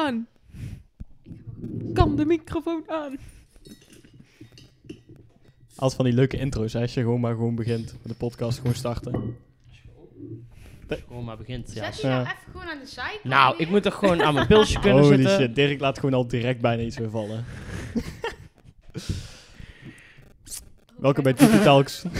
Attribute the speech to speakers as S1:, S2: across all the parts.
S1: aan. Kan de microfoon aan.
S2: Altijd van die leuke intro's, hè, als je gewoon maar gewoon begint met de podcast, gewoon starten.
S3: Gewoon maar begint
S4: Zet
S3: zelfs.
S4: je nou
S2: Ja.
S4: even gewoon aan de zijkant.
S3: Nou,
S4: neer.
S3: ik moet toch gewoon aan mijn pilsje kunnen
S2: Holy
S3: zitten.
S2: shit, Dirk laat gewoon al direct bijna iets weer vallen. Welkom bij Tipitalks.
S4: Ik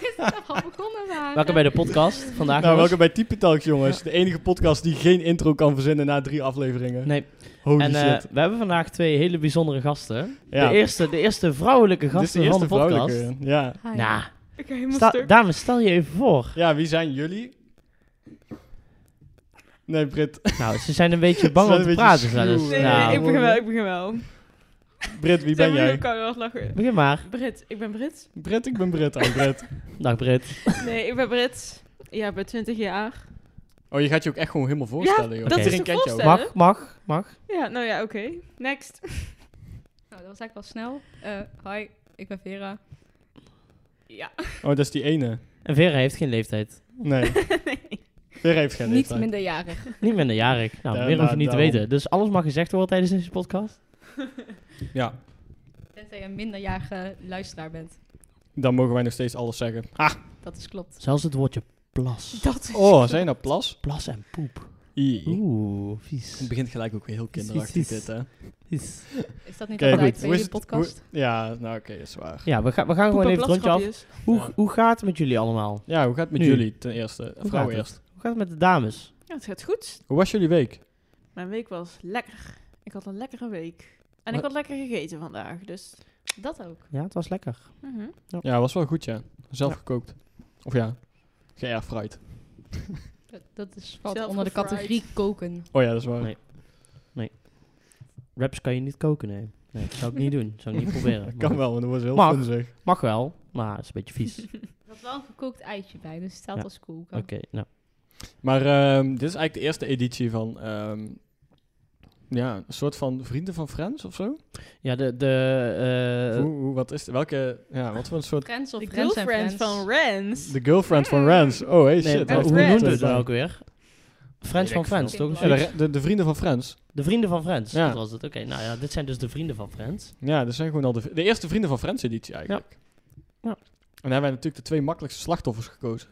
S4: wist dat we al begonnen waren.
S3: Welkom bij de podcast
S2: nou,
S3: vandaag. jongens.
S2: welkom bij Tipitalks, jongens. De enige podcast die geen intro kan verzinnen na drie afleveringen.
S3: Nee.
S2: Holy
S3: En eh,
S2: shit.
S3: we hebben vandaag twee hele bijzondere gasten.
S2: Ja,
S3: De, eerste, de eerste vrouwelijke
S2: dit is
S3: gasten
S2: de
S3: van
S2: eerste
S3: de podcast.
S2: vrouwelijke. Ja.
S4: Ah,
S1: Hi.
S3: Nou,
S1: Ik ga helemaal
S3: sta-
S1: stuk.
S3: dames, stel je even voor.
S2: ja, wie zijn jullie? Nee, Brit.
S3: Nou, ze zijn een beetje bang
S2: Ze
S3: om
S2: zijn
S3: te
S2: een beetje
S3: praten. zelfs.
S2: schuw.
S1: Nee,
S2: Nee,
S1: nee,
S3: nou,
S1: ik begin wel, ik begin wel.
S2: Brit, wie
S1: Zij
S2: ben
S1: moeten
S2: jij?
S1: ook al wel lachen.
S3: Begin maar.
S1: Brit, ik ben Brit.
S2: Brit, ik ben Brit. Oh, Brit.
S3: Dag Britt.
S1: Nee, ik ben Brit. Ja, ik ben 20 jaar.
S2: Oh, je gaat je ook echt gewoon helemaal voorstellen, joh.
S1: dat
S3: is
S2: Iedereen
S1: te
S2: kent jou.
S1: voorstellen.
S3: Mag, mag, mag.
S1: Ja, nou ja, oké. Next.
S4: Nou, dat was eigenlijk wel snel. Eh, hi, ik ben Vera. Ja.
S2: Oh, dat is die ene.
S3: En Vera heeft geen leeftijd.
S2: Nee. Weer heeft geen
S4: Niet
S2: leeftijd.
S4: minderjarig.
S3: Niet minderjarig. Nou,
S2: Ja,
S3: meer hoef
S2: nou,
S3: je niet te
S2: daarom.
S3: weten. Dus alles mag gezegd worden tijdens deze podcast.
S2: Ja,
S4: Tenzij je een minderjarige luisteraar bent.
S2: dan mogen wij nog steeds alles zeggen. Ah,
S4: Dat is klopt.
S3: Zelfs het woordje plas.
S1: Dat is...
S2: oh, zijn dat plas?
S3: Plas en poep.
S2: Ie.
S3: Oeh,
S2: Het
S3: vies.
S2: begint gelijk ook weer heel kinderachtig
S3: Vies, vies.
S2: dit, hè?
S3: vies.
S4: Is dat niet
S2: Oké,
S4: altijd
S2: goed. Hoe
S4: bij
S2: is
S4: jullie
S2: het-
S4: podcast?
S2: Ja, nou oké, is waar.
S3: Ja, we, gaan we gaan gewoon even het rondje af. Hoe, hoe gaat het met jullie allemaal?
S2: Ja, hoe gaat het met
S3: Nu.
S2: jullie ten eerste?
S3: Hoe
S2: Vrouw
S3: gaat het?
S2: eerst.
S3: Hoe gaat het met de dames?
S1: Ja, het gaat goed.
S2: Hoe was jullie week?
S1: Mijn week was lekker. Ik had een lekkere week. En ik had
S3: Wat-
S1: lekker gegeten vandaag, dus...
S4: Dat ook.
S3: Ja, het was lekker.
S1: mhm.
S2: Ja, was wel goed, ja. Zelf gekookt. Of ja, geairfried.
S4: Dat, dat is, valt
S1: Zelf
S4: onder de
S1: gefried.
S4: categorie koken.
S2: Oh ja, dat is waar.
S3: Nee. Raps kan je niet koken, nee. Nee, dat zou ik niet doen. zou ik niet proberen.
S2: Dat kan
S3: Maar-
S2: wel, want dat was heel
S3: Mag.
S2: funzig.
S3: Mag wel, maar het is een beetje vies. Oké,
S4: Er had wel een gekookt eitje bij, dus het staat
S3: Ja.
S4: als koken.
S3: nou.
S2: Maar ehm, dit is eigenlijk de eerste editie van... ehm, ja, een soort van vrienden van Friends of zo?
S3: Ja, de... de eh,
S2: Hoe, hoe, wat is het? Welke... Ja, wat voor een soort...
S4: Friends of
S1: De
S4: Friends en
S1: girlfriend van
S4: Friends.
S1: Rens.
S2: De girlfriend
S4: Hmm.
S2: van Rans. Oh, hey,
S3: nee,
S2: shit.
S3: maar
S2: had ik
S3: hoe
S2: niet,
S1: Friends.
S3: noemden we
S2: eh,
S3: het dan ook weer?
S2: Weet
S3: Friends van
S2: ik
S3: Friends,
S4: veel.
S3: toch?
S2: Ja,
S3: Zoiets?
S2: de, de, de vrienden van Friends.
S3: De vrienden van Friends,
S2: Ja.
S3: dat was het. Oké, nou ja, dit zijn dus de vrienden van Friends.
S2: Ja, dat zijn gewoon al de, de eerste vrienden van Friends editie eigenlijk.
S3: Ja.
S2: En
S3: Ja.
S2: dan hebben wij natuurlijk de twee makkelijkste slachtoffers gekozen.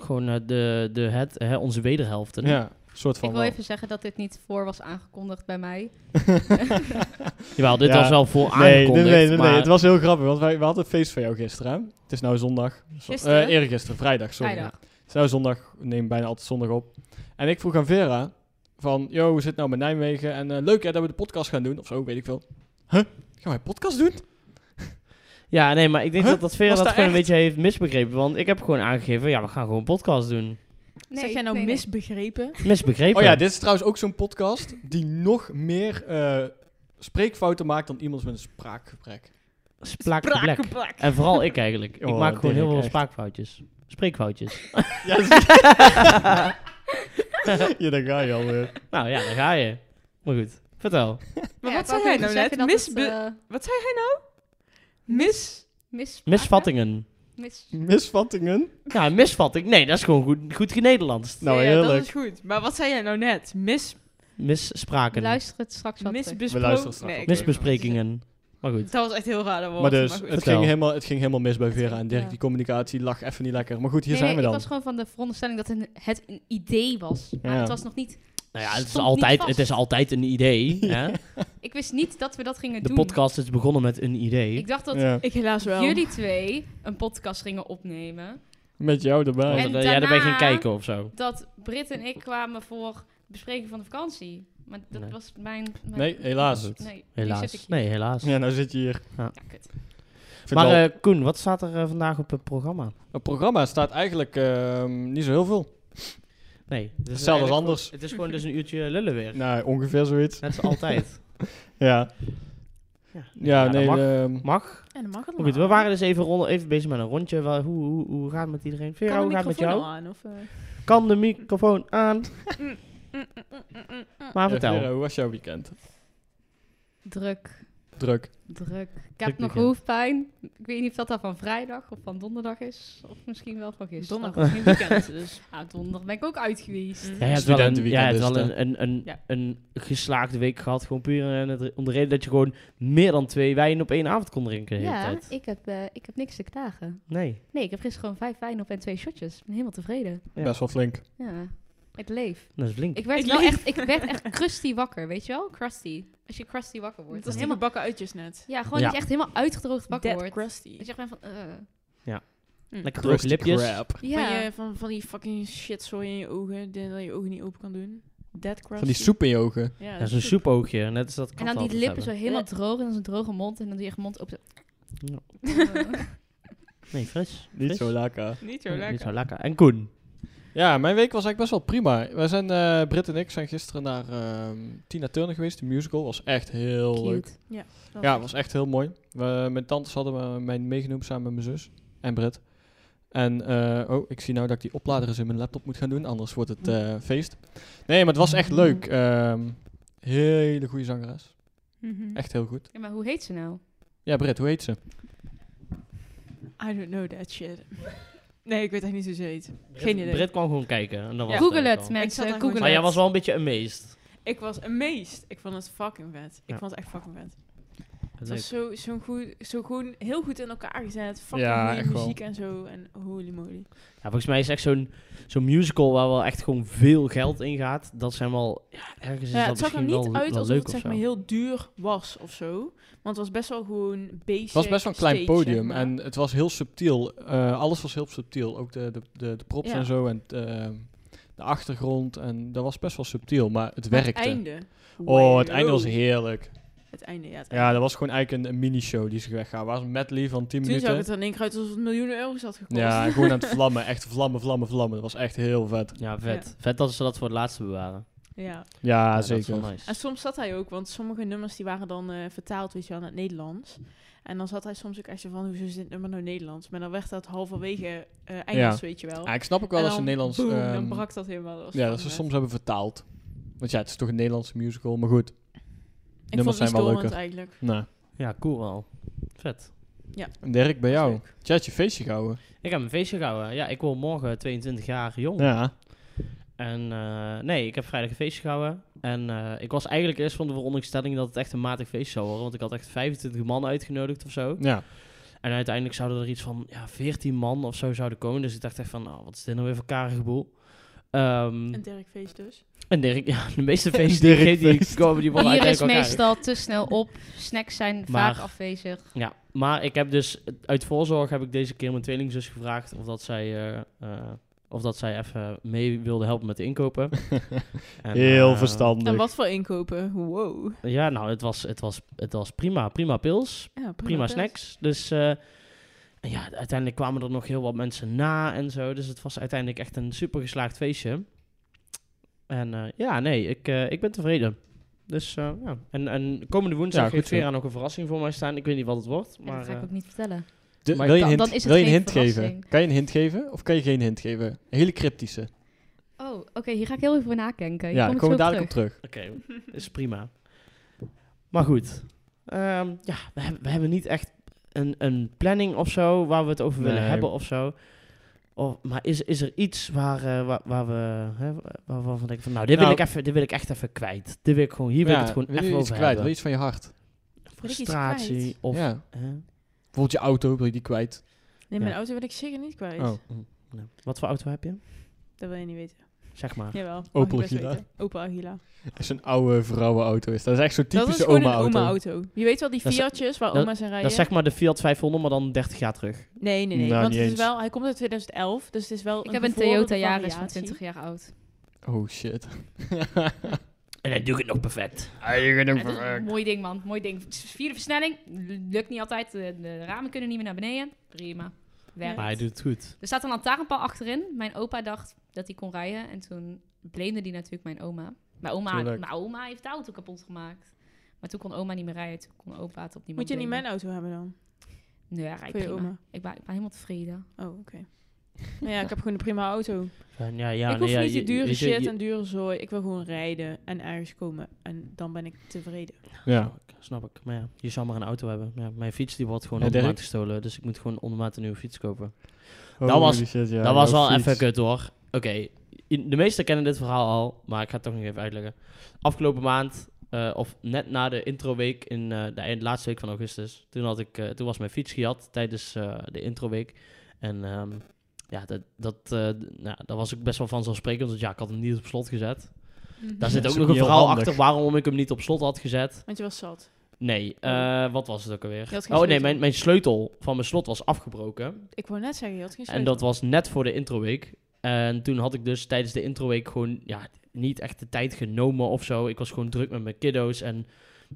S3: Gewoon eh, de, de het, hè, onze wederhelften.
S2: Ja, een soort van
S4: Ik wil
S2: wel.
S4: even zeggen dat dit niet voor was aangekondigd bij mij.
S3: Jawel, dit
S2: Ja.
S3: was wel voor
S2: Nee, nee,
S3: aangekondigd,
S2: nee, nee,
S3: maar
S2: nee, het was heel grappig, want wij, we hadden een feest van jou gisteren. hè? Het is nou zondag. Zo-
S1: Gisteren?
S2: eh, eergisteren, vrijdag, sorry.
S4: Vrijdag.
S2: Het is nou zondag, we nemen bijna altijd zondag op. En ik vroeg aan Vera van, yo, hoe zit het nou met Nijmegen? En eh, leuk hè, dat we de podcast gaan doen, of zo, weet ik veel. Huh? Gaan wij podcast doen?
S3: Ja, nee, maar ik denk
S2: Huh?
S3: dat dat Vera
S2: Was
S3: dat
S2: dat
S3: gewoon een
S2: echt?
S3: beetje heeft misbegrepen. Want ik heb gewoon aangegeven, ja, we gaan gewoon een podcast doen.
S1: zeg jij nou
S4: nee, nee.
S1: misbegrepen?
S3: Misbegrepen.
S2: Oh ja, dit is trouwens ook zo'n podcast die nog meer eh, spreekfouten maakt dan iemand met een spraakgebrek.
S3: Spraakgebrek.
S1: Brakenplak.
S3: En vooral ik eigenlijk. Ik
S2: Oh,
S3: maak gewoon heel
S2: Dirk,
S3: veel
S2: echt.
S3: spraakfoutjes. Spreekfoutjes.
S2: Ja, ja, daar ga je alweer.
S3: nou ja, daar ga je. Maar goed, vertel.
S1: Maar
S4: Ja,
S1: wat
S4: ik
S1: zei hij
S4: wou
S1: nou
S4: even
S1: net?
S4: zeggen dat het,
S1: Misbe-
S4: eh,
S1: Wat zei hij nou? Mis...
S4: Misvatten?
S3: Misvattingen.
S4: Mis-
S2: Misvattingen?
S4: Oh,
S3: Ja, een misvatting. Nee, dat is gewoon goed, goed genederlands.
S2: Nou,
S1: ja,
S2: heerlijk.
S1: dat is goed. Maar wat zei jij nou net? Mis...
S3: Misspraken.
S4: Luister het straks wel terug.
S2: We luisteren straks
S1: Nee,
S2: op.
S1: ik-
S3: Misbesprekingen. Maar goed.
S1: Dat was echt heel raar dat woord.
S2: Maar dus,
S1: goed.
S2: het
S3: Vertel.
S2: ging, helemaal, het ging helemaal mis bij Vera en Dirk.
S4: Ja.
S2: Die communicatie lag even niet lekker. Maar goed, hier
S4: Nee,
S2: zijn
S4: nee,
S2: we
S4: ik
S2: dan.
S4: was gewoon van de veronderstelling dat een- het een idee was. Maar
S2: Ja.
S4: het was nog niet...
S3: Nou ja, het is,
S4: Stond niet
S3: altijd,
S4: vast.
S3: het is altijd een idee. Hè?
S4: Ik wist niet dat we dat gingen
S3: De
S4: doen.
S3: podcast is begonnen met een idee.
S4: Ik dacht dat
S2: Ja.
S1: Ik helaas wel.
S4: jullie twee een podcast gingen opnemen.
S2: Met jou erbij.
S3: Want, eh,
S4: En
S3: Ja, daar ben je
S4: daarna-
S3: geen kijken of zo.
S4: Dat Britt en ik kwamen voor bespreking van de vakantie. Maar dat
S3: Nee.
S4: was mijn... mijn-
S2: Nee, helaas.
S4: Nee, nu zit ik
S3: Helaas.
S4: hier.
S3: Nee, helaas.
S2: Ja, nou zit je hier.
S4: Ja, kut.
S2: Ik vind
S3: Maar
S2: wel-
S3: eh, Koen, wat staat er eh, vandaag op het programma?
S2: het programma staat eigenlijk ehm, niet zo heel veel.
S3: Nee. het is
S2: Hetzelfde als
S3: eigenlijk-
S2: anders.
S3: Het is gewoon dus een uurtje lullen weer.
S2: Nou, ongeveer zoiets.
S3: Net zoals altijd.
S2: Ja,
S3: Ja,
S2: ja,
S3: dat
S2: nee.
S3: Mag.
S2: ehm,
S3: mag.
S1: En dan mag het
S3: Maar goed, we waren dus even, rond, even bezig met een rondje. Wel, hoe, hoe, hoe gaat het met iedereen? Vera, hoe gaat het met jou?
S1: Aan, of, eh?
S3: Kan de microfoon aan? Maar
S2: ja,
S3: vertel.
S2: Vera, hoe was jouw weekend?
S4: Druk.
S2: Druk.
S4: Druk. Ik
S3: Druk
S4: heb nog
S3: begin.
S4: hoofdpijn. Ik weet niet of dat dan van vrijdag of van donderdag is. Of misschien wel van gisteren.
S1: Donderdag is geen weekend, dus.
S4: Ja, donderdag ben ik ook uit geweest.
S3: Ja, je hebt wel een, ja,
S2: Studentenweekend
S3: je hebt
S2: is
S3: wel
S2: het,
S3: een, een, een,
S1: Ja.
S3: een geslaagde week gehad. Gewoon puur eh, om de reden dat je gewoon meer dan twee wijnen op één avond kon drinken. De hele
S4: Ja,
S3: tijd.
S4: ik heb, eh, ik heb niks te klagen.
S3: Nee.
S4: Nee, ik heb gisteren gewoon vijf wijn op en twee shotjes. Ik ben helemaal tevreden.
S3: Ja.
S2: Best wel flink.
S4: Ja, ik leef.
S3: Dat is blink.
S4: Ik werd,
S1: Ik
S4: wel
S1: leef.
S4: echt, ik werd echt crusty wakker, weet je wel? Crusty. Als je crusty wakker wordt.
S1: Het was
S4: dan
S1: die
S4: helemaal,
S1: gebakken uitjes net.
S4: ja, gewoon
S3: Ja.
S4: dat je echt helemaal uitgedroogd wakker
S1: Dead
S4: wordt.
S1: crusty.
S4: Dat je echt bent van... eh,
S3: Lekker droge
S2: Crusty
S3: lipjes.
S2: crab.
S4: ja.
S1: Van, je, van, van die fucking shitzooi in je ogen, die- dat je ogen niet open kan doen. Dead crusty.
S2: Van die soep in je ogen.
S1: Ja,
S3: Ja,
S1: dat
S3: zo'n
S1: is soep.
S3: soepoogje. Net als dat
S4: En
S3: katten
S4: dan die
S3: altijd
S4: lippen zo
S3: hebben.
S4: helemaal
S1: Eh.
S4: droog en dan zo'n droge mond. En dan doe je echt mond op. Zo.
S3: Ja.
S4: Eh,
S3: Nee, fris.
S2: Niet
S3: Fris.
S2: zo lekker.
S1: Niet
S3: Ja,
S1: zo lekker.
S3: Niet zo lekker. En Koen.
S2: Ja, mijn week was eigenlijk best wel prima. Wij zijn, eh Britt en ik zijn gisteren naar ehm, Tina Turner geweest. De musical was echt heel leuk.
S4: Cute.
S1: Dat
S2: Ja, het was echt heel mooi. We, mijn tantes hadden me, mij meegenomen samen met mijn zus en Britt. En eh, oh, ik zie nou dat ik die oplader eens in mijn laptop moet gaan doen, anders wordt het eh, feest. Nee, maar het was echt leuk. Ehm, hele goede zangeres.
S1: Mhm.
S2: Echt heel goed.
S4: Ja, maar hoe heet ze nou?
S2: Ja, Britt, hoe heet ze?
S1: I don't know that shit. Nee, ik weet echt niet hoe ze heet. Geen idee.
S3: Britt kwam gewoon kijken. En dan was
S4: Google
S3: eigenlijk
S4: het,
S3: al.
S1: Ik zat
S4: mensen.
S1: daar
S4: Google
S1: gewoon-
S4: het.
S3: Maar jij was wel een beetje amazed.
S1: Ik was amazed. Ik vond het fucking vet. Ik
S3: Ja.
S1: vond het echt fucking vet. Het
S3: Leuk.
S1: was zo, zo, goed, zo gewoon heel goed in elkaar gezet. Fucking
S2: Ja,
S1: goeie
S2: echt wel. Dus
S1: muziek en zo. En holy moly.
S3: Ja, volgens mij is echt zo'n zo'n musical waar wel echt gewoon veel geld in gaat. Dat zijn wel... Ja, ergens is
S1: Ja,
S3: dat
S1: het zag er
S3: misschien
S1: niet
S3: wel,
S1: uit
S3: wel
S1: alsof
S3: leuk
S1: het
S3: of
S1: zeg
S3: zo.
S1: maar, heel duur was of zo. Want het was best wel gewoon basic.
S2: Het was best wel een klein
S1: stage,
S2: podium
S1: zeg maar.
S2: en het was heel subtiel. Eh, alles was heel subtiel. Ook de, de, de, de props
S1: Ja.
S2: en zo en ehm, de achtergrond. En dat was best wel subtiel, maar het
S1: Maar
S2: werkte.
S1: Het einde.
S2: Oh, het
S1: Wow.
S2: einde was heerlijk.
S1: Het einde, ja. Het
S2: Ja,
S1: einde.
S2: dat was gewoon eigenlijk een, een mini-show die zich weggaat. Was een medley van 10
S1: Toen zag
S2: minuten.
S1: het er in één keer uit alsof het miljoenen euro's had gekost.
S2: Ja, en gewoon aan het vlammen. Echt vlammen, vlammen, vlammen. Dat was echt heel vet.
S3: Ja, vet. Vet dat ze dat voor het laatste bewaren.
S1: ja.
S2: Ja,
S3: Ja, Dat is wel
S2: zeker.
S1: En
S3: nice.
S1: soms zat hij ook, want sommige nummers die waren dan eh, vertaald, weet je wel, naar het Nederlands. En dan zat hij soms ook echt zo van, hoezo is dit nummer nou Nederlands? Maar dan werd dat halverwege eh Engels, weet je wel.
S2: Ja, ik snap ook wel
S1: En
S2: dat ze
S1: dan
S2: Nederlands...
S1: boem,
S2: ehm,
S1: dan brak dat helemaal. Dat was
S2: ja, dat
S1: fucking
S2: ze
S1: vet.
S2: soms hebben vertaald. Want ja, het is toch een Nederlandse musical. Maar goed,
S1: Ik vond
S2: nummers
S1: het
S2: zijn wel
S1: storend
S2: leuker.
S1: eigenlijk.
S2: nou.
S3: Ja, cool wel. Vet.
S2: Dirk, bij
S1: Dat is
S2: jou. Jij had je feestje gehouden.
S3: Ik heb een feestje gehouden. Ja, ik word morgen 22 jaar jong.
S2: Ja.
S3: En eh, nee, ik heb vrijdag een feestje gehouden. En eh, ik was eigenlijk eerst van de veronderstelling dat het echt een matig feest zou worden. Want ik had echt 25 man uitgenodigd of zo.
S2: Ja.
S3: En uiteindelijk zouden er iets van ja, 14 man of zo zouden komen. Dus ik dacht echt van, oh, wat is dit nou weer voor karige boel.
S2: Hm.
S3: Ehm,
S1: Een Dirk feest dus.
S3: en Dirk, ja, de meeste feesten die,
S2: Dirk
S3: die
S2: feest.
S3: komen, die worden
S4: Hier is
S3: uiteindelijk wel karig.
S4: meestal te snel op. Snacks zijn
S3: Maar-
S4: vaak afwezig.
S3: Ja, maar ik heb dus uit voorzorg heb ik deze keer mijn tweelingzus gevraagd of dat zij, eh, eh, of dat zij even mee wilde helpen met de inkopen. En,
S2: Heel
S3: eh,
S2: verstandig.
S1: En Nou, wat voor inkopen? Wow.
S3: Ja, nou, het was, het was, het was prima. Prima pils,
S1: Ja,
S3: prima
S1: vet.
S3: snacks. Dus eh, en ja, uiteindelijk kwamen er nog heel wat mensen na en zo. Dus het was uiteindelijk echt een super geslaagd feestje. En eh, ja, nee, ik, eh, ik ben tevreden. Dus eh, ja. En, en komende woensdag
S2: Ja, goed
S3: heeft
S2: zo.
S3: Vera nog een verrassing voor mij staan. Ik weet niet wat het wordt.
S4: Maar, dat
S3: Maar,
S4: ga ik
S3: eh,
S4: ook niet vertellen.
S2: De-
S3: Maar
S2: wil je een
S4: dan-
S2: hint,
S4: dan is het
S2: wil je een
S4: geen
S2: hint geven?
S4: verrassing.
S2: Kan je een hint geven of kan je geen hint geven? Een hele cryptische.
S4: Oh, oké. hier ga ik heel even voor nadenken. Hier
S2: ja,
S4: kom
S2: daar komen
S4: ik
S2: we
S4: zo
S2: dadelijk
S4: terug.
S2: op terug.
S3: Oké, is prima. Maar goed. Ehm, ja, we hebben, we hebben niet echt een, een planning of zo waar we het over willen
S2: Nee.
S3: hebben of zo. Of, maar is, is er iets waar, eh, waar, waar we hè, waar, waarvan denken van, nou, dit,
S2: Nou.
S3: wil ik even, dit wil ik echt even kwijt. Dit wil ik gewoon, hier wil
S2: ja,
S3: ik het gewoon
S2: wil je
S3: even
S2: iets
S3: over
S2: kwijt? Wil
S3: hebben.
S2: je iets van je hart?
S1: Wil ik iets
S3: Frustratie
S1: kwijt?
S3: of...
S2: ja.
S3: hè?
S2: Bijvoorbeeld je auto, wil je die kwijt?
S1: Nee, mijn
S3: Ja.
S1: auto wil ik zeker niet kwijt.
S2: Oh.
S3: Hm, nee. Wat voor auto heb je?
S1: Dat wil je niet weten.
S3: Zeg maar.
S1: Jawel. mag
S2: Opel
S1: je best
S2: Agila.
S1: weten. Opel Agila.
S2: Dat is een oude vrouwenauto. Is. Dat is echt zo'n
S1: dat
S2: typische
S1: is gewoon
S2: oma-auto.
S1: een oma-auto. Je weet wel die
S3: Dat is-
S1: Fiatjes waar
S3: dat-
S1: oma's in rijden?
S3: Dat is zeg maar de Fiat 500, maar dan 30 jaar terug.
S1: Nee, nee, nee.
S2: Nou,
S1: want
S2: niet
S1: het is
S2: eens.
S1: wel, hij komt uit 2011, dus het is wel
S4: Ik heb een
S1: gevorderde
S4: Toyota Yaris van
S1: variatie.
S4: 20 jaar oud.
S2: Oh shit.
S3: En dan doe ik het nog perfect.
S4: Ja, dat is een mooi ding, man. Mooi ding. Vierde versnelling. Lukt niet altijd. De, de ramen kunnen niet meer naar beneden. Prima. Werkt.
S3: Maar hij doet het goed.
S4: Er staat een lantaarnpaal achterin. Mijn opa dacht dat hij kon rijden. En toen blameerde die natuurlijk mijn oma. Mijn oma,
S2: Tuurlijk.
S4: mijn oma heeft de auto kapot gemaakt. Maar toen kon oma niet meer rijden. Toen kon opa het op niemand
S1: Moet je niet
S4: blamen.
S1: mijn auto hebben dan?
S4: Nee, hij rijdt
S1: Voor je
S4: prima.
S1: oma?
S4: Ik ben, ik ben helemaal tevreden.
S1: Oh, oké. Nou ja, ik heb gewoon een prima auto.
S3: Van, ja, ja,
S1: ik
S3: nee,
S1: hoef
S3: ja,
S1: niet die
S3: je-
S1: dure
S3: je- je-
S1: shit en dure zooi. Ik wil gewoon rijden en ergens komen. En dan ben ik tevreden.
S2: Ja.
S3: Snap ik. Maar ja, je zou maar een auto hebben. Ja, mijn fiets die wordt gewoon
S2: Ja,
S3: op de
S2: Dirk?
S3: markt gestolen. Dus ik moet gewoon ondermaat een nieuwe fiets kopen. was-
S2: Holy shit, ja,
S3: dat was
S2: jouw
S3: wel
S2: fiets.
S3: even kut hoor. Oké, i- de meesten kennen dit verhaal al, maar ik ga het toch nog even uitleggen. Afgelopen maand, eh, of net na de introweek, in eh, de eind- laatste week van augustus, toen, had ik, eh, toen was mijn fiets gejat tijdens eh, de introweek. En ehm, ja, dat, dat, eh, d- nou, daar was ik best wel vanzelfsprekend, want ja, ik had hem niet op slot gezet. Daar
S2: Dat is
S3: zit ook nog
S2: ook
S3: een
S2: niet heel
S3: verhaal
S2: handig.
S3: achter waarom ik hem niet op slot had gezet.
S1: Want je was zat.
S3: Nee,
S1: Oh.
S3: eh, wat was het ook alweer?
S1: Je had geen
S3: Oh nee,
S1: sleutel.
S3: mijn, mijn sleutel van mijn slot was afgebroken.
S1: Ik wou net zeggen, je had geen
S3: En
S1: sleutel.
S3: dat was net voor de introweek. En toen had ik dus tijdens de introweek gewoon ja, niet echt de tijd genomen of zo. Ik was gewoon druk met mijn kiddo's en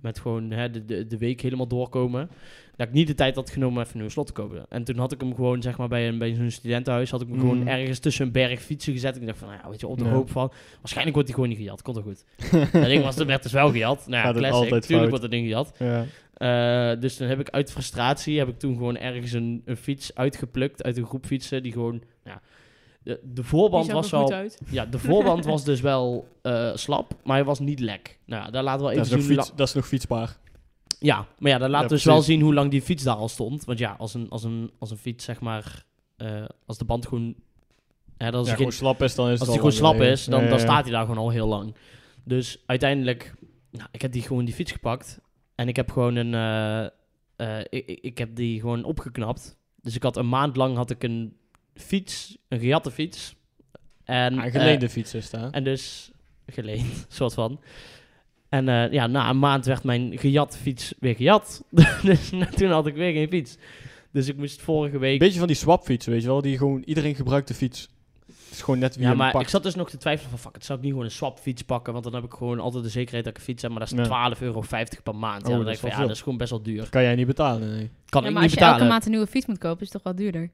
S3: met gewoon hè, de, de, de week helemaal doorkomen. Dat ik niet de tijd had genomen om even een nieuw slot te kopen. En toen had ik hem gewoon, zeg maar, bij, een, bij zo'n studentenhuis... had ik hem
S2: Mm.
S3: gewoon ergens tussen een berg fietsen gezet. En ik dacht van, nou ja, weet je, op de
S2: Ja.
S3: hoop van... Waarschijnlijk wordt hij gewoon niet gejat, komt wel goed. dat ding was, werd dus wel gejat. Nou ja,
S2: Gaat het
S3: classic.
S2: altijd
S3: Tuurlijk
S2: fout.
S3: wordt dat ding gejat.
S2: Ja.
S3: Eh, dus dan heb ik uit frustratie heb ik toen gewoon ergens een, een fiets uitgeplukt uit een groep fietsen die gewoon. nou Ja, de, de
S1: Die
S3: voorband
S1: zag
S3: was
S1: er goed
S3: wel.
S1: uit.
S3: Ja, de voorband was dus wel eh, slap, maar hij was niet lek. Nou, ja, daar laten we wel
S2: Dat, is
S3: even
S2: nog
S3: zien. hoe
S2: fiets, dat is nog fietsbaar.
S3: lang- Ja, maar ja, daar laten
S2: Ja,
S3: we dus wel
S2: precies.
S3: zien hoe lang die fiets daar al stond. Want ja, als een, als een, als een fiets, zeg maar, eh, als de band gewoon. Hè, dat
S2: Als
S3: is
S2: hij
S3: geen,
S2: gewoon slap is, dan is
S3: als
S2: het
S3: die
S2: al lang
S3: gewoon slap
S2: geleden.
S3: is, dan,
S2: Ja,
S3: dan
S2: ja.
S3: staat hij daar gewoon al heel lang. Dus uiteindelijk, nou, ik heb die gewoon die fiets gepakt. En ik heb gewoon een. eh, eh, ik, ik- ik heb die gewoon opgeknapt. Dus ik had een maand lang had ik een fiets, een gejatte fiets. En,
S2: Ja, Een
S3: eh,
S2: geleende fiets is daar.
S3: en dus geleend, soort van. En eh, ja, na een maand werd mijn gejat fiets weer gejat. dus toen had ik weer geen fiets. Dus ik moest vorige
S2: Een
S3: week
S2: beetje van die swapfiets, weet je wel? Die gewoon iedereen gebruikt de fiets. Het is gewoon net wie
S3: Ja,
S2: hem
S3: maar
S2: pakt.
S3: ik zat dus nog te twijfelen van, fuck, het zou ik niet gewoon een swapfiets pakken, want dan heb ik gewoon altijd de zekerheid dat ik een fiets heb, maar dat is
S2: Ja.
S3: 12,50 euro per maand.
S2: Oh,
S3: ja, dan
S2: dat is
S3: denk ik van,
S2: wel
S3: ja, dat
S2: veel.
S3: is gewoon best wel duur.
S2: Kan jij niet betalen, nee.
S3: Kan
S4: Ja,
S3: ik niet
S4: maar als je elke
S3: betalen.
S4: maand een nieuwe fiets moet kopen, is het toch wel duurder?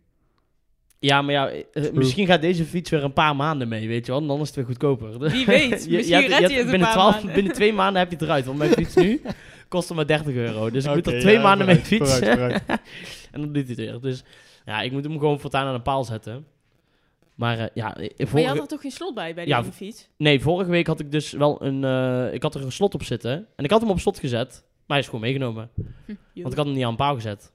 S3: Ja, maar ja, eh, eh,
S2: True.
S3: misschien gaat deze fiets weer een paar maanden mee, weet je wel, en dan is het weer goedkoper.
S1: Wie weet, misschien
S3: Je- hebt-
S1: redt
S3: hebt-
S1: hij het een
S3: binnen,
S1: paar maanden.
S3: binnen twee maanden heb je het eruit, want mijn fiets nu kost hem maar 30 euro. Dus ik moet
S2: Oké,
S3: er twee
S2: ja,
S3: maanden mee
S2: vooruit,
S3: fietsen.
S2: vooruit, vooruit.
S3: en dan doet hij het weer. Dus ja, ik moet hem gewoon voortaan aan een paal zetten. Maar eh, ja, eh,
S1: Maar je
S3: vorige-
S1: had er toch geen slot bij, bij die
S3: Ja,
S1: ene fiets?
S3: Nee, vorige week had ik dus wel een. eh, ik had er een slot op zitten. En ik had hem op slot gezet. Maar hij is gewoon meegenomen.
S2: Hm.
S3: Want ik had hem niet aan een paal gezet.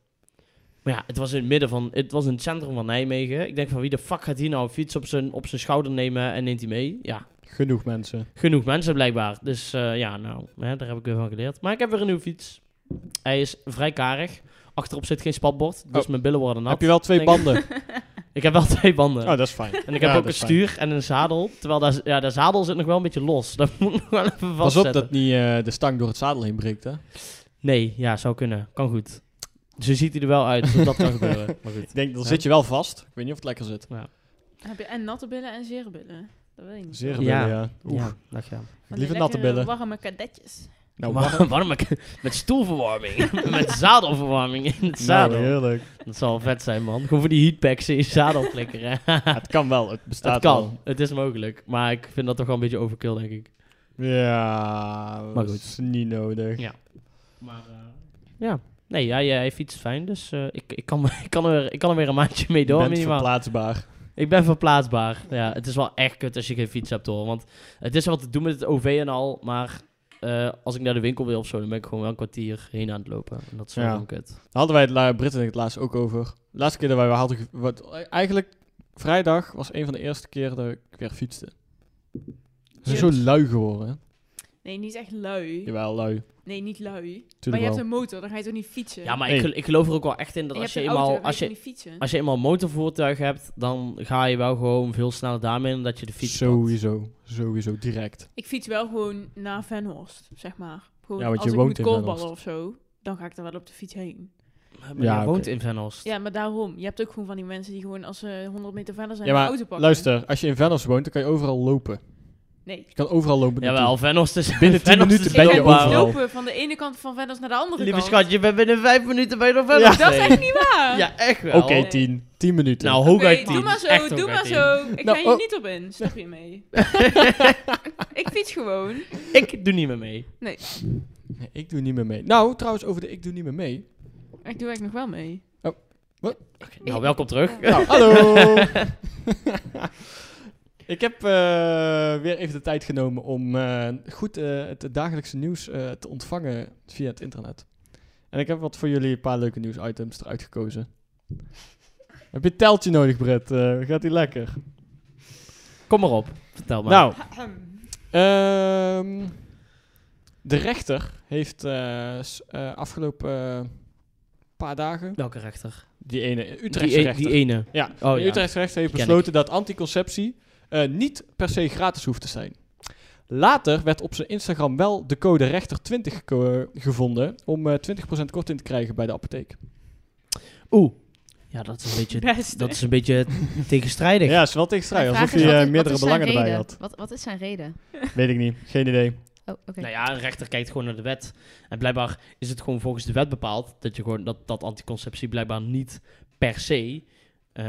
S3: Maar ja, het was in het midden van. Het was in het centrum van Nijmegen. Ik denk van wie de fuck gaat hier nou een fiets op zijn, op zijn schouder nemen en neemt hij mee? Ja,
S2: Genoeg mensen.
S3: genoeg mensen blijkbaar. Dus eh, ja, nou, hè, daar heb ik weer van geleerd. Maar ik heb weer een nieuwe fiets. Hij is vrij karig. Achterop zit geen spatbord. Dus
S2: Oh.
S3: mijn billen worden nat.
S2: Heb je wel twee
S3: denk ik.
S2: banden?
S3: Ik heb wel twee banden.
S2: Oh, dat is fijn.
S3: en ik
S2: Ja,
S3: heb
S2: dat
S3: ook een
S2: is fijn.
S3: stuur en een zadel. Terwijl daar, ja, de zadel zit nog wel een beetje los. Dat moet ik nog wel even vastzetten.
S2: Pas op dat niet eh, de stang door het zadel heen breekt, hè?
S3: Nee, ja, zou kunnen. Kan goed. Zo ziet hij er wel uit, dus dat kan gebeuren. Maar goed.
S2: Ik denk, dan
S3: Ja.
S2: zit je wel vast. Ik weet niet of het lekker zit.
S1: Heb je en natte billen en zere billen? Dat weet ik niet.
S2: Zeer
S1: Van
S2: billen,
S3: Ja.
S2: ja. Oeh,
S3: Ja, dag ja.
S1: die
S2: Liever natte
S1: lekkere,
S2: billen.
S1: warme kadetjes.
S2: Nou, warm.
S3: warm, warm met stoelverwarming. met zadelverwarming in het zadel.
S2: Nou, heerlijk.
S3: dat zal wel vet zijn, man. Gewoon voor die heatpacks in je zadel flikkeren.
S2: Het kan wel, het bestaat
S3: dat kan.
S2: wel.
S3: Het is mogelijk. Maar ik vind dat toch wel een beetje overkill, denk ik.
S2: Ja,
S3: Maar
S2: dat
S3: goed.
S2: is niet nodig.
S3: Maar ja. Nee, ja, ja, hij fietst fijn, dus eh, ik, ik, kan, ik, kan er, ik kan er weer een maandje mee
S2: Je
S3: door,
S2: bent
S3: minimaal.
S2: verplaatsbaar.
S3: Ik ben verplaatsbaar. Ja, het is wel echt kut als je geen fiets hebt hoor. Want het is wat te doen met het OV en al. Maar eh, als ik naar de winkel wil of zo, dan ben ik gewoon wel een kwartier heen aan het lopen. En dat is wel
S2: Ja.
S3: gewoon kut.
S2: Daar hadden wij het la- Britten denk ik het laatst ook over. De laatste keer dat wij weer hadden... ge- Wat, eigenlijk, vrijdag was een van de eerste keer dat ik weer fietste. Ze zijn zo
S1: Chips.
S2: lui geworden, hè?
S1: Nee, niet echt lui.
S2: Jawel, lui.
S1: Nee, niet lui. maar
S2: Tuurlijk
S1: je hebt
S2: wel.
S1: een motor, dan ga je toch niet fietsen?
S3: Ja, maar
S2: Nee.
S3: ik, gel- ik geloof er ook wel echt in dat
S1: je
S3: als
S1: hebt
S3: je,
S1: een auto,
S3: eenmaal,
S1: dan ga
S3: als,
S1: je toch
S3: je,
S1: niet fietsen?
S3: als je eenmaal een motorvoertuig hebt, dan ga je wel gewoon veel sneller daarmee dan dat je de fiets pakt.
S2: Sowieso, sowieso, direct.
S1: Ik fiets wel gewoon naar Venhorst, zeg maar. Gewoon,
S2: Ja, want
S1: als
S2: je
S1: ik
S2: woont
S1: moet
S2: in
S1: golfballen
S2: Venhorst.
S1: of zo, dan ga ik er wel op de fiets heen.
S3: Maar
S2: Ja,
S3: jij
S2: oké.
S3: woont in Venhorst.
S1: Ja, maar daarom. Je hebt ook gewoon van die mensen die gewoon als ze 100 meter verder zijn,
S2: Ja,
S1: een
S2: maar
S1: auto pakken.
S2: Luister, als je in Venus woont, dan kan je overal lopen.
S1: Nee.
S2: Je kan overal lopen
S3: Jawel, Venhorst is...
S2: Binnen tien
S3: Venhorst
S2: minuten
S3: is
S1: Je
S2: ben je
S1: kan niet
S3: loopbaar.
S2: overal.
S1: lopen van de ene kant van Venhorst naar de andere
S3: Lieve
S1: kant.
S3: schat, je bent binnen vijf minuten bij de Venhorst.
S1: Dat is
S3: heen.
S1: echt niet waar.
S3: Ja, echt wel.
S2: Oké,
S1: Nee.
S2: tien. Tien minuten.
S3: Nou,
S1: Oké,
S3: hooguit tien.
S1: doe maar zo,
S3: Echt
S1: doe
S3: hooguit
S1: maar
S3: tien.
S1: zo. Ik
S2: Nou,
S1: ga hier
S2: oh.
S1: niet op in, snap je mee? ik fiets gewoon.
S3: Ik doe niet meer mee.
S2: Nee, ik doe niet meer mee. Nou, trouwens, over de ik doe niet meer mee.
S1: Ik doe eigenlijk nog wel mee.
S3: Nou, welkom terug.
S2: Nou, hallo! ik heb eh, weer even de tijd genomen om eh, goed eh, het dagelijkse nieuws eh, te ontvangen via het internet. En ik heb wat voor jullie een paar leuke nieuwsitems eruit gekozen. Heb je een teltje nodig, Brett? Eh, gaat die lekker?
S3: Kom maar op. Vertel maar.
S2: Nou, ehm, de rechter heeft eh, s- eh, afgelopen eh, paar dagen,
S3: welke rechter?
S2: die ene Utrechtse
S3: Die, e-
S2: rechter,
S3: die ene.
S2: Ja,
S3: Oh,
S2: de
S3: ja.
S2: Utrechtse rechter heeft
S3: Die ken
S2: besloten dat anticonceptie eh, niet per se gratis hoeft te zijn. Later werd op zijn Instagram wel de code rechter 20 geko- gevonden om eh, 20% korting te krijgen bij de apotheek.
S3: Oeh. Ja, dat is een beetje,
S1: Best.
S3: dat is een beetje tegenstrijdig.
S2: Ja, is wel tegenstrijdig, alsof hij eh, meerdere belangen erbij had.
S4: Wat, wat is zijn reden?
S2: Weet ik niet, geen idee.
S4: Oh, oké.
S3: Nou ja, een rechter kijkt gewoon naar de wet. En blijkbaar is het gewoon volgens de wet bepaald dat, je gewoon, dat, dat anticonceptie blijkbaar niet per se. eh,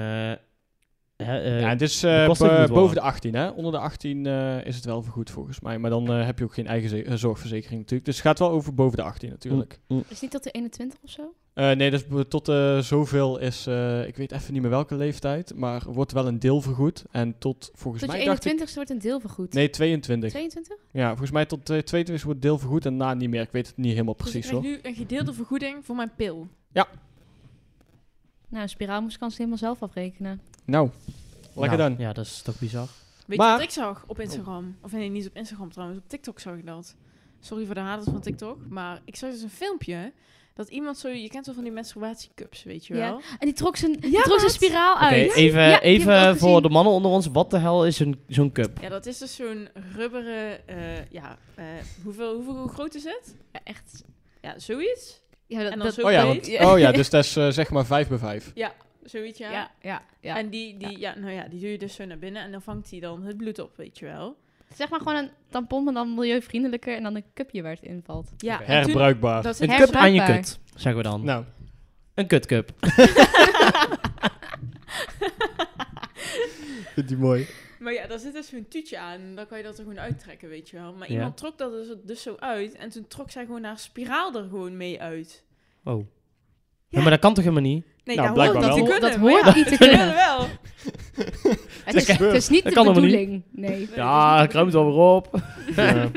S3: hè, eh,
S2: Ja, het is
S3: de
S2: eh,
S3: kosten
S2: bo-
S3: moeten
S2: boven de 18, hè? Onder de 18 eh, is het wel vergoed volgens mij. Maar dan eh, heb je ook geen eigen ze- eh, zorgverzekering natuurlijk. Dus het gaat wel over boven de 18 natuurlijk.
S4: Is niet dat de 21 of zo?
S2: Eh, nee, dus be- tot eh, zoveel is, eh, ik weet even niet meer welke leeftijd, maar wordt wel een deel vergoed. En tot volgens
S4: Tot je
S2: mij dacht ik...
S4: 21 wordt een deel vergoed.
S2: Nee, 22.
S4: 22?
S2: Ja, volgens mij tot eh, 22 wordt deel vergoed en na niet meer. Ik weet het niet helemaal
S1: Dus ik
S2: precies
S1: krijg
S2: hoor.
S1: nu een gedeelde vergoeding voor mijn pil.
S4: Nou, een spiraalmoeskans helemaal zelf afrekenen.
S2: Nou, lekker
S3: nou,
S2: dan.
S3: Ja, dat is toch bizar.
S1: Weet
S2: Maar-
S1: je wat ik zag op Instagram? Of nee, niet op Instagram trouwens. Op TikTok zag ik dat. Sorry voor de haters van TikTok. Maar ik zag dus een filmpje. Dat iemand zo... Je kent wel van die menstruatiecups, weet je
S4: Ja.
S1: wel?
S4: En die trok zijn, die
S1: Ja,
S4: trok zijn
S1: maat.
S4: spiraal
S3: Oké,
S4: uit.
S3: even,
S4: Oh, Ja, die heb ik ook
S3: even voor
S4: gezien.
S3: de mannen onder ons. Wat de hel is een- zo'n cup?
S1: Ja, dat is dus zo'n rubberen... eh, ja, eh, hoeveel, hoeveel, hoe groot is het?
S4: Ja, echt.
S1: Ja, zoiets.
S4: Ja, dat,
S1: En dan
S4: dat-
S1: zo
S2: Oh ja,
S1: breed.
S2: want, oh ja, dus dat is eh, zeg maar 5 bij 5.
S1: Zoiets, ja.
S4: ja, ja, ja.
S1: En die, die, ja. nou ja, die doe je dus zo naar binnen. En dan vangt hij dan het bloed op, weet je wel?
S4: Zeg maar gewoon een tampon, maar dan milieuvriendelijker en dan een cupje waar het invalt.
S1: Ja.
S3: Oké.
S1: en toen-
S2: Herbruikbaar.
S1: Dat is
S3: Een cup aan je
S4: Herbruikbaar.
S3: kut, zeggen we dan.
S2: Nou,
S3: Een kutcup.
S2: vind die mooi.
S1: Maar ja, daar zit dus zo'n tuutje aan. en Dan kan je dat er gewoon uittrekken, weet je wel. Maar
S3: Ja.
S1: iemand trok dat dus, dus zo uit. En toen trok zij gewoon haar spiraal er gewoon mee uit.
S3: Oh.
S1: Ja.
S3: maar dat kan toch helemaal niet?
S1: Nee,
S2: Nou,
S1: daar hoort
S2: blijkbaar
S1: dat te
S4: wel.
S1: kunnen.
S4: Dat
S1: maar
S4: hoort
S1: ja,
S4: niet te
S1: dat
S4: kunnen.
S1: wel.
S4: Het is, het is niet
S3: Dat
S4: de
S3: kan helemaal
S4: bedoeling. Nee.
S1: Nee,
S3: Ja,
S1: dat is niet
S3: ik
S1: de
S3: ruim het wel weer op.
S2: Ja.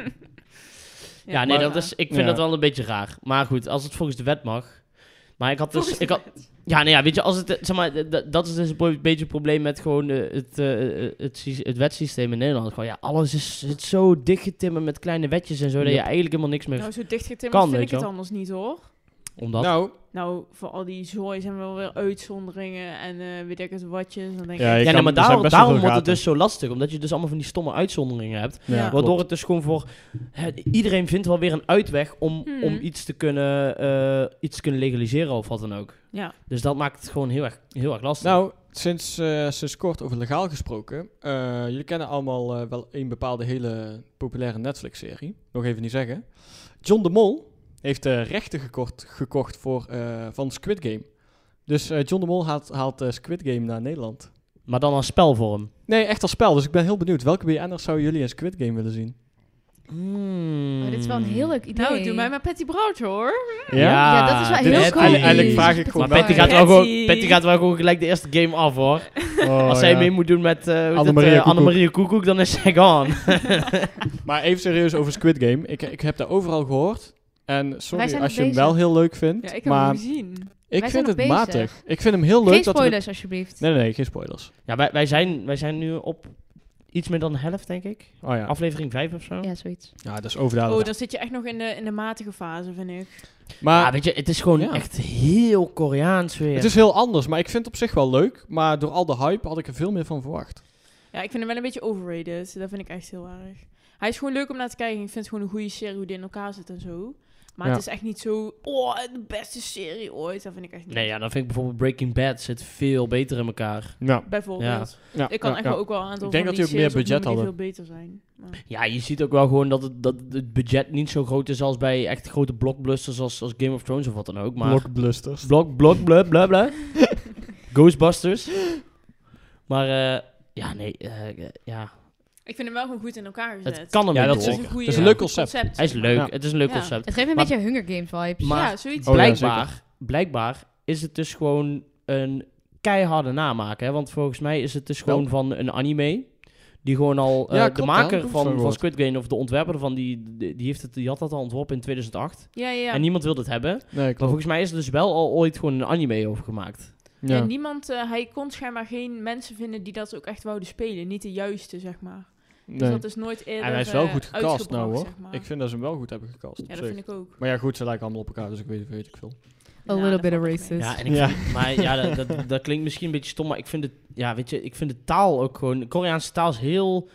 S3: Ja, nee,
S2: maar-
S3: dat is, ik vind
S2: Ja.
S3: dat wel een beetje raar. Maar goed, als het volgens de wet mag. Maar ik had dus...
S1: Volgens
S3: Ik
S1: de
S3: had, ja, nee, ja, weet je, als het, eh, zeg maar, eh, dat- dat is dus een pro- beetje het probleem met gewoon eh, het, eh, eh, het, sy- het wetsysteem in Nederland. Gewoon, ja, alles is, zit zo dichtgetimmerd met kleine wetjes en zo, dat je
S2: Yep.
S3: eigenlijk helemaal niks meer...
S1: Nou, zo dichtgetimmerd
S3: Kan,
S1: vind
S3: weet
S1: ik
S3: je
S1: het
S3: wel.
S1: anders niet, hoor.
S3: Omdat...
S2: Nou,
S1: Nou, voor al die zooi zijn wel weer uitzonderingen en eh, weet ik het watjes. Dan denk
S2: Ja,
S1: ik,
S2: je
S3: ja, nee,
S2: kan- er
S3: maar
S2: zijn
S3: daarom,
S2: best wel
S3: daarom
S2: veel
S3: wordt het
S2: gaten.
S3: dus zo lastig. Omdat je dus allemaal van die stomme uitzonderingen hebt.
S1: Ja.
S2: ja.
S1: Wat
S3: Waardoor
S2: klopt.
S3: het dus gewoon voor... hè, iedereen vindt wel weer een uitweg om,
S4: Hmm.
S1: Mhm.
S3: om iets, te kunnen, eh, iets te kunnen legaliseren of wat dan ook.
S1: ja.
S3: Dus dat maakt het gewoon heel erg, heel erg lastig.
S2: Nou, sinds, eh, sinds kort over legaal gesproken. eh, jullie kennen allemaal eh, wel een bepaalde hele populaire Netflix-serie. Nog even niet zeggen. John de Mol heeft de rechten gekocht, gekocht voor, eh, van Squid Game. Dus eh, John de Mol haalt, haalt eh, Squid Game naar Nederland.
S3: maar dan als spelvorm.
S2: Nee, echt als spel. Dus ik ben heel benieuwd. Welke BN'ers zouden jullie in Squid Game willen zien?
S4: Maar Oh, dit is wel een heel leuk idee.
S1: Nou, doe mij maar Patty Brood, hoor.
S3: Hmm. Ja.
S4: Ja, dat is wel
S3: Ah,
S2: dit
S4: heel
S2: is
S4: cool.
S2: eigenlijk- eigenlijk vraag ik gewoon
S3: Maar
S2: wel-
S3: Patty gaat, wel
S1: Patty.
S3: gewoon, Patty gaat wel gewoon gelijk de eerste game af, hoor.
S2: Oh,
S3: als zij
S2: ja.
S3: mee moet doen met eh
S2: Annemarie
S3: Annemarie
S2: Koekoek.
S3: Annemarie Koekoek, dan is zij gone.
S2: Maar even serieus over Squid Game. Ik, ik heb daar overal gehoord. En sorry
S4: zijn
S2: als je
S4: nog
S2: hem
S4: bezig.
S2: wel heel leuk vindt.
S1: Ja, ik heb
S2: maar
S1: hem gezien.
S2: Ik
S4: Wij
S2: vind
S4: zijn
S2: het
S4: nog bezig.
S2: matig. Ik vind hem heel leuk.
S4: Geen
S2: dat we-
S4: spoilers, alsjeblieft.
S2: Nee, nee, nee, geen spoilers.
S3: ja, wij, wij, zijn, wij zijn nu op iets meer dan de helft, denk ik.
S2: Oh ja.
S3: Aflevering 5 of zo.
S4: Ja, zoiets.
S2: Ja, dat is overduidelijk.
S1: Oh, dan zit je echt nog in de, in de matige fase, vind ik.
S2: maar
S3: Ah, weet je, het is gewoon
S2: Ja.
S3: echt heel Koreaans weer.
S2: het is heel anders. Maar ik vind het op zich wel leuk. Maar door al de hype had ik er veel meer van verwacht.
S1: Ja, ik vind hem wel een beetje overrated. dus Dat vind ik echt heel erg. Hij is gewoon leuk om naar te kijken. Ik vind het gewoon een goede serie hoe die in elkaar zit en zo. Maar
S2: Ja.
S1: het is echt niet zo... Oh, de beste serie ooit. Dat vind ik echt niet.
S3: Nee, ja, dan vind ik bijvoorbeeld Breaking Bad zit veel beter in elkaar.
S2: Ja.
S1: Bijvoorbeeld.
S2: ja
S1: Ik kan
S2: ja,
S1: echt
S2: ja.
S1: wel ook wel een aantal
S2: Ik denk
S1: van
S2: dat
S1: die
S2: die ook
S1: series
S2: meer budget
S1: opnoemen die
S2: hadden.
S1: veel beter zijn. Maar-
S3: Ja, je ziet ook wel gewoon dat het, dat het budget niet zo groot is als bij echt grote blockbusters als, als Game of Thrones of wat dan ook. Maar
S2: Blockbusters.
S3: Blok, blok, bla, bla, bla. Ghostbusters. Maar eh, ja, nee, eh, ja.
S1: Ik vind hem wel gewoon goed in elkaar gezet.
S3: Het kan hem
S2: Ja,
S3: niet
S2: dat
S1: Het is
S3: door.
S1: een, goede,
S2: Dat is een leuk
S1: goed
S2: concept.
S3: Hij is leuk,
S2: Ja.
S3: het is een leuk
S1: Ja.
S3: concept.
S4: Het geeft me een
S3: Maar-
S4: beetje Hunger Games vibes.
S3: maar-
S1: ja, zoiets.
S2: Oh, ja,
S3: blijkbaar, blijkbaar is het dus gewoon eh, een keiharde namaken. Hè? Want volgens mij is het dus gewoon van een anime. Die gewoon al... eh,
S2: Ja,
S3: de
S2: klopt, hè? Dat
S3: maker
S2: heb ik
S3: van,
S2: van
S3: van
S2: gehoord.
S3: Squid Game of de ontwerper ervan, die, die, die heeft het, die had dat al ontworpen in 2008.
S4: Ja, ja, ja.
S3: En niemand wilde het hebben.
S2: Nee,
S3: Maar
S2: klopt.
S3: volgens mij is er dus wel al ooit gewoon een anime over gemaakt.
S1: Ja.
S2: Ja.
S1: niemand, eh, hij kon schijnbaar geen mensen vinden die dat ook echt wouden spelen. Niet de juiste, zeg maar. Dus
S2: Nee.
S1: dat is nooit eerder
S2: En hij is wel
S1: eh,
S2: goed gecast nou
S1: uitgebracht,
S2: hoor.
S1: zeg maar.
S2: Ik vind dat ze hem wel goed hebben gecast.
S1: ja,
S2: op
S1: dat
S2: zich.
S1: vind ik ook.
S2: Maar ja, goed, ze lijken allemaal op elkaar, dus ik weet, weet ik veel.
S1: Nou,
S5: little
S1: dat
S5: bit of
S1: valt nog mee.
S5: racist.
S3: Ja, en ik
S2: Ja.
S3: Vind, maar ja, dat, dat, dat klinkt misschien een beetje stom, maar ik vind, het, ja, weet je, ik vind de taal ook gewoon... De Koreaanse taal is heel...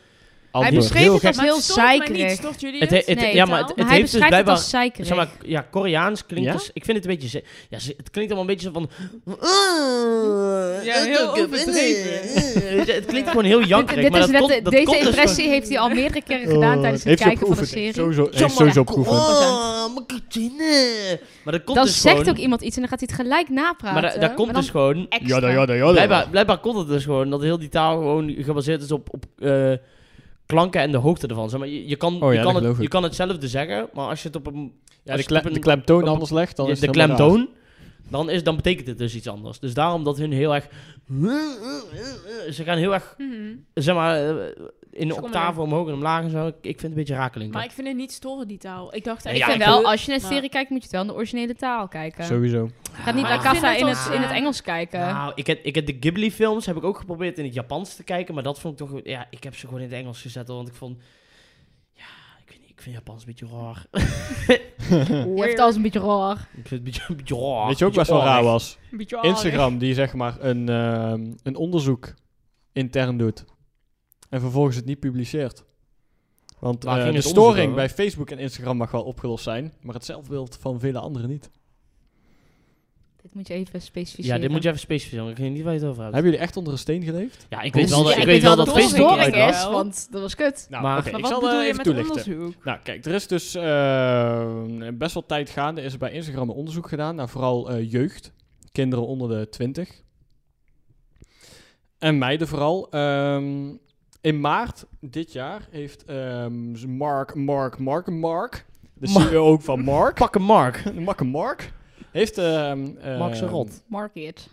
S5: Hij
S2: Albert.
S5: beschreef
S3: heel
S5: het als
S1: Maar
S5: heel
S1: het stoort mij niet,
S5: zeikerig.
S1: stoort jullie
S3: Het
S1: het?
S3: he- het-
S4: nee,
S3: ja,
S4: taal.
S3: maar het, het
S4: maar hij
S3: heeft dus
S4: beschrijft het
S3: blijkbaar...
S4: als zeikerig.
S3: Zeg maar, ja, Koreaans klinkt
S2: Ja?
S3: dus... Ik vind het een beetje... ze- Ja, ze- het klinkt allemaal een beetje van...
S1: Ja, heel overdreven.
S3: Weet je, Het klinkt gewoon heel jankerig,
S4: dit
S3: maar
S4: is
S3: dat
S4: net-
S3: komt, dat
S4: deze
S3: komt dus
S4: impressie heeft hij al meerdere keren
S2: Eh,
S4: gedaan tijdens het kijken van de serie.
S2: Sowieso,
S3: gewoon-
S2: heeft sowieso proeven.
S3: Oh, mijn kutine. Maar dat komt
S4: Dan
S3: dus
S4: zegt
S3: gewoon...
S4: ook iemand iets en dan gaat hij het gelijk napraten.
S3: Maar da- daar komt
S4: dan Oh,
S3: dus gewoon...
S4: extra.
S2: Ja, ja, ja,
S3: Blijkbaar, blijkbaar komt het dus gewoon dat heel die taal gewoon gebaseerd is op, op eh, klanken en de hoogte ervan. Zeg maar, je, je, kan,
S2: ja,
S3: je,
S2: dat
S3: kan het,
S2: geloof ik.
S3: je kan hetzelfde zeggen, maar als je het op een...
S2: Ja,
S3: als
S2: de,
S3: je het
S2: kle-
S3: op
S2: de
S3: een-
S2: klemtoon
S3: op-
S2: anders legt, dan is
S3: de
S2: het helemaal raar.
S3: klemtoon, dan, is, dan betekent het dus iets anders. Dus daarom dat hun heel erg... Ze gaan heel erg,
S1: Mhm.
S3: zeg maar, eh, in de
S1: Schommelen.
S3: octaven omhoog en omlaag en zo. Ik, ik vind het een beetje rakeling.
S1: Maar ik vind het niet storen, die taal. Ik dacht
S3: Ja,
S4: Ik
S1: eigenlijk
S4: vind
S3: ik
S4: wel,
S1: dat-
S4: als je naar een
S1: maar-
S4: serie kijkt, moet je het wel in de originele taal kijken.
S2: Sowieso.
S4: Gaat
S3: Maar
S4: niet naar
S3: Ah. ik
S4: Kafka
S1: vind
S4: in
S1: het
S4: het,
S1: als-
S4: in het Engels kijken.
S3: Nou, ik heb, ik heb de Ghibli-films heb ik ook geprobeerd in het Japans te kijken, maar dat vond ik toch... Ja, ik heb ze gewoon in het Engels gezet, hoor, want ik vond... Ja, ik weet niet, ik vind Japans een beetje raar.
S4: je hebt alles een beetje raar.
S3: Ik vind het een beetje, een beetje raar.
S2: Weet je ook
S3: beetje
S2: best wel raar
S3: orig.
S2: was?
S1: Een beetje aardig.
S2: Instagram, die zeg maar een, ehm, een onderzoek intern doet. En vervolgens het niet publiceert. Want
S3: Waar
S2: eh,
S3: ging
S2: de
S3: het onderzoek
S2: storing
S3: over?
S2: bij Facebook en Instagram mag wel opgelost zijn, maar het zelfbeeld van vele anderen niet.
S4: Dit moet je even specificeren.
S3: Ja, dit moet je even specificeren. Ik weet niet waar je het over hebt.
S2: Hebben jullie echt onder een steen geleefd?
S3: Ja, ik
S2: Dus
S3: weet wel,
S2: ja,
S3: dat, ik
S2: ik
S3: weet wel
S1: weet wel
S3: dat
S1: dat
S3: Facebook
S1: het
S3: eruit
S1: doorging
S3: was.
S1: is.
S4: is, want dat was kut.
S2: Nou,
S3: Maar-
S2: oké,
S1: Maar
S2: ik
S1: wat
S2: zal
S1: bedoel
S2: eh,
S1: je
S2: even
S1: met
S2: toelichten.
S1: onderzoek?
S2: Nou, kijk, er is dus eh, best wel tijd gaande. Is er bij Instagram een onderzoek gedaan naar vooral eh, jeugd. Kinderen onder de 20. En meiden vooral. Ehm, in maart dit jaar heeft ehm, z- Mark, Mark, Mark, Mark. De
S3: Mark.
S2: CEO ook van Mark.
S3: Pak een Mark.
S2: Makke Mark. Heeft, ehm,
S3: Mark zijn
S2: ehm,
S3: rot.
S4: Market.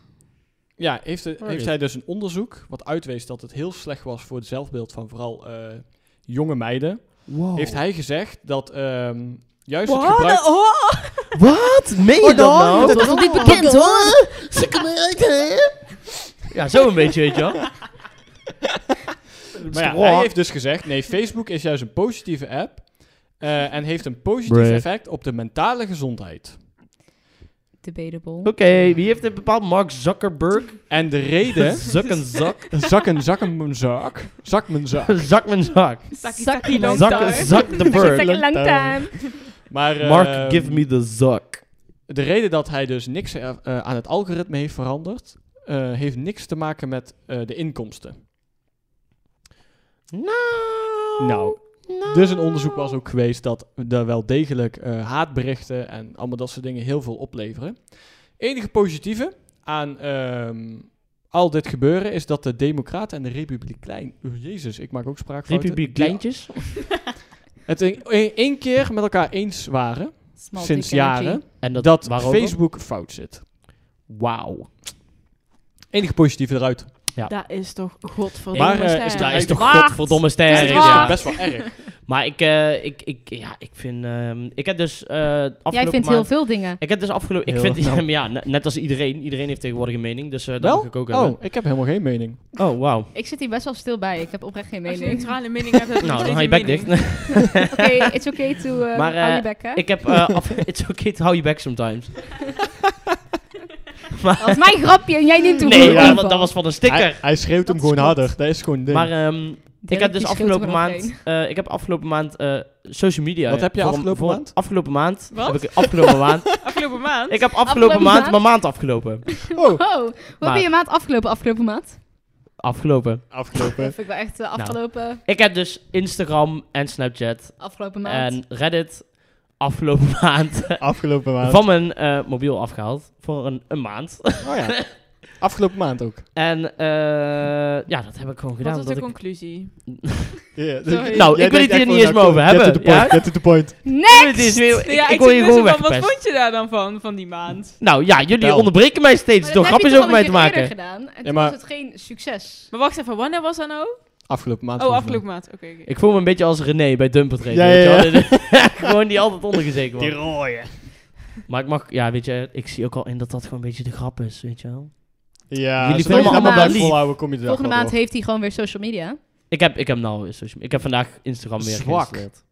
S2: Ja, heeft, de-
S3: Waar
S2: heeft
S3: is
S2: zij dus een onderzoek. wat uitwees dat het heel slecht was voor het zelfbeeld van vooral eh, jonge meiden
S3: Wow.
S2: heeft hij gezegd dat ehm, juist
S1: Oh. Wat?
S2: het gebruik...
S1: Oh!
S3: Wat? Meen je dat nou?
S5: Dat is nog niet bekend hoor. Zeker
S3: Ja, zo een beetje, weet je wel.
S2: Maar ja,
S3: Raar.
S2: hij heeft dus gezegd, nee, Facebook is juist een positieve app eh, en heeft een positief
S3: Bruh.
S2: effect op de mentale gezondheid.
S4: Debatable.
S3: Oké, wie heeft dit bepaald? Mark Zuckerberg?
S2: En de reden...
S3: Zak en zak.
S2: zak en zak en mijn zak. Zak mijn zak.
S3: Zak mijn zak.
S1: Zakkie,
S4: Zak-
S1: zakkie,
S4: Zak-
S3: Zak,
S1: longtaar.
S3: zak de
S4: Second
S3: bird.
S4: long time.
S2: Maar eh,
S3: Mark, give me the zak.
S2: de reden dat hij dus niks eh, eh, aan het algoritme heeft veranderd, eh, heeft niks te maken met eh, de inkomsten.
S3: Nou.
S2: Nou, Dus een onderzoek was ook geweest dat er wel degelijk eh, haatberichten en allemaal dat soort dingen heel veel opleveren. Enige positieve aan ehm, al dit gebeuren is dat de Democraten en de Republikein. Oh, Jezus, ik maak ook spraakfouten.
S3: Republiek kleintjes.
S2: Die Het in- in één keer met elkaar eens waren
S4: Small
S2: sinds
S4: dick energy.
S2: jaren
S3: En dat,
S2: dat,
S3: waarover?
S2: Facebook fout zit.
S3: Wauw.
S2: Enige positieve eruit.
S1: Dat is toch godverdomme
S2: Maar, eh, is
S1: sterk.
S3: Daar is toch
S4: Wacht.
S3: godverdomme
S4: Is
S3: sterk.
S4: het
S2: Dus is
S4: waar?
S2: best wel erg.
S3: Maar ik, eh, ik, ik, ja, ik vind... ehm, ik heb dus eh afgelopen
S4: Jij vindt
S3: maand-
S4: heel veel dingen.
S3: Ik heb dus afgelopen... Ik
S2: Heel-
S3: vind,
S2: nou.
S3: ja, ne- net als iedereen. Iedereen heeft tegenwoordig een mening, dus eh dat
S2: Wel?
S3: mag ik ook hebben.
S2: Oh, ik heb helemaal geen mening.
S3: Oh, wauw.
S4: Ik zit hier best wel stil bij. Ik heb oprecht geen
S1: Als je
S4: mening.
S1: een neutrale mening hebt, heb je nog
S3: Nou, dan
S1: steeds
S3: ga je
S1: een
S3: bek
S1: mening.
S3: dicht.
S4: Oké, it's okay to eh
S3: Maar, eh,
S4: hou je bek, hè?
S3: ik heb... eh af, it's okay to hold you back sometimes.
S4: Dat was mijn grapje en jij neemt hem
S3: Nee,
S4: gewoon
S3: maar
S4: over.
S3: dat, dat was van een sticker.
S2: Hij, hij schreeuwt hem
S4: Dat is
S2: gewoon
S4: goed.
S2: harder. Dat is gewoon een ding.
S3: Maar ehm, ik
S4: Dirk,
S3: heb dus
S4: die scheelt
S3: afgelopen
S4: er nog
S3: maand... eh, ik heb afgelopen maand eh, social media...
S2: Wat heb je
S3: voor-
S2: afgelopen
S3: voor-
S2: maand?
S3: Afgelopen maand...
S1: Wat?
S3: Heb ik, afgelopen maand...
S1: Afgelopen maand.
S3: Ik heb afgelopen,
S4: Afgelopen
S3: maand,
S4: maand?
S3: mijn maand afgelopen.
S2: Oh,
S4: Oh, wat
S3: Maar-
S4: ben je maand afgelopen, afgelopen maand?
S3: Afgelopen.
S4: Dat
S2: afgelopen.
S4: vind ik wel echt eh,
S3: Nou.
S4: afgelopen,
S3: Ik heb dus Instagram en Snapchat
S4: afgelopen maand.
S3: en Reddit afgelopen maand
S2: afgelopen maand.
S3: van mijn eh, mobiel afgehaald. Voor een, een maand.
S2: Oh ja. Afgelopen maand ook.
S3: En eh, ja, dat heb ik gewoon gedaan.
S1: Wat is
S3: omdat
S1: de
S3: ik-
S1: conclusie?
S2: Jij
S3: Nou,
S2: denkt
S3: ik wil
S2: echt
S3: het hier
S2: gewoon
S3: niet eens meer
S2: hardcore,
S3: over
S2: get to
S3: hebben.
S2: the point,
S3: ja?
S2: Get to the point.
S3: Dit is weer-
S1: Ja,
S3: ik
S1: ik
S3: word
S1: zit
S3: hier
S1: dus
S3: gewoon
S1: van, Wat
S3: weggepest.
S1: vond je daar dan van, van die maand?
S3: Nou ja, jullie
S2: Vertel.
S3: onderbreken mij steeds
S4: Maar
S3: door
S4: dat heb je
S3: grapjes
S4: toch
S3: over
S4: al
S3: mij te
S4: een keer eerder
S3: maken.
S4: gedaan. En
S2: Ja,
S4: toen
S2: maar-
S4: was het geen succes.
S1: Maar wacht even, wanneer was dat nou?
S2: Afgelopen maand.
S1: Oh,
S2: volgens mij.
S1: afgelopen maand. Oké, oké.
S3: Ik voel me een beetje als René bij Dumper Train.
S2: Ja,
S3: weet je
S2: ja,
S3: wel? gewoon die altijd ondergezeken wordt.
S5: rode.
S3: Maar ik mag, ja, weet je, ik zie ook al in dat dat gewoon een beetje de grap is, weet je wel.
S2: Ja,
S3: Jullie
S2: Jullie zolang je
S4: volgende
S2: allemaal
S4: maand-
S2: blijft volhouden, kom je er
S4: Volgende
S2: wel
S4: maand
S2: door.
S4: heeft hij gewoon weer social media.
S3: Ik heb, ik heb nou social media. Ik heb vandaag Instagram weer
S2: Zwak.
S3: geïnstalleerd.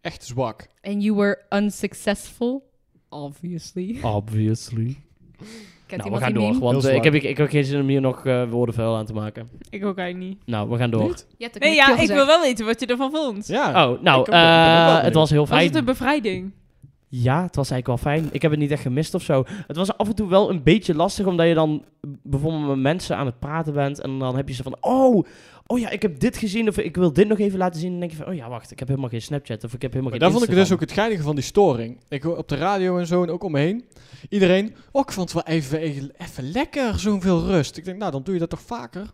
S2: Echt zwak.
S4: And you were unsuccessful. Obviously.
S3: Obviously.
S4: Kent
S3: nou, we
S4: iemand
S3: gaan
S4: die
S3: door,
S4: meme?
S3: want
S2: Heel
S3: eh, ik, heb,
S2: zwak.
S3: ik, ik heb geen zin om hier nog eh, woorden vuil aan te maken.
S1: Ik ook eigenlijk niet.
S3: Nou, we gaan door.
S2: Niet?
S4: Je hebt het
S1: Nee,
S4: net
S1: ja,
S4: veel
S1: ik
S4: gezegd.
S1: wil wel weten wat je ervan vond.
S2: Ja.
S3: Oh,
S2: Ik
S3: nou,
S2: ook wel. Ik ben ook wel
S3: eh, het was heel
S1: Was
S3: fijn.
S1: het een bevrijding?
S3: Ja, het was eigenlijk wel fijn. Ik heb het niet echt gemist of zo. Het was af en toe wel een beetje lastig, omdat je dan bijvoorbeeld met mensen aan het praten bent. En dan heb je ze van, oh, oh ja, ik heb dit gezien. Of ik wil dit nog even laten zien. En dan denk je van, oh ja, wacht, ik heb helemaal geen Snapchat. Of ik heb helemaal
S2: Maar
S3: geen
S2: daar vond ik het dus ook
S3: Instagram.
S2: het geinige van die storing. Ik hoor op de radio en zo en ook om me heen. Iedereen, oh, ik vond het wel even, even, even lekker, zoveel rust. Ik denk, nou, dan doe je dat toch vaker?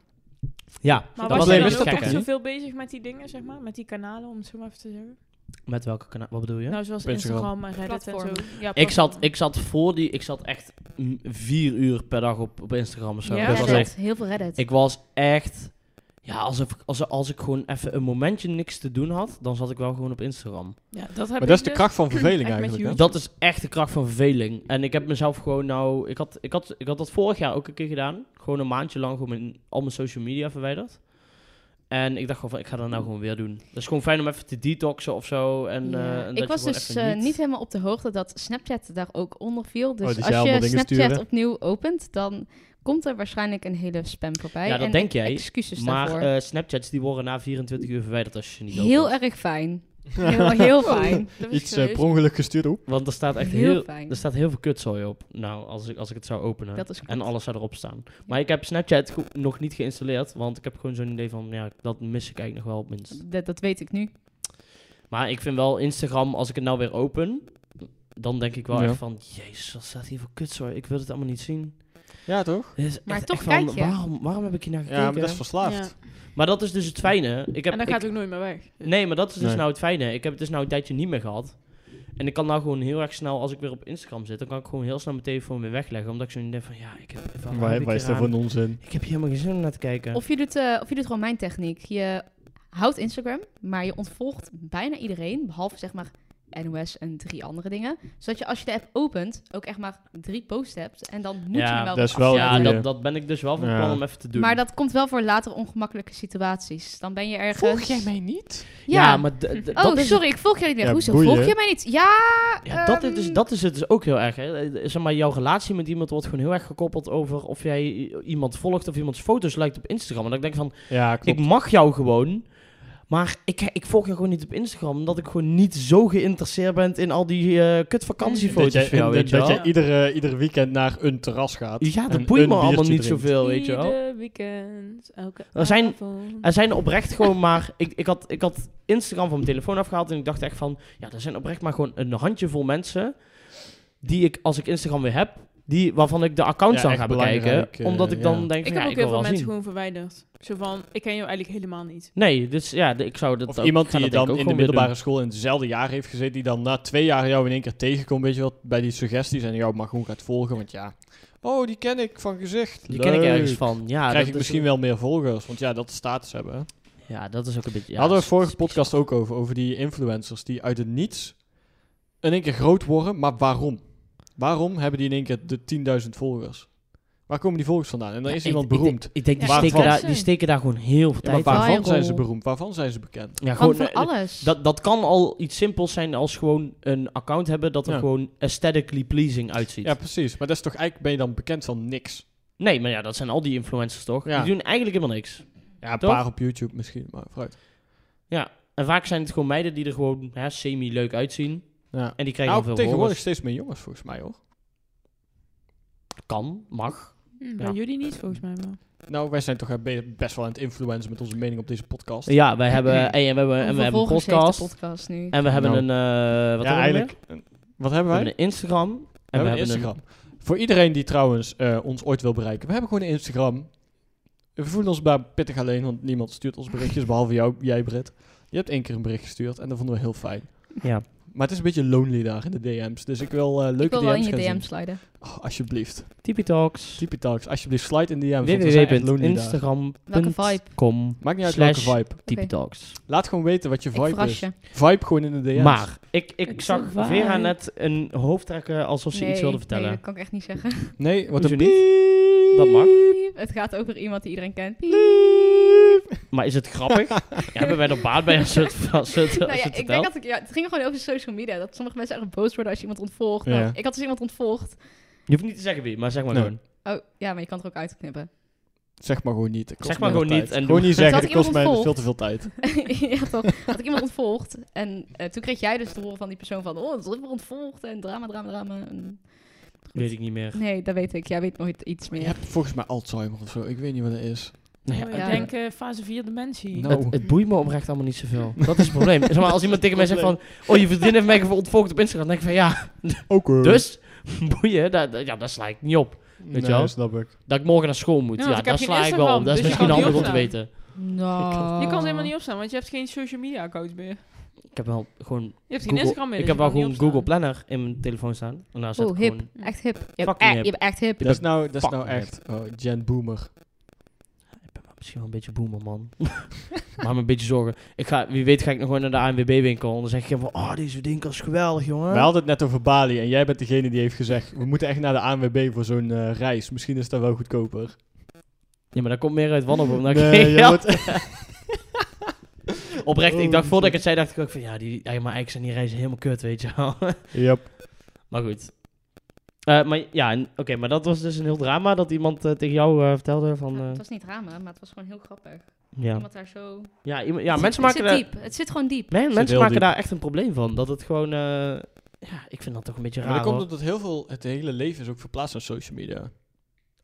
S3: Ja,
S1: Maar was
S2: Dat was
S1: je
S2: alleen
S1: dan
S2: is
S1: ook
S2: dat
S1: echt
S2: toch niet?
S1: zoveel bezig met die dingen, zeg maar? Met die kanalen, om het zo maar even te zeggen?
S3: Met welke kanaal? Wat bedoel je?
S1: Nou, zoals
S2: Op Instagram.
S1: Instagram en Reddit en zo.
S4: Platform.
S1: Ja,
S3: ik, zat,
S1: platform.
S3: ik zat voor die... Ik zat echt mm, vier uur per dag op, op Instagram of zo.
S1: Ja,
S3: Dat was
S4: Reddit.
S3: echt,
S4: Heel veel Reddit.
S3: ik was echt... Ja, alsof, als, als ik gewoon even een momentje niks te doen had, dan zat ik wel gewoon op Instagram. Dus
S1: Ja, dat heb
S2: Maar dat is
S1: ik
S2: de
S1: dus.
S2: kracht van
S1: echt
S2: verveling
S1: met
S2: eigenlijk. hè?
S1: YouTube.
S3: Dat is echt de kracht van verveling. En ik heb mezelf gewoon nou... Ik had, ik had, ik had dat vorig jaar ook een keer gedaan. Gewoon een maandje lang gewoon mijn, al mijn social media verwijderd. En ik dacht gewoon van, ik ga dat nou gewoon weer doen. Dat is gewoon fijn om even te detoxen of zo. En,
S4: Ja,
S3: eh, en dat je
S4: ik was
S3: gewoon
S4: dus
S3: even
S4: eh, niet... helemaal op de hoogte dat Snapchat daar ook onder viel.
S2: Oh, die
S4: Dus
S2: zei
S4: als
S2: allemaal
S4: je
S2: dingen
S4: Snapchat
S2: sturen.
S4: opnieuw opent, dan komt er waarschijnlijk een hele spam voorbij.
S3: Ja, dat
S4: en
S3: denk jij,
S4: Excuses
S3: Maar
S4: dus daarvoor.
S3: eh, Snapchats die worden na 24 uur verwijderd als je ze niet
S4: heel
S3: opent.
S4: erg fijn. Heel, heel fijn.
S1: Dat was
S2: Iets eh,
S1: serieus.
S2: per ongeluk gestuurd op.
S3: Want er staat echt
S4: Heel
S3: heel, dus-
S4: fijn.
S3: er staat heel veel kutzooi op. Nou, als ik, als ik het zou openen.
S4: Dat is goed.
S3: en alles zou erop staan. Maar ik heb Snapchat go- nog niet geïnstalleerd. Want ik heb gewoon zo'n idee van, ja, dat mis ik eigenlijk nog wel op minst.
S4: Dat, dat weet ik nu.
S3: Maar ik vind wel Instagram, als ik het nou weer open, dan denk ik wel
S2: Ja.
S3: echt van, jezus, wat staat hier voor kutzooi? Ik wil het allemaal niet zien.
S2: Ja, toch?
S3: Dit is
S4: Maar
S3: echt-
S4: toch
S3: echt van,
S4: kijk je.
S3: Waarom, waarom heb ik hier naar gekeken?
S2: Ja, maar dat is verslaafd.
S3: Maar dat is dus het fijne. Ik heb,
S1: En dat
S3: ik-
S1: gaat ook nooit meer weg.
S3: Nee, maar dat is dus
S2: Nee.
S3: nou het fijne. Ik heb het dus nou een tijdje niet meer gehad. En ik kan nou gewoon heel erg snel, als ik weer op Instagram zit, dan kan ik gewoon heel snel mijn telefoon weer wegleggen. Omdat ik zo niet denk van, ja, ik heb, waarom heb
S2: Waar
S3: ik
S2: waar is
S3: hier
S2: dat
S3: aan?
S2: voor onzin?
S3: Ik heb hier helemaal geen zin om naar te kijken.
S4: Of je, doet, eh, of je doet gewoon mijn techniek. Je houdt Instagram, maar je ontvolgt bijna iedereen, behalve zeg maar NOS en drie andere dingen. Zodat je als je de app opent, ook echt maar drie posts hebt. En dan moet
S3: Ja,
S4: je er wel
S2: dat is
S4: af.
S2: wel-
S3: ja,
S2: een goeie.
S3: dat, dat ben ik dus wel van
S2: Ja.
S3: plan om even te doen.
S4: Maar dat komt wel voor later ongemakkelijke situaties. Dan ben je ergens...
S2: niet?
S3: ja,
S4: Ja,
S3: maar d- d-
S4: Oh,
S3: dat is
S4: sorry, ik volg jou niet meer.
S2: Ja,
S4: Hoezo
S2: boeien.
S4: volg je mij niet? Ja,
S3: Ja, dat, is
S4: ehm,
S3: dus, dat is het dus ook heel erg. Hè. Eh, Zeg maar, jouw relatie met iemand wordt gewoon heel erg gekoppeld over of jij i- iemand volgt of iemands foto's lijkt op Instagram. En dan denk ik van,
S2: Ja, klopt.
S3: ik mag jou gewoon, maar ik, ik volg jou gewoon niet op Instagram. Omdat ik gewoon niet zo geïnteresseerd ben in al die eh kut
S2: dat
S3: vakantiefoto's
S2: jij,
S3: van jou,
S2: dat-
S3: weet je
S2: dat
S3: wel.
S2: jij iedere, iedere weekend naar een terras gaat.
S3: Ja,
S2: en
S3: dat boeit me
S2: een
S3: allemaal
S2: biertje
S3: niet
S2: drinkt.
S3: zoveel, weet je wel.
S1: Ieder weekend, elke
S3: Er zijn-
S1: avond.
S3: Er zijn oprecht gewoon maar... Ik, ik, had, ik had Instagram van mijn telefoon afgehaald en ik dacht echt van... Ja, er zijn oprecht maar gewoon een handjevol mensen... die ik, als ik Instagram weer heb... Die, waarvan ik de accounts
S2: Ja,
S3: dan
S2: echt
S3: ga bekijken.
S2: belangrijk, eh,
S3: omdat ik dan
S2: ja.
S3: denk
S1: Ik
S3: van,
S1: heb
S3: ja,
S1: ook
S3: ik
S1: heel veel
S3: wil wel
S1: mensen
S3: zien.
S1: gewoon verwijderd. Zo van, ik ken jou eigenlijk helemaal niet.
S3: Nee, dus ja, de- ik zou dat
S2: Of
S3: ook-
S2: iemand
S3: ik ga
S2: die je
S3: dat denk
S2: dan
S3: ik ook
S2: in de
S3: gewoon weer
S2: middelbare school in hetzelfde jaar heeft gezeten, die dan na twee jaar jou in één keer tegenkomt, weet je wel, bij die suggesties en jou maar gewoon gaat volgen, want ja. Oh, die ken ik van gezicht.
S3: doen. Die ken ik ergens
S2: Leuk.
S3: van. Ja,
S2: Krijg
S3: dat
S2: ik
S3: is-
S2: misschien wel meer volgers, want ja, dat is status hebben. hè.
S3: Ja, dat is ook een beetje... Ja,
S2: Hadden we
S3: s-
S2: vorige
S3: s-
S2: podcast ook over, over die influencers die uit het niets in één keer groot worden, maar waarom? Waarom hebben die in één keer de 10.000 volgers? Waar komen die volgers vandaan? En dan
S3: Ja,
S2: is
S3: ik-
S2: iemand
S3: ik denk-
S2: beroemd.
S3: Ik, denk, die,
S1: Ja,
S3: steken
S2: waarvan?
S3: daar, die steken daar gewoon heel veel
S2: Ja,
S3: tijd
S2: maar
S3: in.
S2: waarvan
S4: viral.
S2: zijn ze beroemd? Waarvan zijn ze bekend?
S3: Ja,
S4: Gewoon van
S3: eh,
S4: alles.
S3: Dat, dat kan al iets simpels zijn als gewoon een account hebben dat er
S2: Ja.
S3: gewoon aesthetically pleasing uitziet.
S2: Ja, precies. Maar dat is toch eigenlijk ben je dan bekend van niks.
S3: Nee, maar ja, dat zijn al die influencers toch?
S2: Ja.
S3: Die doen eigenlijk helemaal niks.
S2: Ja, een
S3: Toch?
S2: paar op YouTube misschien, maar vooruit.
S3: En vaak zijn het gewoon meiden die er gewoon hè, semi-leuk uitzien.
S2: Ja.
S3: En die krijgen
S2: Nou,
S3: heel veel
S2: tegenwoordig
S3: volgers.
S2: steeds meer jongens volgens mij hoor.
S3: Kan, mag.
S4: Hmm.
S1: Hm, bij
S3: Ja.
S1: jullie niet, volgens mij wel.
S2: Nou, wij zijn toch eh, be- best wel aan het influencen met onze mening op deze podcast.
S3: Ja, wij hebben, en, we hebben, en we hebben een
S4: Vervolgens heeft de
S3: podcast.
S4: podcast nu.
S3: En we hebben
S2: Nou.
S3: een... eh, wat hebben we nog meer?
S2: Wat
S3: We
S2: hebben wij? Oh,
S3: hebben een Instagram. En we hebben
S2: Instagram.
S3: een
S2: Voor iedereen die trouwens eh, ons ooit wil bereiken. We hebben gewoon een Instagram. We voelen ons daar pittig alleen, want niemand stuurt ons berichtjes, behalve jou, jij Britt. Je hebt één keer een bericht gestuurd en dat vonden we heel fijn.
S3: Ja.
S2: Maar het is een beetje lonely daar in de DM's. Dus ik wil eh,
S4: Ik
S2: leuke
S4: wil wel in
S2: DM's
S4: je
S2: gaan zien.
S4: DM sliden.
S2: Oh, alsjeblieft.
S3: Tipi Talks.
S2: Tipi Talks, alsjeblieft, slide in de DM's. want we zijn echt lonely daar.
S4: Welke
S3: Instagram.com
S2: Maakt niet uit
S3: Slash-
S2: welke vibe.
S3: Tipi Talks.
S2: Laat gewoon weten wat je
S4: Ik
S2: vibe
S4: verras
S2: is.
S4: je.
S2: Vibe gewoon in de DM's.
S3: Maar ik, ik
S1: Het is
S3: zag
S1: een vibe.
S3: Vera net een hoofd trekken alsof ze iets wilde vertellen.
S4: Nee, dat kan ik echt niet zeggen.
S2: Nee, wat
S3: Hoezo
S2: een
S3: Dat mag.
S4: Piep. Het gaat over iemand die iedereen kent. Piep.
S3: Maar is het grappig? ja, hebben wij er baat bij als je het, als je het, als
S4: Nou
S3: je
S4: ja,
S3: het
S4: ik denk
S3: vertelt?
S4: dat ik, ja, het ging gewoon over social media. Dat sommige mensen echt boos worden als je iemand ontvolgt.
S2: Ja.
S4: Nou, ik had dus iemand ontvolgd.
S3: Je hoeft niet te zeggen wie, maar zeg maar
S2: Nee.
S3: gewoon.
S4: Oh, ja, maar je kan het er ook uitknippen.
S2: Zeg maar gewoon niet. het kost
S3: Zeg maar
S2: mij
S3: gewoon
S2: veel
S3: niet
S2: tijd.
S3: en
S2: gewoon
S3: doe-
S2: niet
S4: Dus
S2: zeggen,
S4: had
S2: het
S4: iemand
S2: kost mij
S4: ontvolgd?
S2: veel te veel tijd.
S4: ja, toch? Had ik iemand ontvolgd. En eh, toen kreeg jij dus het horen van die persoon van... Oh, dat is ontvolgd. En drama, drama, drama. En-
S3: Weet ik niet meer.
S4: Nee, dat weet ik. Jij weet nooit iets
S2: Je
S4: meer.
S2: hebt volgens mij Alzheimer of zo. Ik weet niet wat het is.
S3: Nou ja,
S1: Oh,
S4: ja.
S1: Ik denk eh, fase 4 dementie.
S2: Nou.
S3: Het, het boeit me oprecht allemaal niet zoveel. Dat is het probleem. Zeg maar, als iemand tegen mij zegt van... Oh, je vriendin heeft mij even ontvolgd op Instagram. Dan denk ik van ja,
S2: Ook
S3: dus... Boeien, daar, daar- ja, daar sla ik niet op.
S2: Weet
S3: je wel?
S2: snap ik.
S3: Dat ik morgen naar school moet.
S1: Ja,
S3: Ja,
S1: want ik heb
S3: daar
S1: geen
S3: sla ik wel op.
S1: Instagram,
S3: Dat is
S2: dus
S3: misschien
S2: je kan
S3: handig
S2: het
S3: om
S2: niet
S3: te weten.
S4: Nou.
S1: Je kan ze helemaal niet opstaan, want je hebt geen social media account meer.
S3: Ik heb wel gewoon...
S1: Je hebt geen Instagram meer.
S3: Google, ik
S1: dus
S3: heb
S1: je kan
S3: wel gewoon
S1: niet opstaan.
S3: Google Planner in mijn telefoon staan. En daar zet
S4: Oh,
S3: ik
S4: hip.
S3: gewoon...
S4: Echt hip. Je hebt,
S3: Fucking
S4: e-
S3: hip.
S4: je hebt echt hip.
S2: Dat is nou, dat is
S3: Fuck
S2: nou
S3: me.
S2: echt oh, Gen Boomer.
S3: Ik ben wel misschien wel een beetje boomer, man. maar me een beetje zorgen. Ik ga, wie weet ga ik nog gewoon naar de ANWB-winkel. En dan zeg ik van... Oh, deze winkels is geweldig, jongen.
S2: We hadden het net over Bali en jij bent degene die heeft gezegd... we moeten echt naar de ANWB voor zo'n eh, reis. Misschien is dat wel goedkoper.
S3: Ja, maar dat komt meer uit wanhoop. omdat ik-
S2: Nee, je
S3: Ja.
S2: moet-
S3: Oprecht, ik dacht voordat ik het zei, dacht ik ook van ja, die, ja, maar eigenlijk zijn die reizen helemaal kut, weet je wel.
S2: Yep.
S3: maar goed. Eh, maar ja, en- oké, maar dat was dus een heel drama dat iemand eh, tegen jou eh, vertelde van...
S4: Ja,
S3: eh,
S4: het was niet drama, maar het was gewoon heel grappig.
S3: ja,
S4: Iemand daar zo...
S3: ja, iemand- ja
S4: Het
S3: mensen
S4: zit-
S3: maken
S4: het
S3: daar...
S4: zit diep. Het zit gewoon diep.
S3: Nee, mensen
S2: heel
S3: maken
S2: diep.
S3: daar echt een probleem van. Dat het gewoon... eh, ja, ik vind dat toch een beetje
S2: Maar
S3: raar,
S2: dat komt
S3: hoor.
S2: omdat heel veel, het hele leven is ook verplaatst naar social media.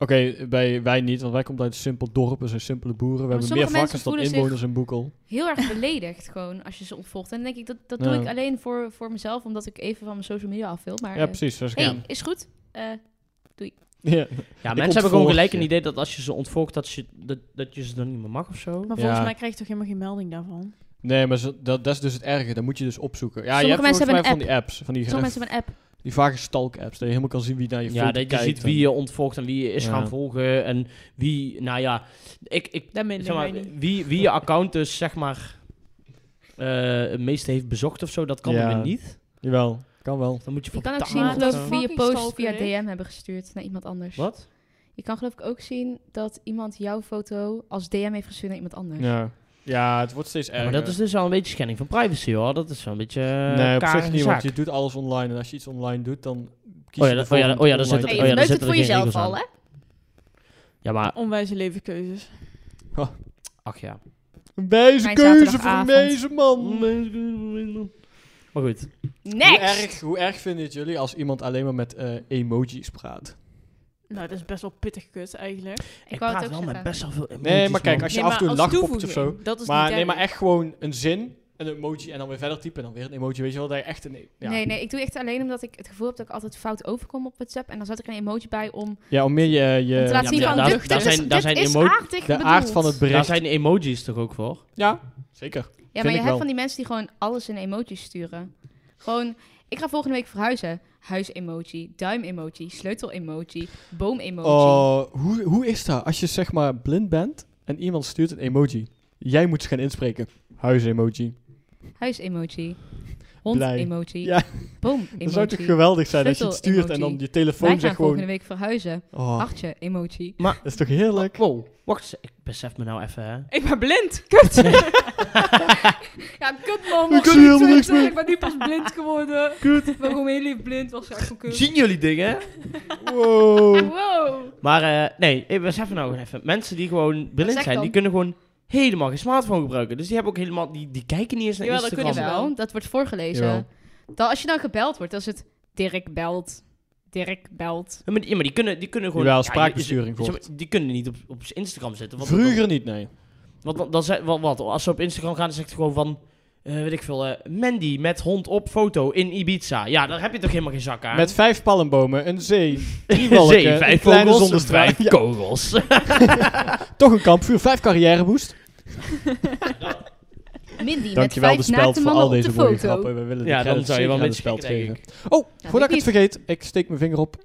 S2: Oké, bij, wij niet, want wij komen uit een simpel dorp. We zijn simpele boeren. We
S4: Maar
S2: hebben meer
S4: sommige mensen
S2: varkens dan
S4: voelen zich-
S2: inwoners in Boekel.
S4: heel erg beledigd gewoon als je ze ontvolgt. En dan denk ik, dat, dat
S2: Ja.
S4: doe ik alleen voor, voor mezelf, omdat ik even van mijn social media af wil. Maar
S2: Ja,
S4: eh,
S2: precies. Dat is
S4: hey,
S2: raam.
S4: is goed. Eh,
S2: Ja.
S3: Ja,
S2: Ik
S3: mensen hebben gewoon
S2: ontvolg
S3: gelijk een
S2: je.
S3: idee dat als je ze ontvolgt, dat je, dat, dat je ze dan niet meer mag of zo.
S1: Maar
S2: Ja.
S1: volgens mij krijg je toch helemaal geen melding daarvan?
S2: Nee, maar zo- dat, dat is dus het erge. Dan moet je dus opzoeken. Ja, je
S4: Sommige
S2: hebt
S4: mensen
S2: volgens mij
S4: hebben
S2: van die apps. Van die,
S4: sommige
S2: graf-
S4: mensen hebben een app.
S2: die vage stalk-apps. Dat je helemaal kan zien wie naar je
S3: Ja,
S2: filmpje
S3: dat je
S2: kijkt
S3: ziet
S2: en-
S3: wie je ontvolgt en wie je is
S2: Ja.
S3: gaan volgen. En wie, nou ja, ik, ik
S1: Dat minder
S3: zeg maar,
S1: wij niet.
S3: wie, wie je account dus zeg maar eh, het meeste heeft bezocht of zo, dat kan
S2: Ja.
S3: dan weer niet.
S2: Jawel, kan wel.
S3: Dan moet je
S4: Je
S3: van
S4: kan ook
S3: taal
S4: zien
S3: of
S4: geloof
S3: zo.
S4: ik wie je
S1: Fucking
S4: post
S1: stalker,
S4: via
S1: hè?
S4: DM hebben gestuurd naar iemand anders.
S3: Wat?
S4: Je kan geloof ik ook zien dat iemand jouw foto als DM heeft gestuurd naar iemand anders.
S2: Ja. ja, het wordt steeds
S3: Ja,
S2: erger.
S3: maar dat is dus al een beetje schending van privacy hoor. Dat is wel een beetje eh,
S2: nee, op zich
S3: karige
S2: niet, want
S3: zaak.
S2: je doet alles online. En als je iets online doet, dan kies
S3: Oh ja,
S2: je
S3: dat-
S2: ervoor
S3: oh ja,
S2: om
S3: oh ja, daar
S2: online
S3: zit
S2: te
S3: het-
S4: Hey,
S3: oh ja,
S2: doen.
S3: daar
S4: je neukt het
S3: zitten
S4: voor
S3: er geen
S4: jezelf
S3: regels aan.
S4: al, hè?
S3: Ja, maar
S1: Onwijze levenkeuzes.
S3: ach ja.
S2: Een wijze
S4: Mijn
S2: keuze voor een
S4: zaterdagavond.
S2: wijze
S3: Mm.
S2: man.
S3: Maar goed,
S2: Hoe
S4: Next!
S2: erg, hoe erg vinden het jullie als iemand alleen maar met eh, emojis praat?
S1: Nou, dat is best wel pittig kut eigenlijk.
S4: Ik,
S3: ik,
S4: wou
S3: praat
S4: het ook
S3: wel met
S4: zeggen.
S3: best wel veel emojis,
S2: Nee, maar kijk,
S3: man.
S2: als je af en toe een lachpopje of zo...
S1: Dat is
S2: Maar
S1: niet
S2: nee, maar
S1: erg.
S2: echt gewoon een zin, een emoji en dan weer verder typen en dan weer een emoji. Weet je wel, dat je echt een... e- Ja,
S4: Nee, nee, ik doe echt alleen omdat ik het gevoel heb dat ik altijd fout overkom op WhatsApp. En dan zet ik een emoji bij om, om
S2: ja om meer je... je
S4: te laten
S3: ja,
S4: zien
S3: maar
S4: van,
S3: daar-
S4: dit,
S3: daar
S4: dit
S3: zijn-
S4: is,
S3: daar
S4: dit
S3: zijn
S4: is
S3: emojis-
S4: aardig
S2: de aard van
S4: bedoeld.
S2: het
S3: Daar
S2: bericht.
S3: zijn emojis toch ook voor?
S2: Ja, zeker. Vind
S4: Ja, maar
S2: ik
S4: je hebt
S2: wel.
S4: van die mensen die gewoon alles in emojis sturen. Gewoon, ik ga volgende week verhuizen. Huis-emoji, duim-emoji, sleutel-emoji, boom-emoji.
S2: Oh, hoe, hoe is dat als je zeg maar blind bent en iemand stuurt een emoji? Jij moet ze gaan inspreken. Huis-emoji.
S4: Huis-emoji,
S2: Blij.
S4: hond-emoji,
S2: Ja. Dat zou toch
S4: boom-emoji.
S2: geweldig zijn als je het
S4: Sleutel-emoji.
S2: stuurt en dan je
S4: Wij
S2: telefoon
S4: gaan
S2: zegt
S4: volgende
S2: gewoon...
S4: week verhuizen.
S2: Oh,
S4: Hartje-emoji.
S2: dat is toch heerlijk?
S3: Wow, wacht eens. Ik besef me nou even, hè.
S1: Ik ben blind. Kut.
S4: Ja, kut man.
S2: Ik zie helemaal niks meer.
S1: Ik ben nu pas blind geworden. Kut. Waarom heel lief blind was echt
S4: Hm.
S1: kut.
S3: Zien jullie dingen?
S2: Wow.
S4: Wow.
S3: Maar eh, nee, ik besef me nou gewoon even. Mensen die gewoon blind
S4: zeg
S3: zijn,
S4: dan.
S3: die kunnen gewoon helemaal geen smartphone gebruiken. Dus die hebben ook helemaal, die, die kijken niet eens naar
S1: Jawel, dat
S3: Instagram.
S1: kunnen ze
S4: Jawel, dat wordt
S2: Jawel.
S4: voorgelezen. Dan, als je dan gebeld wordt, dan is het Dirk belt, Dirk belt.
S3: Ja, maar, die, ja, maar die kunnen, die kunnen gewoon...
S2: Jawel,
S3: ja,
S2: spraakbesturing
S3: die,
S2: wordt.
S3: die, die kunnen niet op, op Instagram zitten. Want,
S2: Vroeger niet, nee.
S3: Want, want dan zei- wat, wat, als ze op Instagram gaan, dan zegt ze gewoon van... eh, eh, weet ik veel, eh, Mandy met hond op foto in Ibiza. Ja, daar heb je toch helemaal geen zak aan?
S2: Met vijf palmbomen, een zee, drie
S3: Zee,
S2: wolken, een
S3: vijf
S2: kleine
S3: kogels,
S2: zonnestraal.
S3: vijf
S2: Ja,
S3: kogels.
S2: toch een kampvuur, vijf carrièreboost.
S4: Mindy met
S2: Dankjewel de
S4: vijf
S2: speld
S4: naakte
S2: voor
S4: mannen
S2: al
S4: op de
S2: deze mooie
S4: foto. Nou,
S2: grappen. We willen
S3: Ja,
S2: de
S3: dan
S2: credits
S3: zou je wel
S2: zeker aan
S3: een
S2: de speld
S3: beetje
S2: geven.
S3: denk ik.
S2: Oh, voordat ik
S4: weet
S2: het vergeet, ik steek mijn vinger op.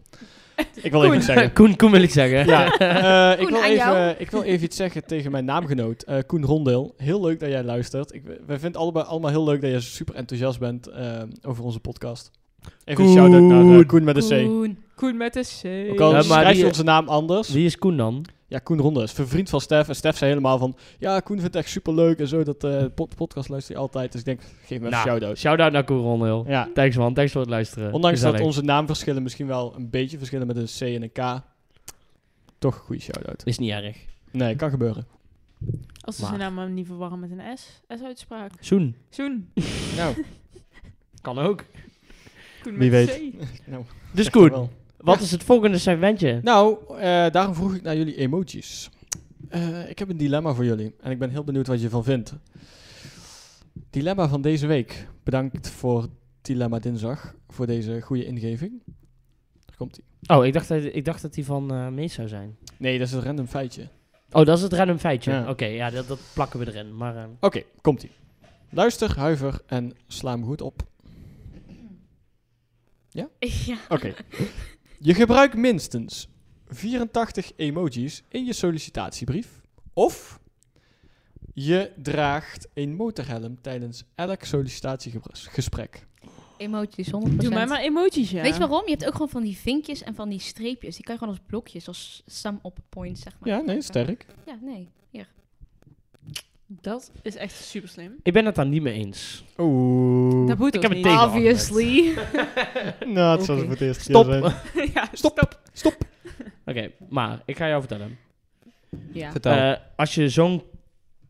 S2: Ik wil even
S3: Koen,
S2: iets zeggen.
S3: Koen, Koen wil ik zeggen.
S2: Ja, eh, ik,
S4: Koen,
S2: wil
S4: aan jou.
S2: even, ik wil even iets zeggen tegen mijn naamgenoot, eh, Koen Rondeel. Heel leuk dat jij luistert. Ik, wij vinden allebei, allemaal heel leuk dat jij super enthousiast bent eh, over onze podcast. Even
S3: Koen.
S2: een shout-out naar eh, Koen met een C.
S4: Koen.
S1: Koen met de C.
S2: Ook al
S3: Ja, maar
S2: schrijf je
S3: die-
S2: onze naam anders.
S3: Wie is Koen dan?
S2: Ja, Koen Rondeel is vriend van Stef. En Stef zei helemaal van, ja, Koen vindt het echt super leuk en zo. Dat eh, pod- podcast luistert hij altijd. Dus ik denk, geef me even een
S3: Nou,
S2: shout-out.
S3: Shout-out naar Koen Rondeel.
S2: Ja,
S3: Thanks man, thanks voor het luisteren.
S2: ondanks dat
S3: Gezellig.
S2: onze naamverschillen misschien wel een beetje verschillen met een C en een K. Toch een goede shout-out.
S3: Is niet erg.
S2: Nee, kan gebeuren.
S1: Als ze
S3: Maar-
S1: zijn naam maar niet verwarren met een S. S-uitspraak.
S3: Zoen.
S1: Zoen.
S2: Nou,
S3: Kan ook.
S1: Koen
S2: Wie
S1: met
S2: weet.
S1: de C.
S2: nou
S3: Dus
S2: echt wel.
S3: Koen, wat is het volgende segmentje?
S2: Nou, eh, daarom vroeg ik naar jullie emoties. Eh, ik heb een dilemma voor jullie en ik ben heel benieuwd wat je van vindt. Dilemma van deze week. Bedankt voor Dilemma Dinsdag, voor deze goede ingeving. Daar komt ie.
S3: Oh, ik dacht, dat- ik dacht dat die van eh Mees zou zijn.
S2: Nee, dat is een random feitje.
S3: Oh, dat is het random feitje.
S2: Ja.
S3: Oké, ja, dat, dat plakken we erin. Maar eh,
S2: Oké, komt ie. Luister, huiver en sla hem goed op.
S4: Ja.
S2: Oké. Je gebruikt minstens 84 emojis in je sollicitatiebrief. Of je draagt een motorhelm tijdens elk sollicitatiegesprek.
S4: Emoties, 100%.
S1: Doe mij maar emoties, ja.
S4: Weet je waarom? Je hebt ook gewoon van die vinkjes en van die streepjes. Die kan je gewoon als blokjes, als sum op points, zeg maar.
S2: Ja, nee, sterk.
S4: Ja, nee. Hier.
S1: Dat is echt super slim.
S3: ik ben het daar niet mee eens.
S2: Oeh.
S1: Dat moet
S3: Ik
S1: ons
S3: heb een
S1: niet.
S3: thema.
S4: Obviously.
S2: Nou,
S4: het zal Oké. voor
S2: het eerst
S3: Stop. Oké,
S1: ja,
S2: Stop. Stop.
S3: maar ik ga jou vertellen.
S4: ja.
S3: Eh, als je zo'n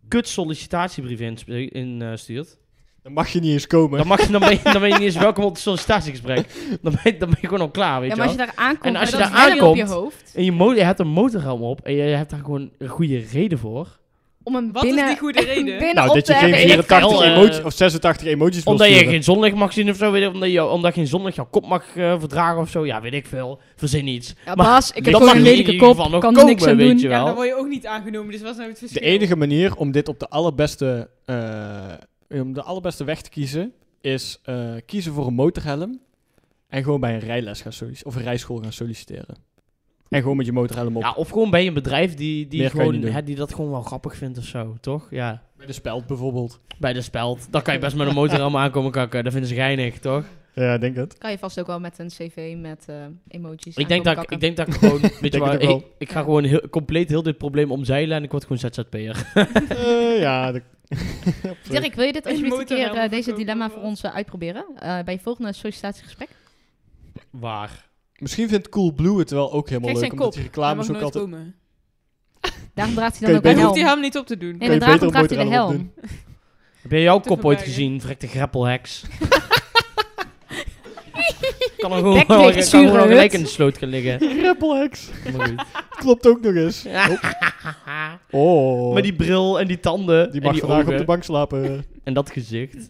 S3: kut sollicitatiebrief instuurt, in, eh, stuurt,
S2: Dan mag je niet eens komen.
S3: dan, mag je, dan, ben je, dan ben je niet eens welkom op het sollicitatiegesprek. Dan ben je, dan ben je gewoon al klaar, weet
S4: Ja,
S3: je
S4: maar als
S3: wel.
S4: je daar aankomt
S3: En als
S4: met
S3: je
S4: dat
S3: daar
S4: helm op je
S3: aankomt-
S4: hoofd,
S3: En je, mo- je hebt een motorhelm op en je, je hebt daar gewoon een goede reden voor.
S4: om een
S1: Wat is
S4: binnen,
S1: die goede reden?
S4: binnen
S2: nou,
S4: op
S2: dat je
S4: te
S2: geen
S4: hebben, ik-
S2: 84
S3: veel, eh,
S2: emoties of 86 emoties wil
S3: Omdat je
S2: sturen.
S3: geen zonlicht mag zien of zo, weet je, omdat, je, omdat geen zonlicht jouw kop mag eh, verdragen of zo. Ja, weet ik veel. Verzin iets.
S4: Ja,
S3: Maar
S4: Bas, ik
S3: dat
S4: heb gewoon
S3: mag
S4: een
S3: in
S4: lelijke
S3: ieder
S4: kop,
S3: geval nog
S4: kan
S3: komen,
S4: niks aan
S3: weet
S4: doen.
S3: je
S1: Ja,
S3: wel.
S1: dan word je ook niet aangenomen. Dus wat is nou het
S2: De
S1: verschil?
S2: enige manier om dit op de allerbeste, eh, om de allerbeste weg te kiezen, is eh, kiezen voor een motorhelm. En gewoon bij een rijles gaan solliciteren. Of een rijschool gaan solliciteren. En gewoon met je motorhelm op.
S3: Ja, of gewoon bij een bedrijf die, die,
S2: Meer kan je
S3: gewoon,
S2: niet doen.
S3: hè, die dat gewoon wel grappig vindt of zo, toch? Ja.
S2: Bij de speld bijvoorbeeld.
S3: Bij de speld. Dan kan je best met een motorhelm aankomen kakken. Dat vinden ze geinig, toch?
S2: Ja, denk het.
S4: Kan je vast ook wel met een cv met eh, emojis
S3: Ik denk, dat, ik-
S4: aankomen
S3: ik denk dat ik gewoon... Weet je
S2: Denk
S3: waar,
S2: het ook wel.
S3: ik, ik ga gewoon heel, compleet heel dit probleem omzeilen en ik word gewoon ZZP'er.
S2: Eh, ja,
S4: kakken. Dirk, wil je dit
S1: Een
S4: alsjeblieft een keer
S1: motorhelm
S4: eh, deze
S1: verkopen,
S4: dilemma
S1: Bas.
S4: voor ons eh, uitproberen? Eh, bij je volgende sollicitatiegesprek?
S3: Waar?
S2: Misschien vindt Coolblue het wel ook helemaal
S1: Kijk
S2: leuk.
S1: zijn
S2: Omdat
S1: kop.
S2: die
S1: Hij
S2: reclames
S1: mag
S2: ook
S1: nooit
S2: altijd...
S1: komen.
S4: Daarom draagt hij
S2: Kun
S4: dan
S2: je
S4: ook
S1: Dan
S4: een
S2: beter
S1: hoeft hij
S4: helm.
S1: hem niet op te doen.
S4: Nee, dan
S2: Kan je
S4: draagt
S2: beter
S4: dan
S2: een
S4: draagt hij de
S2: motorhelm
S4: helm.
S3: Heb jij jouw
S1: Te
S3: kop ooit
S1: verbergen.
S3: gezien? Vrek de greppelheks. kan er gewoon,
S4: Bek
S3: kan
S4: dicht,
S3: er
S4: zure
S3: gewoon gelijk
S4: hut.
S3: in de sloot gaan liggen.
S2: Rappelhex.
S3: Maar goed.
S2: Klopt ook nog eens. Hop. Oh.
S3: Met die bril en die tanden.
S2: die
S3: en
S2: mag
S3: die
S2: vandaag
S3: ogen.
S2: op de bank slapen.
S3: En dat gezicht.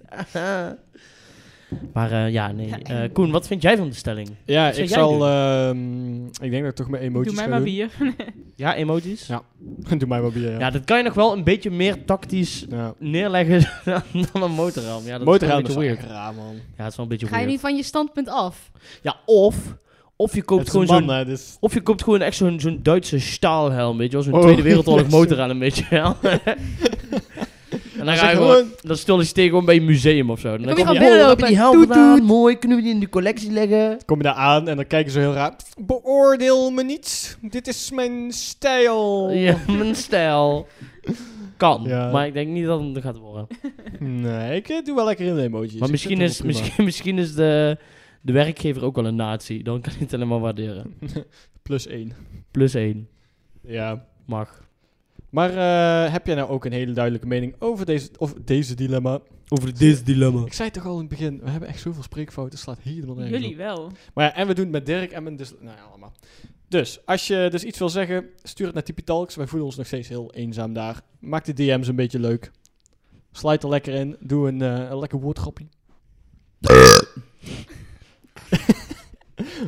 S3: maar eh, ja, nee. Eh, Koen, wat vind jij van de stelling?
S2: ja,
S3: zou
S2: ik
S3: jij
S2: zal...
S3: doen?
S2: ehm, ik denk dat ik toch mijn emoties
S1: Doe mij
S2: ga
S1: maar
S2: doen.
S1: bier.
S3: Ja, emoties?
S2: Ja. Doe mij maar bier, ja.
S3: Ja, dat kan je nog wel een beetje meer tactisch
S2: Ja.
S3: neerleggen dan- dan een motorhelm. Ja, dat
S2: Motorhelm
S3: is
S2: is
S3: wel een beetje
S2: wel raar, man.
S3: weird. Ja, het is wel een beetje
S4: Ga je
S3: weird.
S4: niet van je standpunt af?
S3: Ja, of, of je koopt
S2: Het is
S3: gewoon
S2: een
S3: zo'n...
S2: man, hè, dus-
S3: Of je koopt gewoon echt zo'n zo'n Duitse staalhelm, weet je wel. Zo'n
S2: Oh,
S3: Tweede Wereldoorlog
S2: ja,
S3: motorhelm, weet je wel. en dan
S2: Zeg
S3: ga je gewoon...
S2: gewoon-
S3: Dan stil je tegen gewoon bij een museum of zo. En
S4: Dan
S3: Dan
S4: kom je
S3: kom
S4: gewoon
S3: je-
S4: binnen
S3: heb je die helm
S4: lopen. Toet,
S3: gedaan?
S4: toet.
S3: Mooi, kunnen we die in de collectie leggen?
S2: Kom je daar aan en dan kijken ze heel raar. Beoordeel me niet. Dit is mijn stijl.
S3: Ja, mijn stijl. Kan,
S2: Ja.
S3: maar ik denk niet dat het er gaat worden.
S2: Nee, ik eh, doe wel lekker in de emojis.
S3: Maar
S2: Ik
S3: misschien
S2: vind
S3: is,
S2: het wel prima.
S3: misschien, misschien is de, de werkgever ook wel een nazi. Dan kan je het helemaal waarderen.
S2: Plus één.
S3: Plus één.
S2: Ja.
S3: Mag.
S2: Maar eh, heb jij nou ook een hele duidelijke mening over deze, of deze dilemma?
S3: Over dit dilemma.
S2: Ik zei het toch al in het begin, we hebben echt zoveel spreekfouten, het slaat helemaal nergens
S1: Jullie
S2: op.
S1: wel.
S2: Maar ja, en we doen het met Dirk en met... Dus, nou ja, allemaal. Dus, als je dus iets wil zeggen, stuur het naar Tipitalks. Wij voelen ons nog steeds heel eenzaam daar. Maak de DM's een beetje leuk. Slijt er lekker in. Doe een, eh, een lekker woordgrapje.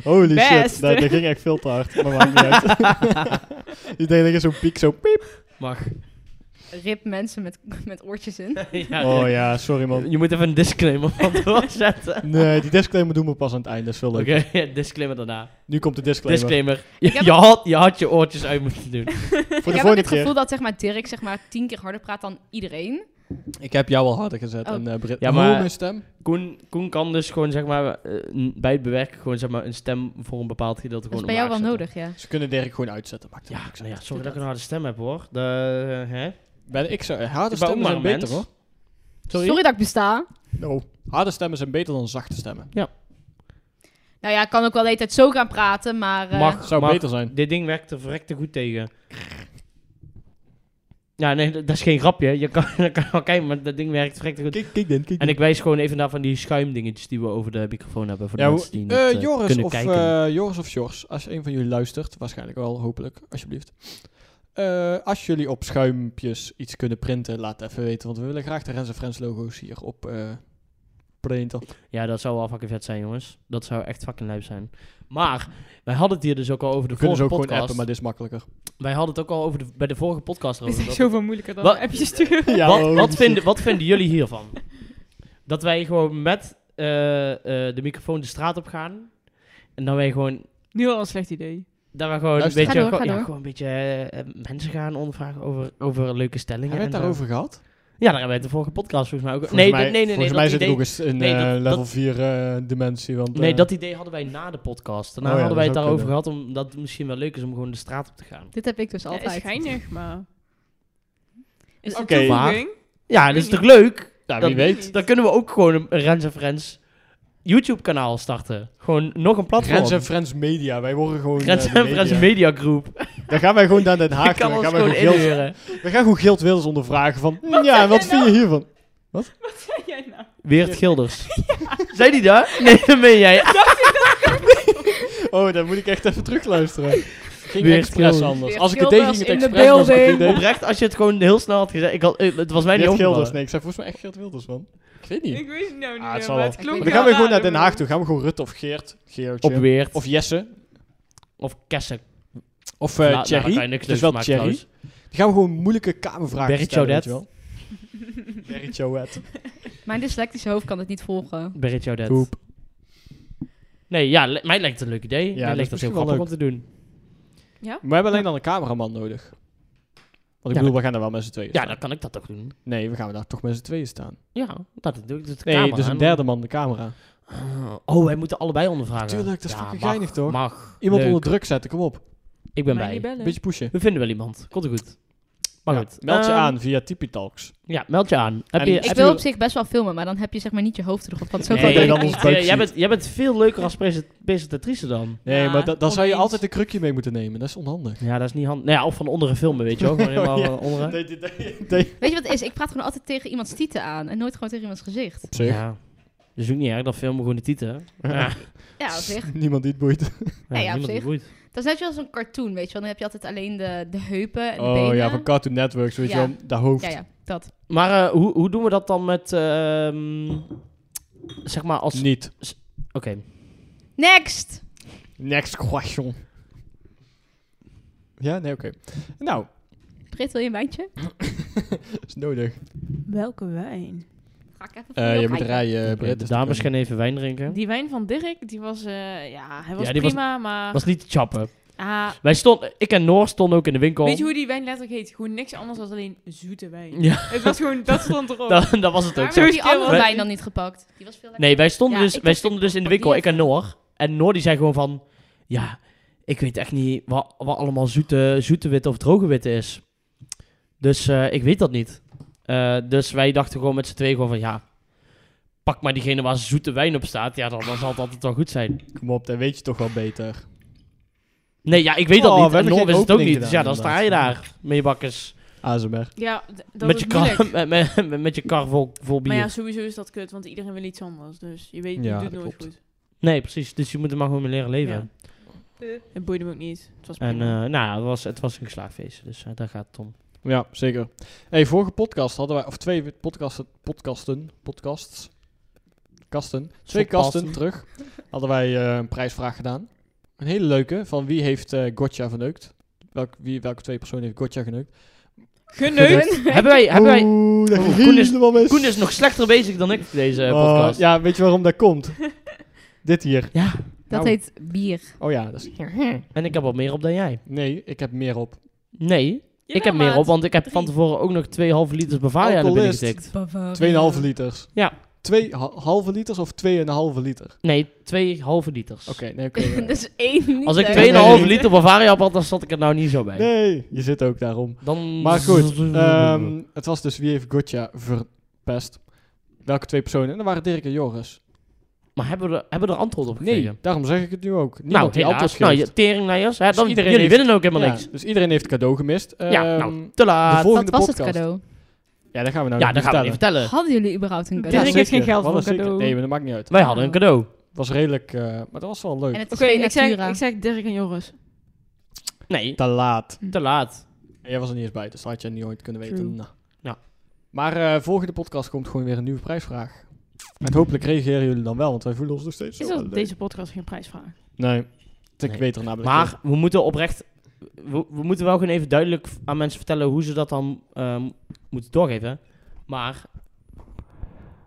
S2: Holy
S1: Best.
S2: shit, Nou, dat, dat ging echt veel te hard. Maar maakt niet uit. Ik denk dat je zo'n piek zo piep.
S3: Mag.
S4: Rip mensen met, met oortjes in.
S3: ja,
S2: Oh ja, sorry man.
S3: Je moet even een disclaimer van doorzetten.
S2: Nee, die disclaimer doen we pas aan het einde. Dat is veel
S3: Oké,
S2: leuk.
S3: disclaimer daarna.
S2: Nu komt de disclaimer.
S3: Disclaimer. Je,
S4: heb-
S3: je had, je had je oortjes uit moeten doen.
S2: Voor
S4: ik
S2: de
S4: heb ook
S2: volgende
S4: het
S2: keer.
S4: gevoel dat zeg maar, Dirk zeg maar, tien keer harder praat dan iedereen.
S2: Ik heb jou al harder gezet.
S4: Oh.
S2: En, eh Brit.
S3: Ja, maar-
S2: Hoor mijn stem.
S3: Koen, Koen kan dus gewoon zeg maar eh, n- bij het bewerken gewoon zeg maar een stem voor een bepaald gedeelte
S4: Dat
S3: gewoon
S4: is Dus bij jou wel
S3: omlaag zetten.
S4: nodig, ja.
S2: Ze kunnen Dirk gewoon uitzetten. Maakt
S3: Ja,
S2: ja,
S3: nou ja, sorry dat ik een harde stem heb hoor. De, eh, hè?
S2: ben ik zo. eh, Harde
S3: Ik ben ook
S2: stemmen
S3: maar
S2: zijn
S3: een
S2: beter
S3: mens.
S2: hoor.
S4: Sorry? dat ik besta.
S2: No. Harde stemmen zijn beter dan zachte stemmen.
S4: Nou ja, ik kan ook wel de hele tijd zo gaan praten, maar... eh,
S3: Mag.
S2: Zou
S3: Maar-
S2: beter zijn.
S3: Dit ding werkt er verrekte goed tegen. Ja, nee, dat dat is geen grapje. Je kan, dat kan wel kijken, maar dat ding werkt verrekte goed.
S2: Kijk, kijk dan, kijk
S3: En ik wijs gewoon even naar van die schuimdingetjes die we over de microfoon hebben. Voor de
S2: Ja, hoe-
S3: mensen die niet
S2: eh,
S3: eh,
S2: Joris,
S3: kunnen
S2: of,
S3: kijken.
S2: eh, Joris of Jors, als een van jullie luistert, waarschijnlijk wel, hopelijk, alsjeblieft. Eh, als jullie op schuimpjes iets kunnen printen, laat even weten, want we willen graag de Rens en Friends logo's hier op eh, printen.
S3: Ja, dat zou wel fucking vet zijn, jongens. Dat zou echt fucking lijp zijn. Maar, wij hadden het hier dus ook al over de
S2: We kunnen ze
S3: vorige
S2: ook
S3: podcast.
S2: gewoon appen, maar dit is makkelijker.
S3: Wij hadden het ook al over de, bij de vorige podcast
S1: Dit
S3: erover.
S1: is
S3: dat-
S1: zoveel moeilijker dan
S3: Wat-
S1: appjes sturen.
S3: wat, wat, vinden, wat vinden jullie hiervan? Dat wij gewoon met eh, eh, de microfoon de straat op gaan. En dan wij gewoon...
S1: Nu al een slecht idee.
S3: Dat we gewoon een
S2: Luister.
S3: beetje,
S4: Ga door,
S3: gewoon,
S4: ga
S3: ja,
S4: door.
S3: gewoon een beetje eh, eh, mensen gaan ondervragen over, over leuke stellingen.
S2: Hebben we het
S3: en zo.
S2: daarover gehad?
S3: Ja, daar hebben we het de vorige podcast volgens mij ook.
S2: Volgens
S3: nee,
S2: mij,
S3: dat- nee, nee, nee.
S2: Volgens mij
S3: dat
S2: zit er
S3: idee-
S2: ook eens een
S3: nee,
S2: eh,
S3: dat-
S2: level 4 eh, dimensie, want...
S3: Nee,
S2: eh,
S3: dat idee hadden wij na de podcast. Daarna
S2: Oh ja,
S3: hadden wij het
S2: dat zou
S3: daarover gehad, omdat het misschien wel leuk is om gewoon de straat op te gaan.
S4: Dit heb ik dus
S1: Het is
S4: altijd.
S1: geinig, maar... Is het
S2: Oké.
S1: een toevoeging?
S3: Ja, dat is toch leuk?
S2: nou,
S3: dat-
S2: wie weet.
S3: Dan kunnen we ook gewoon een Rens en Friends YouTube kanaal starten. Gewoon nog een platform.
S2: Rens en Friends Media, wij worden gewoon...
S3: Rens
S2: eh,
S3: en
S2: de
S3: Friends
S2: media.
S3: Media Group.
S2: Dan gaan wij gewoon naar Den Haag.
S3: Ik
S2: toe,
S3: kan
S2: Dan
S3: ons
S2: gaan wij
S3: gewoon
S2: gewoon Geelt-
S3: inhuren.
S2: we gaan gewoon Geelt Wilders ondervragen van... Ja, wat vind je
S3: nou?
S2: hiervan?
S1: Jij nou.
S3: Weert Gilders. Zijn die daar? Nee, dat ben jij.
S2: Oh, dan moet ik echt even terugluisteren. Ging
S3: Weer
S2: expres
S3: Gilders.
S2: anders.
S4: Weer
S2: Als ik het deed, ging
S4: Gilders
S2: het
S4: in de
S2: expres maar als ik het niet deed-
S3: Oprecht, als je het gewoon heel snel had gezegd. Ik had, eh, het was mij niet
S2: Geert Gilders,
S3: opgevallen.
S2: nee. dus Ik zei volgens mij echt Geert Wilders, man. Ik weet niet.
S1: Ik weet het nou niet
S2: Ah, het
S1: meer,
S2: zal
S1: maar
S2: wel.
S1: het klonk
S2: Dan
S1: wel
S2: gaan we gewoon naar
S1: raar,
S2: Den Haag
S1: maar-
S2: toe. Gaan we gewoon Rutte of Geert, Geertje.
S3: Op Weert.
S2: Of
S3: Of,
S2: Jesse.
S3: of Kessen.
S2: Of
S3: Nou,
S2: eh
S3: nou, daar
S2: Thierry.
S3: kan je
S2: dus
S3: niks tussen
S2: wel
S3: maken,
S2: Thierry.
S3: trouwens.
S2: Die gaan we gewoon moeilijke kamervragen
S3: Berrit
S2: stellen, weet je
S3: Jaudet.
S2: wel. Berrit Jaudet.
S4: Mijn dyslectische hoofd kan het niet volgen.
S3: Berit jou dat.
S2: Poep.
S3: Nee, ja, le- mij lijkt het een leuk idee. mij
S2: dat
S3: lijkt
S2: is
S3: dat heel
S2: misschien wel
S3: grappig om te doen.
S2: Maar we hebben alleen dan een cameraman nodig. Want ik
S3: Ja,
S2: bedoel, we gaan daar wel met z'n tweeën
S3: Ja,
S2: staan.
S3: dan kan ik dat ook doen.
S2: Nee, we gaan daar toch met z'n tweeën staan.
S3: Ja, dat doe ik. Dat de
S2: Nee,
S3: camera
S2: dus een
S3: aan.
S2: derde man de camera.
S3: Ah, Oh, wij moeten allebei ondervragen.
S2: Tuurlijk, dat is
S3: Ja,
S2: fucking
S3: mag,
S2: geinig, toch?
S3: Mag.
S2: Iemand
S3: Leuk.
S2: onder druk zetten, kom op.
S3: Ik ben
S1: Mij
S3: bij.
S1: niet bellen.
S2: Beetje pushen.
S3: We vinden wel iemand. Komt er goed. Maar
S2: Ja,
S3: goed.
S2: Meld je
S3: Ehm,
S2: aan via Tipitalks.
S3: Ja, meld je aan. Heb
S2: En
S3: je,
S2: ik
S3: heb
S4: Ik
S3: je-
S4: wil op zich best wel filmen, maar dan heb je zeg maar niet je hoofd erop. Want zo
S2: Nee.
S4: groot ben ik
S2: dan
S4: niet.
S2: ons buikje.
S3: jij, bent, jij bent veel leuker als presen- presentatrice dan.
S2: Nee,
S1: Ja,
S2: maar da- dan zou je
S1: oneens.
S2: altijd een krukje mee moeten nemen. Dat is onhandig.
S3: Ja, dat is niet handig. Nou ja, of van onderen filmen, weet je wel. Gewoon helemaal
S2: ja.
S3: eh, onderen.
S4: Weet je wat het is? Ik praat gewoon altijd tegen iemands tieten aan en nooit gewoon tegen iemands gezicht.
S2: Op zich.
S3: Ja. Dus ook niet erg, dan filmen we gewoon de tieten. Ja, ja,
S4: Ja, op zich.
S2: Niemand die het boeit.
S4: ja,
S3: niemand
S4: op
S3: die
S4: zich.
S3: boeit.
S4: Dat is net zoals een cartoon, weet je wel. Dan heb je altijd alleen de, de heupen en de
S2: Oh
S4: benen.
S2: ja, van Cartoon Networks, weet
S4: Ja.
S2: je wel. Dat hoofd.
S4: Ja, ja, dat.
S3: Maar eh, hoe, hoe doen we dat dan met... ehm, zeg maar als... Oké.
S2: Niet.
S4: Next!
S2: Next question. Ja, nee, oké. Nou,
S4: Britt, wil je een wijntje?
S2: dat is nodig.
S1: Welke wijn?
S4: Ga ik even voor
S2: Eh, je
S4: jou
S2: moet
S4: kijken.
S2: rijden,
S3: Oké,
S2: Britt.
S3: de
S2: dus
S3: dames
S2: dat
S3: gaan even wijn drinken.
S1: Die wijn van Dirk, die was... eh, ja, hij was
S3: Ja, die was-
S1: prima, maar...
S3: was niet te chappen.
S1: ah,
S3: Wij stonden... Ik en Noor stonden ook in de winkel.
S1: weet je hoe die wijn letterlijk heet? Gewoon niks anders dan alleen zoete wijn.
S3: Ja,
S1: Het was gewoon... Dat stond erop.
S3: dat, dat was het ook.
S4: Waarom
S1: Zo
S4: heb je die
S1: stil,
S4: andere
S1: hè?
S4: wijn dan niet gepakt? Die was veel lekkerder.
S3: Nee, wij stonden,
S4: Ja,
S3: dus,
S4: ik
S3: wij
S4: dacht,
S3: stonden dus in de
S4: pak die
S3: winkel, ik en
S4: even.
S3: Noor. En Noor die zei gewoon van... Ja, ik weet echt niet wat, wat allemaal zoete, zoete witte of droge witte is. Dus eh, ik weet dat niet. Eh, dus wij dachten gewoon met z'n tweeën gewoon van... Ja, pak maar diegene waar zoete wijn op staat. Ja, dan, dan zal het altijd wel goed zijn.
S2: kan. Kom op, dat weet je toch wel beter.
S3: Nee, ja, ik weet dat
S2: Oh, we
S3: niet. En
S2: hebben
S3: Noor
S2: geen
S3: wist het ook
S2: opening
S3: niet. Dus ja, dan
S2: gedaan,
S3: sta je daar, meebakkers.
S2: ASMR.
S1: Ja, d- dat
S3: Met
S1: is
S3: je, kar,
S1: moeilijk.
S3: met, met, met je kar vol, vol bier.
S1: Maar ja, sowieso is dat kut, want iedereen wil iets anders. Dus je weet, je
S2: Ja,
S1: doet
S2: dat
S1: nooit
S2: klopt.
S1: goed.
S3: Nee, precies. Dus je moet er maar gewoon mee leren leven.
S1: Ja. Het boeide me ook niet. Het was
S3: En
S1: prima.
S3: eh, nou, ja, het was, het was een geslaagd feestje, dus eh, daar gaat het om.
S2: Ja, zeker. Hey, vorige podcast hadden wij, of twee podcasten, podcasten, podcasts, kasten, twee
S3: Podcasten.
S2: kasten terug, hadden wij eh, een prijsvraag gedaan. Een hele leuke, van wie heeft eh Gotcha verneukt? Welk, wie, welke twee personen heeft Gotcha geneukt?
S1: Geneukt.
S3: hebben wij... Hebben wij
S2: Oeh, dat
S3: Oeh,
S2: ging
S3: Koen is-
S2: helemaal mis.
S3: Koen is nog slechter bezig dan ik voor deze eh,
S2: Oh,
S3: podcast.
S2: ja, weet je waarom dat komt? Dit hier.
S3: Ja,
S4: Dat
S2: Nou.
S4: heet bier.
S2: Oh ja, dat is...
S3: En ik heb wat meer op dan jij.
S2: Nee, ik heb meer op.
S3: Oh, Nee, ik heb meer op, want ik heb van
S1: Drie.
S3: tevoren ook nog 2,5 liters Bavaria naar binnen
S2: Alcoholist.
S3: getikt.
S2: 2,5 liters.
S3: Ja.
S2: 2,5 liters of 2,5 liter?
S3: Nee, 2,5 liters.
S2: Oké, nee, oké. eh. nee.
S4: dus één
S3: eh. Als ik
S4: liter.
S3: 2,5 liter Bavaria op had, dan zat ik er nou niet zo bij.
S2: nee, je zit ook daarom.
S3: Dan...
S2: Maar goed, ehm, het was dus wie heeft Gotcha verpest? Welke twee personen? En dat waren Dirk en Joris.
S3: maar hebben we er, hebben we er antwoord op gekregen?
S2: Nee, daarom zeg ik het nu ook. Niemand
S3: Nou,
S2: die antwoord
S3: helaas.
S2: geeft.
S3: Nou, je teringlijers. Hè,
S2: Dus
S3: dan,
S2: iedereen
S3: jullie
S2: heeft-
S3: winnen ook helemaal
S2: Ja,
S3: niks.
S2: Dus iedereen heeft cadeau gemist.
S3: Ja,
S2: Ehm,
S3: nou, te
S2: de
S3: laat.
S2: volgende
S4: Dat was het
S2: podcast.
S4: cadeau.
S2: Ja, daar gaan we nou
S3: Ja,
S2: niet
S3: dat gaan we niet
S2: vertellen.
S3: vertellen.
S4: Hadden jullie überhaupt een cadeau?
S1: Dirk heeft geen
S2: Zeker,
S1: geld
S2: we
S1: voor
S2: hadden
S1: een
S2: zeker-
S1: cadeau.
S2: Nee, maar dat maakt niet uit.
S3: Wij hadden een cadeau.
S2: Het was redelijk... eh, maar dat was wel leuk.
S4: En het is
S1: Oké,
S4: geen
S1: ik, zeg,
S4: Natura.
S1: ik zeg Dirk en Joris.
S3: Nee,
S2: Te laat.
S3: te laat.
S2: En jij was er niet eens bij, dus dat had je niet ooit kunnen weten.
S1: True.
S2: Nou.
S3: Ja.
S2: Maar eh, volgende podcast komt gewoon weer een nieuwe prijsvraag. En hopelijk reageren jullie dan wel, want wij voelen ons nog steeds
S1: Is
S2: zo
S1: dat
S2: leuk.
S1: deze podcast geen prijsvraag?
S2: Nee, ik
S3: Nee.
S2: weet er namelijk niet.
S3: Maar we moeten oprecht... We, we moeten wel gewoon even duidelijk aan mensen vertellen hoe ze dat dan ehm, moeten doorgeven. Maar...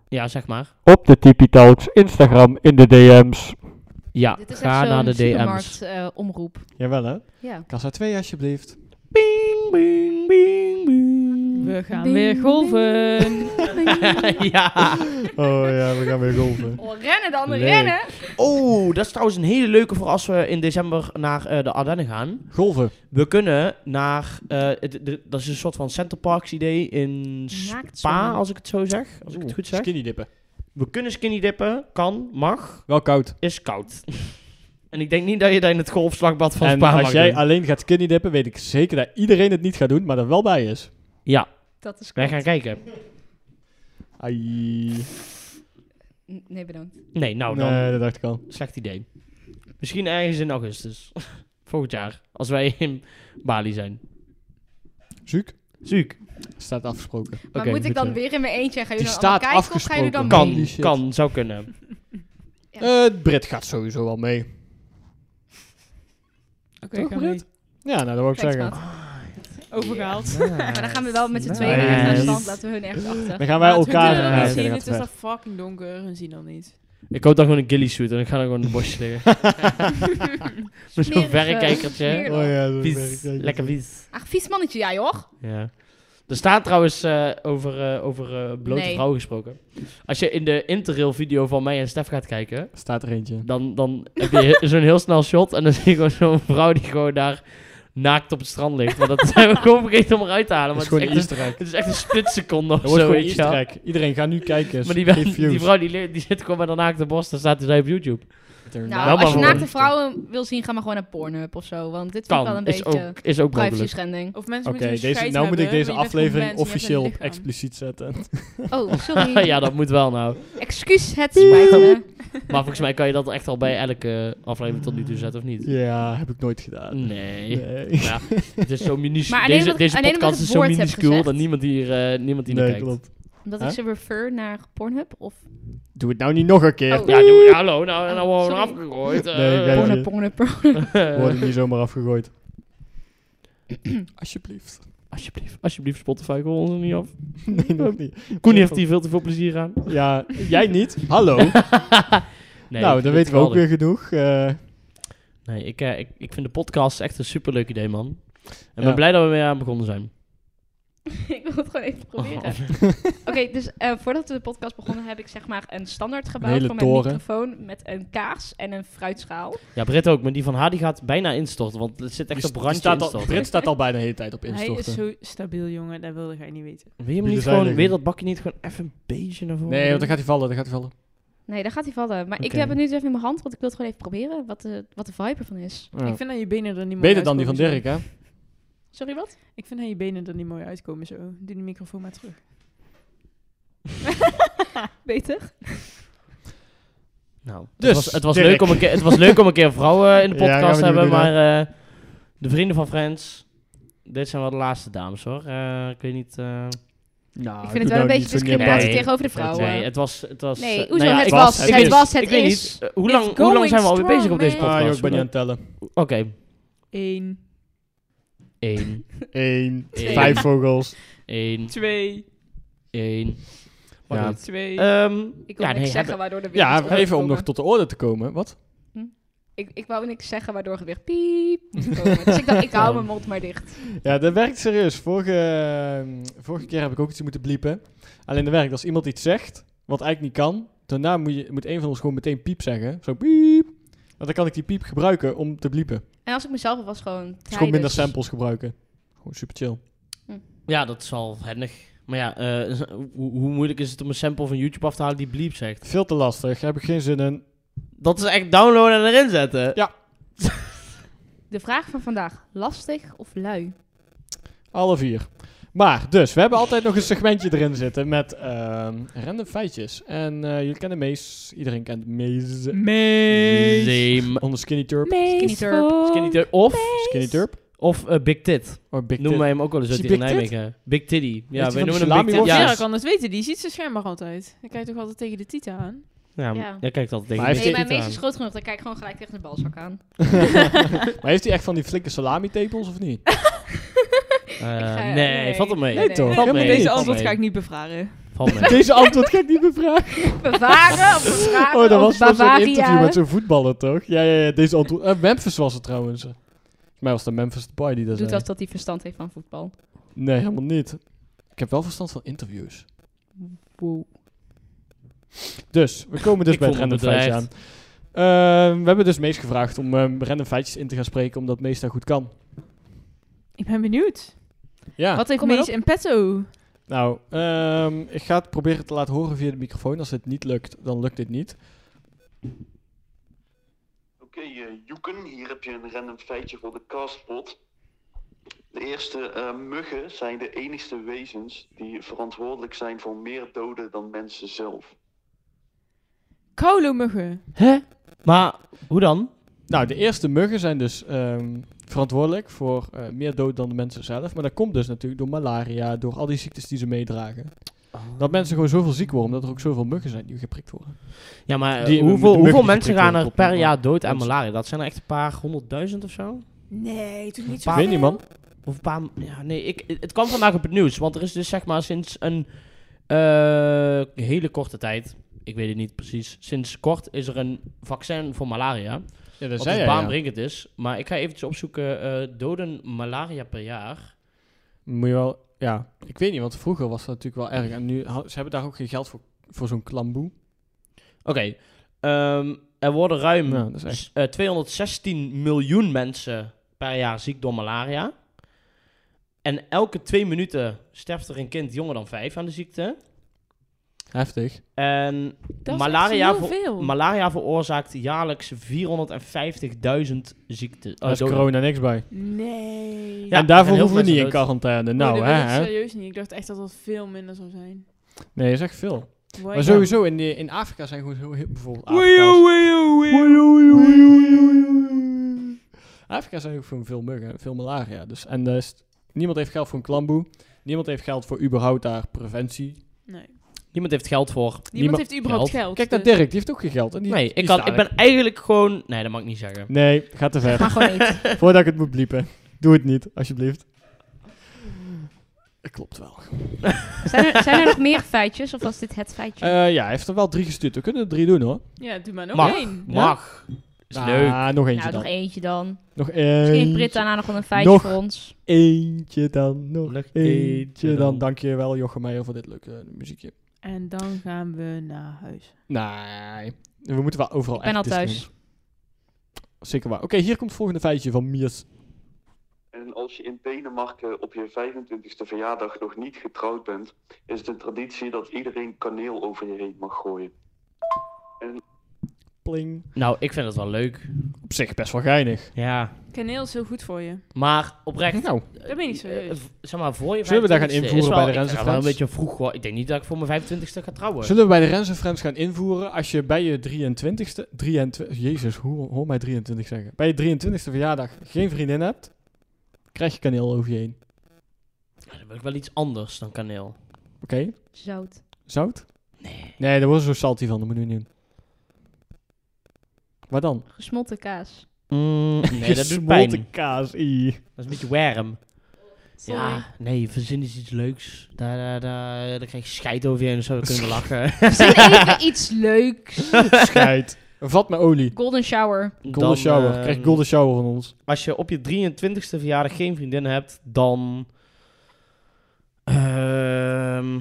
S3: Ja, zeg maar.
S2: op de Tipi Talks Instagram in de DM's.
S3: Ja,
S4: Dit is
S3: ga
S4: echt
S3: naar de
S4: zo'n
S3: DM's.
S4: supermarkt eh, omroep.
S2: Jawel hè?
S4: Ja.
S2: Kassa 2 alsjeblieft.
S3: Bing, bing, bing, bing.
S1: We gaan
S4: Bing,
S1: weer
S4: bing.
S1: golven.
S3: ja.
S2: Oh ja, we gaan weer golven.
S4: Oh, rennen dan,
S2: Leuk.
S4: rennen!
S3: Oh, dat is trouwens een hele leuke voor als we in december naar eh, de Ardennen gaan.
S2: Golven.
S3: We kunnen naar, eh, het- de- dat is een soort van Center Parks idee in Spa,
S4: zwemmen.
S3: als ik het zo zeg. Als ik het
S2: Oeh,
S3: goed zeg.
S2: Skinny dippen.
S3: We kunnen skinny dippen, kan, mag,
S2: Wel koud.
S3: is koud. en ik denk niet dat je dat in het golfslagbad van
S2: en
S3: Spa
S2: als
S3: mag
S2: jij
S3: doen.
S2: alleen gaat skinny dippen, weet ik zeker dat iedereen het niet gaat doen, maar er wel bij is.
S3: Ja,
S4: Dat is
S3: wij gaan kijken.
S2: Ai.
S4: N- Nee, bedankt.
S3: Nee, nou dan,
S2: Nee, dat dacht ik al.
S3: slecht idee. Misschien ergens in augustus. Volgend jaar, als wij in Bali zijn.
S2: Zuuk.
S3: Zuuk.
S2: Staat afgesproken.
S4: Maar
S3: Oké,
S4: moet ik
S3: goed, eh.
S4: dan
S3: ja.
S4: weer in mijn eentje en gaan
S2: Die
S4: jullie dan allemaal
S2: staat
S4: kijken of gaan jullie dan
S2: afgesproken.
S4: mee?
S3: Kan,
S2: Holy shit.
S3: kan, zou kunnen.
S4: Ja.
S2: Eh, Brit gaat sowieso wel mee.
S1: Oké,
S2: Toch,
S1: gaan we
S2: Brit? Ja, nou dat wil ik
S4: Thanks,
S2: zeggen.
S4: maat.
S1: Overgehaald.
S4: Maar dan gaan we wel met z'n tweeën
S3: Nice.
S4: naar stand, laten we hun echt
S2: Dan
S4: achter.
S2: gaan wij
S1: Maar het
S2: elkaar... eh,
S1: hun kunnen
S2: Ja,
S1: dat niet
S2: oké,
S1: zien,
S2: dat
S1: het
S2: gaat
S1: is
S2: ver.
S1: dan fucking donker, hun zien dat niet.
S3: Ik koop dan gewoon een ghillie suit en ik ga dan gewoon in de bosje liggen. Met zo'n
S4: Smerig,
S3: verrekijkertje.
S4: smerig.
S2: Oh ja, dat
S3: Vies.
S2: is
S3: Lekker vies.
S4: Ach, vies mannetje, ja joh.
S3: Ja. Er staat trouwens eh, over, eh, over eh, blote
S4: Nee.
S3: vrouwen gesproken. Als je in de interrail video van mij en Stef gaat kijken,
S2: Staat er eentje.
S3: dan, dan heb je he- zo'n heel snel shot en dan zie je gewoon zo'n vrouw die gewoon daar naakt op het strand ligt. Maar dat zijn we gewoon vergeten om eruit te halen.
S2: Dat
S3: Maar
S2: is
S3: het is,
S2: gewoon een easter egg.
S3: echt, een- het is echt een splitseconde of
S2: Dat wordt
S3: zo,
S2: gewoon
S3: weet
S2: een
S3: je wel.
S2: easter egg. Iedereen gaat nu kijken.
S3: Maar die, die,
S2: views.
S3: vrouw die, le- die zit gewoon met haar naakte borst en staat dus daar op YouTube.
S4: Nou,
S3: maar
S4: als je
S3: voor
S4: naakte
S3: een-
S4: vrouwen wil zien, ga maar gewoon naar Pornhub of zo. Want dit vind ik wel
S3: Kan,
S4: een
S3: is
S4: beetje
S3: ook, is ook
S4: privacy
S3: mogelijk.
S4: schending.
S1: Of mensen
S2: Oké,
S4: dus
S1: moeten
S2: deze, nou moet ik deze aflevering officieel op expliciet zetten.
S4: Oh, sorry.
S3: ja, dat moet wel nou.
S4: Excuus, het spijt me.
S3: Maar volgens mij kan je dat echt al bij elke aflevering tot nu toe zetten, of niet?
S2: Ja, heb ik nooit gedaan.
S3: Nee. Nou
S2: Nee,
S3: Ja, het is zo minuscuul.
S4: Maar alleen
S3: Deze,
S4: omdat-
S3: deze
S4: alleen omdat
S3: podcast
S4: ik
S3: is zo
S4: woord heb
S3: minuscuul
S4: gezegd.
S3: dat niemand hier, eh niemand hier
S2: Nee,
S3: naar kijkt.
S2: klopt.
S4: Omdat ik
S2: Huh?
S4: ze refer naar Pornhub of...
S2: Doe het nou niet nog een keer.
S4: Oh.
S3: Ja, doe, hallo, nou,
S4: Oh,
S3: nou worden we
S4: sorry.
S3: afgegooid. eh.
S2: Nee, kijk.
S4: Pornhub, Pornhub, Pornhub.
S2: Worden niet zomaar afgegooid. Alsjeblieft.
S3: alsjeblieft, alsjeblieft, Spotify, hoor ons er niet af.
S2: Nee, nog niet.
S3: Koen heeft hier veel te veel plezier aan.
S2: Ja, jij niet. Hallo.
S3: Nee,
S2: Oh. nou, dan
S3: ik vind het
S2: weten we ook
S3: geweldig.
S2: weer genoeg. Eh,
S3: Nee, ik, eh, ik, ik vind de podcast echt een superleuk idee, man. En ik
S2: Ja.
S3: ben blij dat we mee aan begonnen zijn.
S4: ik wil het gewoon even proberen.
S3: Oh.
S4: Oké, dus eh, voordat we de podcast begonnen heb ik zeg maar een standaard
S2: Een
S4: gebouwd
S2: hele
S4: voor mijn
S2: toren.
S4: microfoon met een kaars en een fruitschaal.
S3: Ja, Britt ook, maar die van haar die gaat bijna instorten, want het zit
S2: die
S3: echt
S2: st-
S3: op
S2: die
S3: randje
S2: staat al,
S3: instorten.
S2: Brit staat al bijna de hele tijd op
S1: Hij is
S2: instorten.
S1: zo stabiel, jongen. Dat wilde jij niet weten.
S3: Wil je hem
S2: Die
S3: niet
S2: zijn
S3: gewoon,
S2: er
S3: weer
S2: niet.
S3: dat bakje niet gewoon even een beetje naar voren?
S2: Nee, want
S3: doen?
S2: dan gaat hij vallen, dan gaat hij vallen.
S4: Nee, daar gaat hij vallen. Maar ik
S3: Oké.
S4: heb het nu dus even in mijn hand, want ik wil het gewoon even proberen wat de, wat de vibe ervan is.
S2: Ja.
S1: Ik vind dat je benen er niet mooi
S2: Beter dan die van
S1: uitkomen
S2: Dirk, hè?
S4: Sorry, wat?
S1: zo. Ik vind dat je benen er niet mooi uitkomen zo. Doe de microfoon maar terug.
S4: Beter?
S3: Nou,
S2: Dus,
S3: het, was, het, was
S2: Dirk.
S3: leuk om een keer, het was leuk om een keer vrouwen eh, in de
S2: Ja, gaan we
S3: podcast te
S2: niet
S3: hebben,
S2: meer doen,
S3: maar eh, de vrienden van Friends, Dit zijn wel de laatste dames hoor. Eh, ik weet niet. eh,
S2: Nou,
S4: ik vind het wel een beetje discriminatie
S3: Nee.
S4: tegenover de vrouwen.
S3: Nee, het was. Het was
S4: Nee,
S3: eh,
S4: hoezo?
S3: nou ja,
S4: Het
S3: ik-
S4: was,
S3: ik
S4: het
S3: weet-
S4: was, het
S3: ik weet
S4: is.
S3: niet, eh, hoe, lang,
S1: It's
S3: hoe lang zijn we
S1: going
S3: alweer bezig op
S1: strong,
S3: deze
S1: man.
S3: podcast?
S2: Ah, joh, ik ben niet aan
S3: Oké,
S2: het tellen.
S1: Eén,
S3: één,
S2: Eén,
S3: Twee.
S2: vijf vogels.
S3: één,
S1: twee,
S3: één.
S2: Ja.
S3: Ja.
S1: twee.
S2: Eh,
S3: Ehm,
S4: Ik wil
S3: ja, nee,
S4: niks zeggen
S3: hebben-
S4: waardoor de wereld
S2: Ja, even om nog
S4: opgekomen.
S2: tot de orde te komen. Wat?
S4: Ik, ik wou niks zeggen waardoor er weer piep opgekomen. Dus ik dacht, ik hou mijn mond maar dicht.
S2: Ja, dat werkt serieus. Vorige, ehm, vorige keer heb ik ook iets moeten bliepen. Alleen dat werkt. Als iemand iets zegt, wat eigenlijk niet kan, daarna moet, je, moet een van ons gewoon meteen piep zeggen. Zo piep. Want dan kan ik die piep gebruiken om te bliepen.
S4: En als ik mezelf was, gewoon
S2: Dus gewoon minder
S4: tijdens-
S2: samples gebruiken. Gewoon super chill.
S3: ja, dat is al handig. Maar ja, eh, z- hoe, hoe moeilijk is het om een sample van YouTube af te halen die bleep zegt?
S2: Veel te lastig, heb ik geen zin in.
S3: Dat is echt downloaden en erin zetten.
S4: De vraag van vandaag, lastig of lui?
S2: Alle vier. Maar, dus, we hebben altijd nog een segmentje erin zitten met ehm, random feitjes. En eh, jullie kennen Mees. Iedereen kent Mees.
S1: Mees.
S3: Same.
S2: Onder Skinny Turp.
S4: Skinny Turp.
S1: voor
S3: Skinny Turp. Of,
S2: Skinny Turp.
S3: of eh, Big Tit.
S2: Of Big
S3: Noemen
S2: Tit.
S3: wij hem ook wel eens
S2: Is
S3: uit
S2: die
S3: hier in
S2: Big Tit?
S3: Nijmegen. Big Titty.
S2: die
S3: Ja,
S2: van
S3: wij
S2: die
S3: noemen hem Big Tit.
S2: salami-worstjes?
S3: Ja,
S1: Vera kan het weten, die ziet ze schijnbaar altijd. Hij kijkt toch altijd tegen de Tita aan?
S3: ja,
S4: Ja.
S3: jij kijkt altijd tegen
S2: Maar
S3: Big
S2: heeft hij-
S4: Nee,
S3: Tit
S4: mijn meest
S3: aan.
S4: is groot genoeg. Dan kijk ik gewoon gelijk tegen de balzak aan.
S2: maar heeft hij echt van die flinke salami-tepels of niet?
S3: Eh,
S4: ga-
S3: nee,
S4: nee.
S3: valt hem mee.
S4: Nee,
S2: toch?
S3: Valt mee.
S1: Deze
S3: valt
S1: antwoord
S3: mee.
S1: ga ik niet bevragen.
S3: Valt mee.
S2: Deze antwoord ga ik niet bevragen.
S4: Bevaren of bevragen
S2: Oh, dat was
S4: of
S2: wel zo'n
S4: Bavaria.
S2: interview met zo'n voetballer, toch? Ja, ja, ja. Deze antwoord... eh, Memphis was het trouwens. Volgens mij was het de Memphis Depay die dat
S4: Doet
S2: zei.
S4: als dat hij verstand heeft van voetbal.
S2: Nee, helemaal niet. Ik heb wel verstand van interviews.
S4: Wow.
S2: Dus, we komen dus
S3: Ik
S2: bij het
S3: voel me
S2: random feitje aan.
S3: bedreigd.
S2: Ehm, we hebben dus Mees gevraagd om ehm, random feitjes in te gaan spreken, omdat Mees daar goed kan.
S1: Ik ben benieuwd.
S2: Ja,
S1: Wat heeft
S4: kom maar
S1: Mees
S4: op.
S1: en petto?
S2: nou, ehm, ik ga het proberen te laten horen via de microfoon. Als het niet lukt, dan lukt dit niet.
S6: Oké, eh, Joeken, hier heb je een random feitje voor de castpot. De eerste eh, muggen zijn de enigste wezens die verantwoordelijk zijn voor meer doden dan mensen zelf.
S1: Kaulomuggen.
S3: Hè? Maar hoe dan?
S2: Nou, de eerste muggen zijn dus ehm, verantwoordelijk voor eh, meer dood dan de mensen zelf. Maar dat komt dus natuurlijk door malaria, door al die ziektes die ze meedragen. Dat mensen gewoon zoveel ziek worden, omdat er ook zoveel muggen zijn die geprikt worden.
S3: Ja, maar eh,
S2: Die- de
S3: hoeveel,
S2: muggen
S3: hoeveel
S2: die
S3: mensen
S2: geprikt
S3: gaan
S2: worden
S3: er
S2: op
S3: per
S2: een-
S3: jaar dood aan
S2: mensen.
S3: malaria? Dat zijn er echt een paar honderdduizend of zo?
S1: Nee, toen niet
S3: zo-
S2: Ik weet niet, man.
S3: Of een paar... Ja, nee, ik, het kwam vandaag op het nieuws. Want er is dus zeg maar sinds een eh, hele korte tijd... Ik weet het niet precies. Sinds kort is er een vaccin voor malaria.
S2: Ja, dat
S3: Wat dus baanbrekend is. Maar ik ga eventjes opzoeken. eh, doden malaria per jaar.
S2: Moet je wel, ja. Ik weet niet, want vroeger was dat natuurlijk wel erg. En nu, ha- ze hebben daar ook geen geld voor, voor zo'n klamboe.
S3: Oké. ehm, er worden ruim
S2: Ja, dat is echt.
S3: S- eh, 216 miljoen mensen per jaar ziek door malaria. En elke twee minuten sterft er een kind jonger dan vijf aan de ziekte.
S2: Heftig.
S3: En
S1: Dat is
S3: malaria
S1: malaria heel
S3: voor-
S1: veel.
S3: malaria veroorzaakt jaarlijks 450.000 ziekten.
S2: Daar is corona niks bij.
S1: nee.
S3: Ja,
S2: en
S3: er zijn
S2: daarvoor
S3: heel
S2: hoeven we
S3: veel
S2: niet in
S3: mensen dood.
S2: quarantaine.
S1: Nou,
S2: Nou,
S1: dat
S2: hè?
S1: weet ik
S2: hè?
S1: serieus niet. Ik dacht echt dat dat veel minder zou zijn.
S2: Nee, is echt veel.
S1: Why
S2: Maar
S1: not?
S2: sowieso, in, die- in Afrika zijn gewoon heel hip bijvoorbeeld.
S1: Wee-oo,
S2: Afrika's.
S1: wee-oo, wee-oo.
S2: Afrika zijn ook gewoon veel muggen, veel malaria. Dus, en eh, st- niemand heeft geld voor een klamboe. Niemand heeft geld voor überhaupt daar preventie.
S1: Nee.
S3: Niemand heeft geld voor.
S1: Niemand
S2: Niemand-
S1: heeft überhaupt geld.
S2: Kijk naar
S1: dus-
S2: Dirk, die heeft ook geen geld. En die,
S3: Nee,
S2: die
S3: ik, kan,
S2: staat
S3: ik ben eigenlijk gewoon... Nee, dat mag ik niet zeggen.
S2: Nee, gaat te ver.
S4: Maar gewoon niet.
S2: Voordat ik het moet bliepen. Doe het niet, alsjeblieft. Dat klopt wel.
S4: Zijn er, zijn er nog meer feitjes? Of was dit het feitje? Nou,
S2: Eh, ja, hij heeft er wel drie gestuurd. We kunnen er drie doen hoor.
S1: Ja, doe maar nog
S3: Mag.
S1: één.
S3: Mag. Is leuk.
S2: Ah, nog eentje
S4: nou, nog
S2: dan.
S4: eentje dan.
S2: Nog
S4: Misschien Britt
S2: eentje.
S4: daarna nog wel een feitje
S2: Nog
S4: voor ons.
S2: Eentje dan. Nog
S3: Nog
S2: eentje
S3: eentje
S2: dan.
S3: dan.
S2: Dankjewel Jochem Meijer voor dit leuke eh, muziekje.
S1: En dan gaan we naar huis.
S2: Nee. We moeten wel overal
S4: Ik ben
S2: echt
S4: al thuis.
S2: discipline. Zeker waar. Oké, hier komt het volgende feitje van Miers.
S6: En als je in Denemarken eh, op je 25e verjaardag nog niet getrouwd bent, is de traditie dat iedereen kaneel over je heen mag gooien.
S2: Pling.
S3: Nou, ik vind het wel leuk.
S2: Op zich best wel geinig.
S3: Ja.
S1: Kaneel is heel goed voor je.
S3: Maar oprecht...
S2: Nou,
S1: Dat ben ik niet
S3: Eh,
S1: serieus.
S3: v- zeg maar, voor je
S2: Zullen we daar gaan
S3: 25e is
S2: invoeren
S3: wel-
S2: bij de
S3: ik vind
S2: Renze
S3: dat wel een
S2: Friends?
S3: beetje vroeg. hoor. Ik denk niet dat ik voor mijn 25ste ga trouwen.
S2: zullen we bij de Rens en Friends gaan invoeren als je bij je 23ste... 23, Jezus, hoe hoor mij 23 zeggen. Bij je 23ste verjaardag geen vriendin hebt, krijg je kaneel over je heen.
S3: Ja, dan wil ik wel iets anders dan kaneel.
S2: Oké,
S4: Zout.
S2: zout?
S3: Nee.
S2: Nee, daar wordt zo salty van, dat moet je niet doen. Waar dan?
S4: Gesmolten kaas.
S3: nee, dat doet
S2: Mm, Gesmolten
S3: pijn. Dat
S2: kaas, ie.
S3: is een beetje warm.
S4: Sorry.
S3: Ja, nee, verzin eens iets leuks. Daar, daar, daar, daar krijg je scheid over je en zo dan kunnen we lachen.
S4: Verzin even iets leuks.
S2: Scheid. Vat met olie.
S4: Golden shower.
S2: Golden
S3: Dan,
S2: shower.
S3: ehm,
S2: Krijg golden shower van ons.
S3: Als je op je 23ste verjaardag geen vriendin hebt, dan... ehm,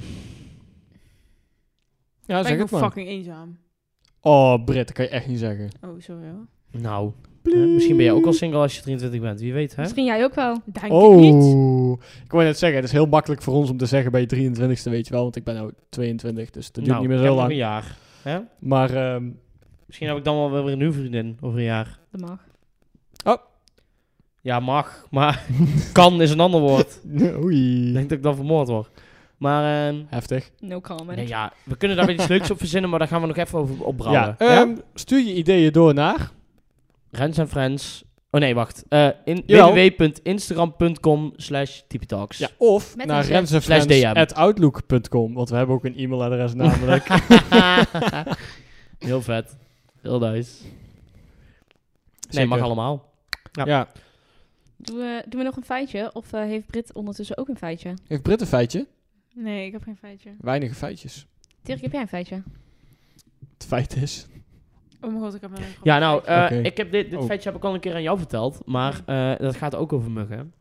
S2: Ja,
S1: ben
S2: zeg
S1: ik
S2: het
S1: ben
S2: maar.
S1: fucking eenzaam.
S2: Oh, Britt, dat kan je echt niet zeggen.
S1: Oh, sorry hoor.
S3: nou, hè, misschien ben je ook al single als je 23 bent. Wie weet, hè?
S4: Misschien jij ook wel.
S1: Denk ik niet.
S2: Oh, ik wou net zeggen, het is heel makkelijk voor ons om te zeggen bij je 23ste, weet je wel, want ik ben nou 22, dus dat duurt
S3: Nou,
S2: niet meer
S3: ik
S2: zo
S3: heb nog
S2: lang.
S3: een jaar. Hè?
S2: Maar, ehm,
S3: Misschien heb ik dan wel weer een nieuwe vriendin over een jaar.
S4: Dat mag.
S3: Ja, mag, maar kan is een ander woord. Ik
S2: oei,
S3: denk dat ik dan vermoord word. Maar ehm,
S2: heftig.
S4: No comment.
S3: nee, ja, we kunnen daar weer iets leuks op verzinnen, maar daar gaan we nog even over opbrouwen.
S2: Ja, ehm, stuur je ideeën door naar...
S3: Rens en Friends. Oh nee, wacht. Eh in
S2: Jawel.
S3: www.instagram.com slash typetalks.
S2: Ja, of
S4: Met
S2: naar
S4: een z.
S2: rensenfriends
S3: Slash DM.
S2: at outlook.com, want we hebben ook een e-mailadres namelijk.
S3: Heel vet. Heel nice. Nee,
S2: Zeker.
S3: mag allemaal. Ja.
S2: Ja,
S4: Doen we, doen we nog een feitje? Of eh, heeft Brit ondertussen ook een feitje?
S2: heeft Britt een feitje?
S1: Nee, ik heb geen feitje.
S2: Weinige feitjes.
S4: Dirk, heb jij een feitje?
S2: Het feit is...
S1: Oh mijn god, ik heb mijn eigen
S3: Ja, nou,
S1: grap.
S3: eh,
S2: Oké.
S3: ik heb dit, dit
S2: Oh.
S3: feitje heb ik al een keer aan jou verteld, maar eh, dat gaat ook over muggen.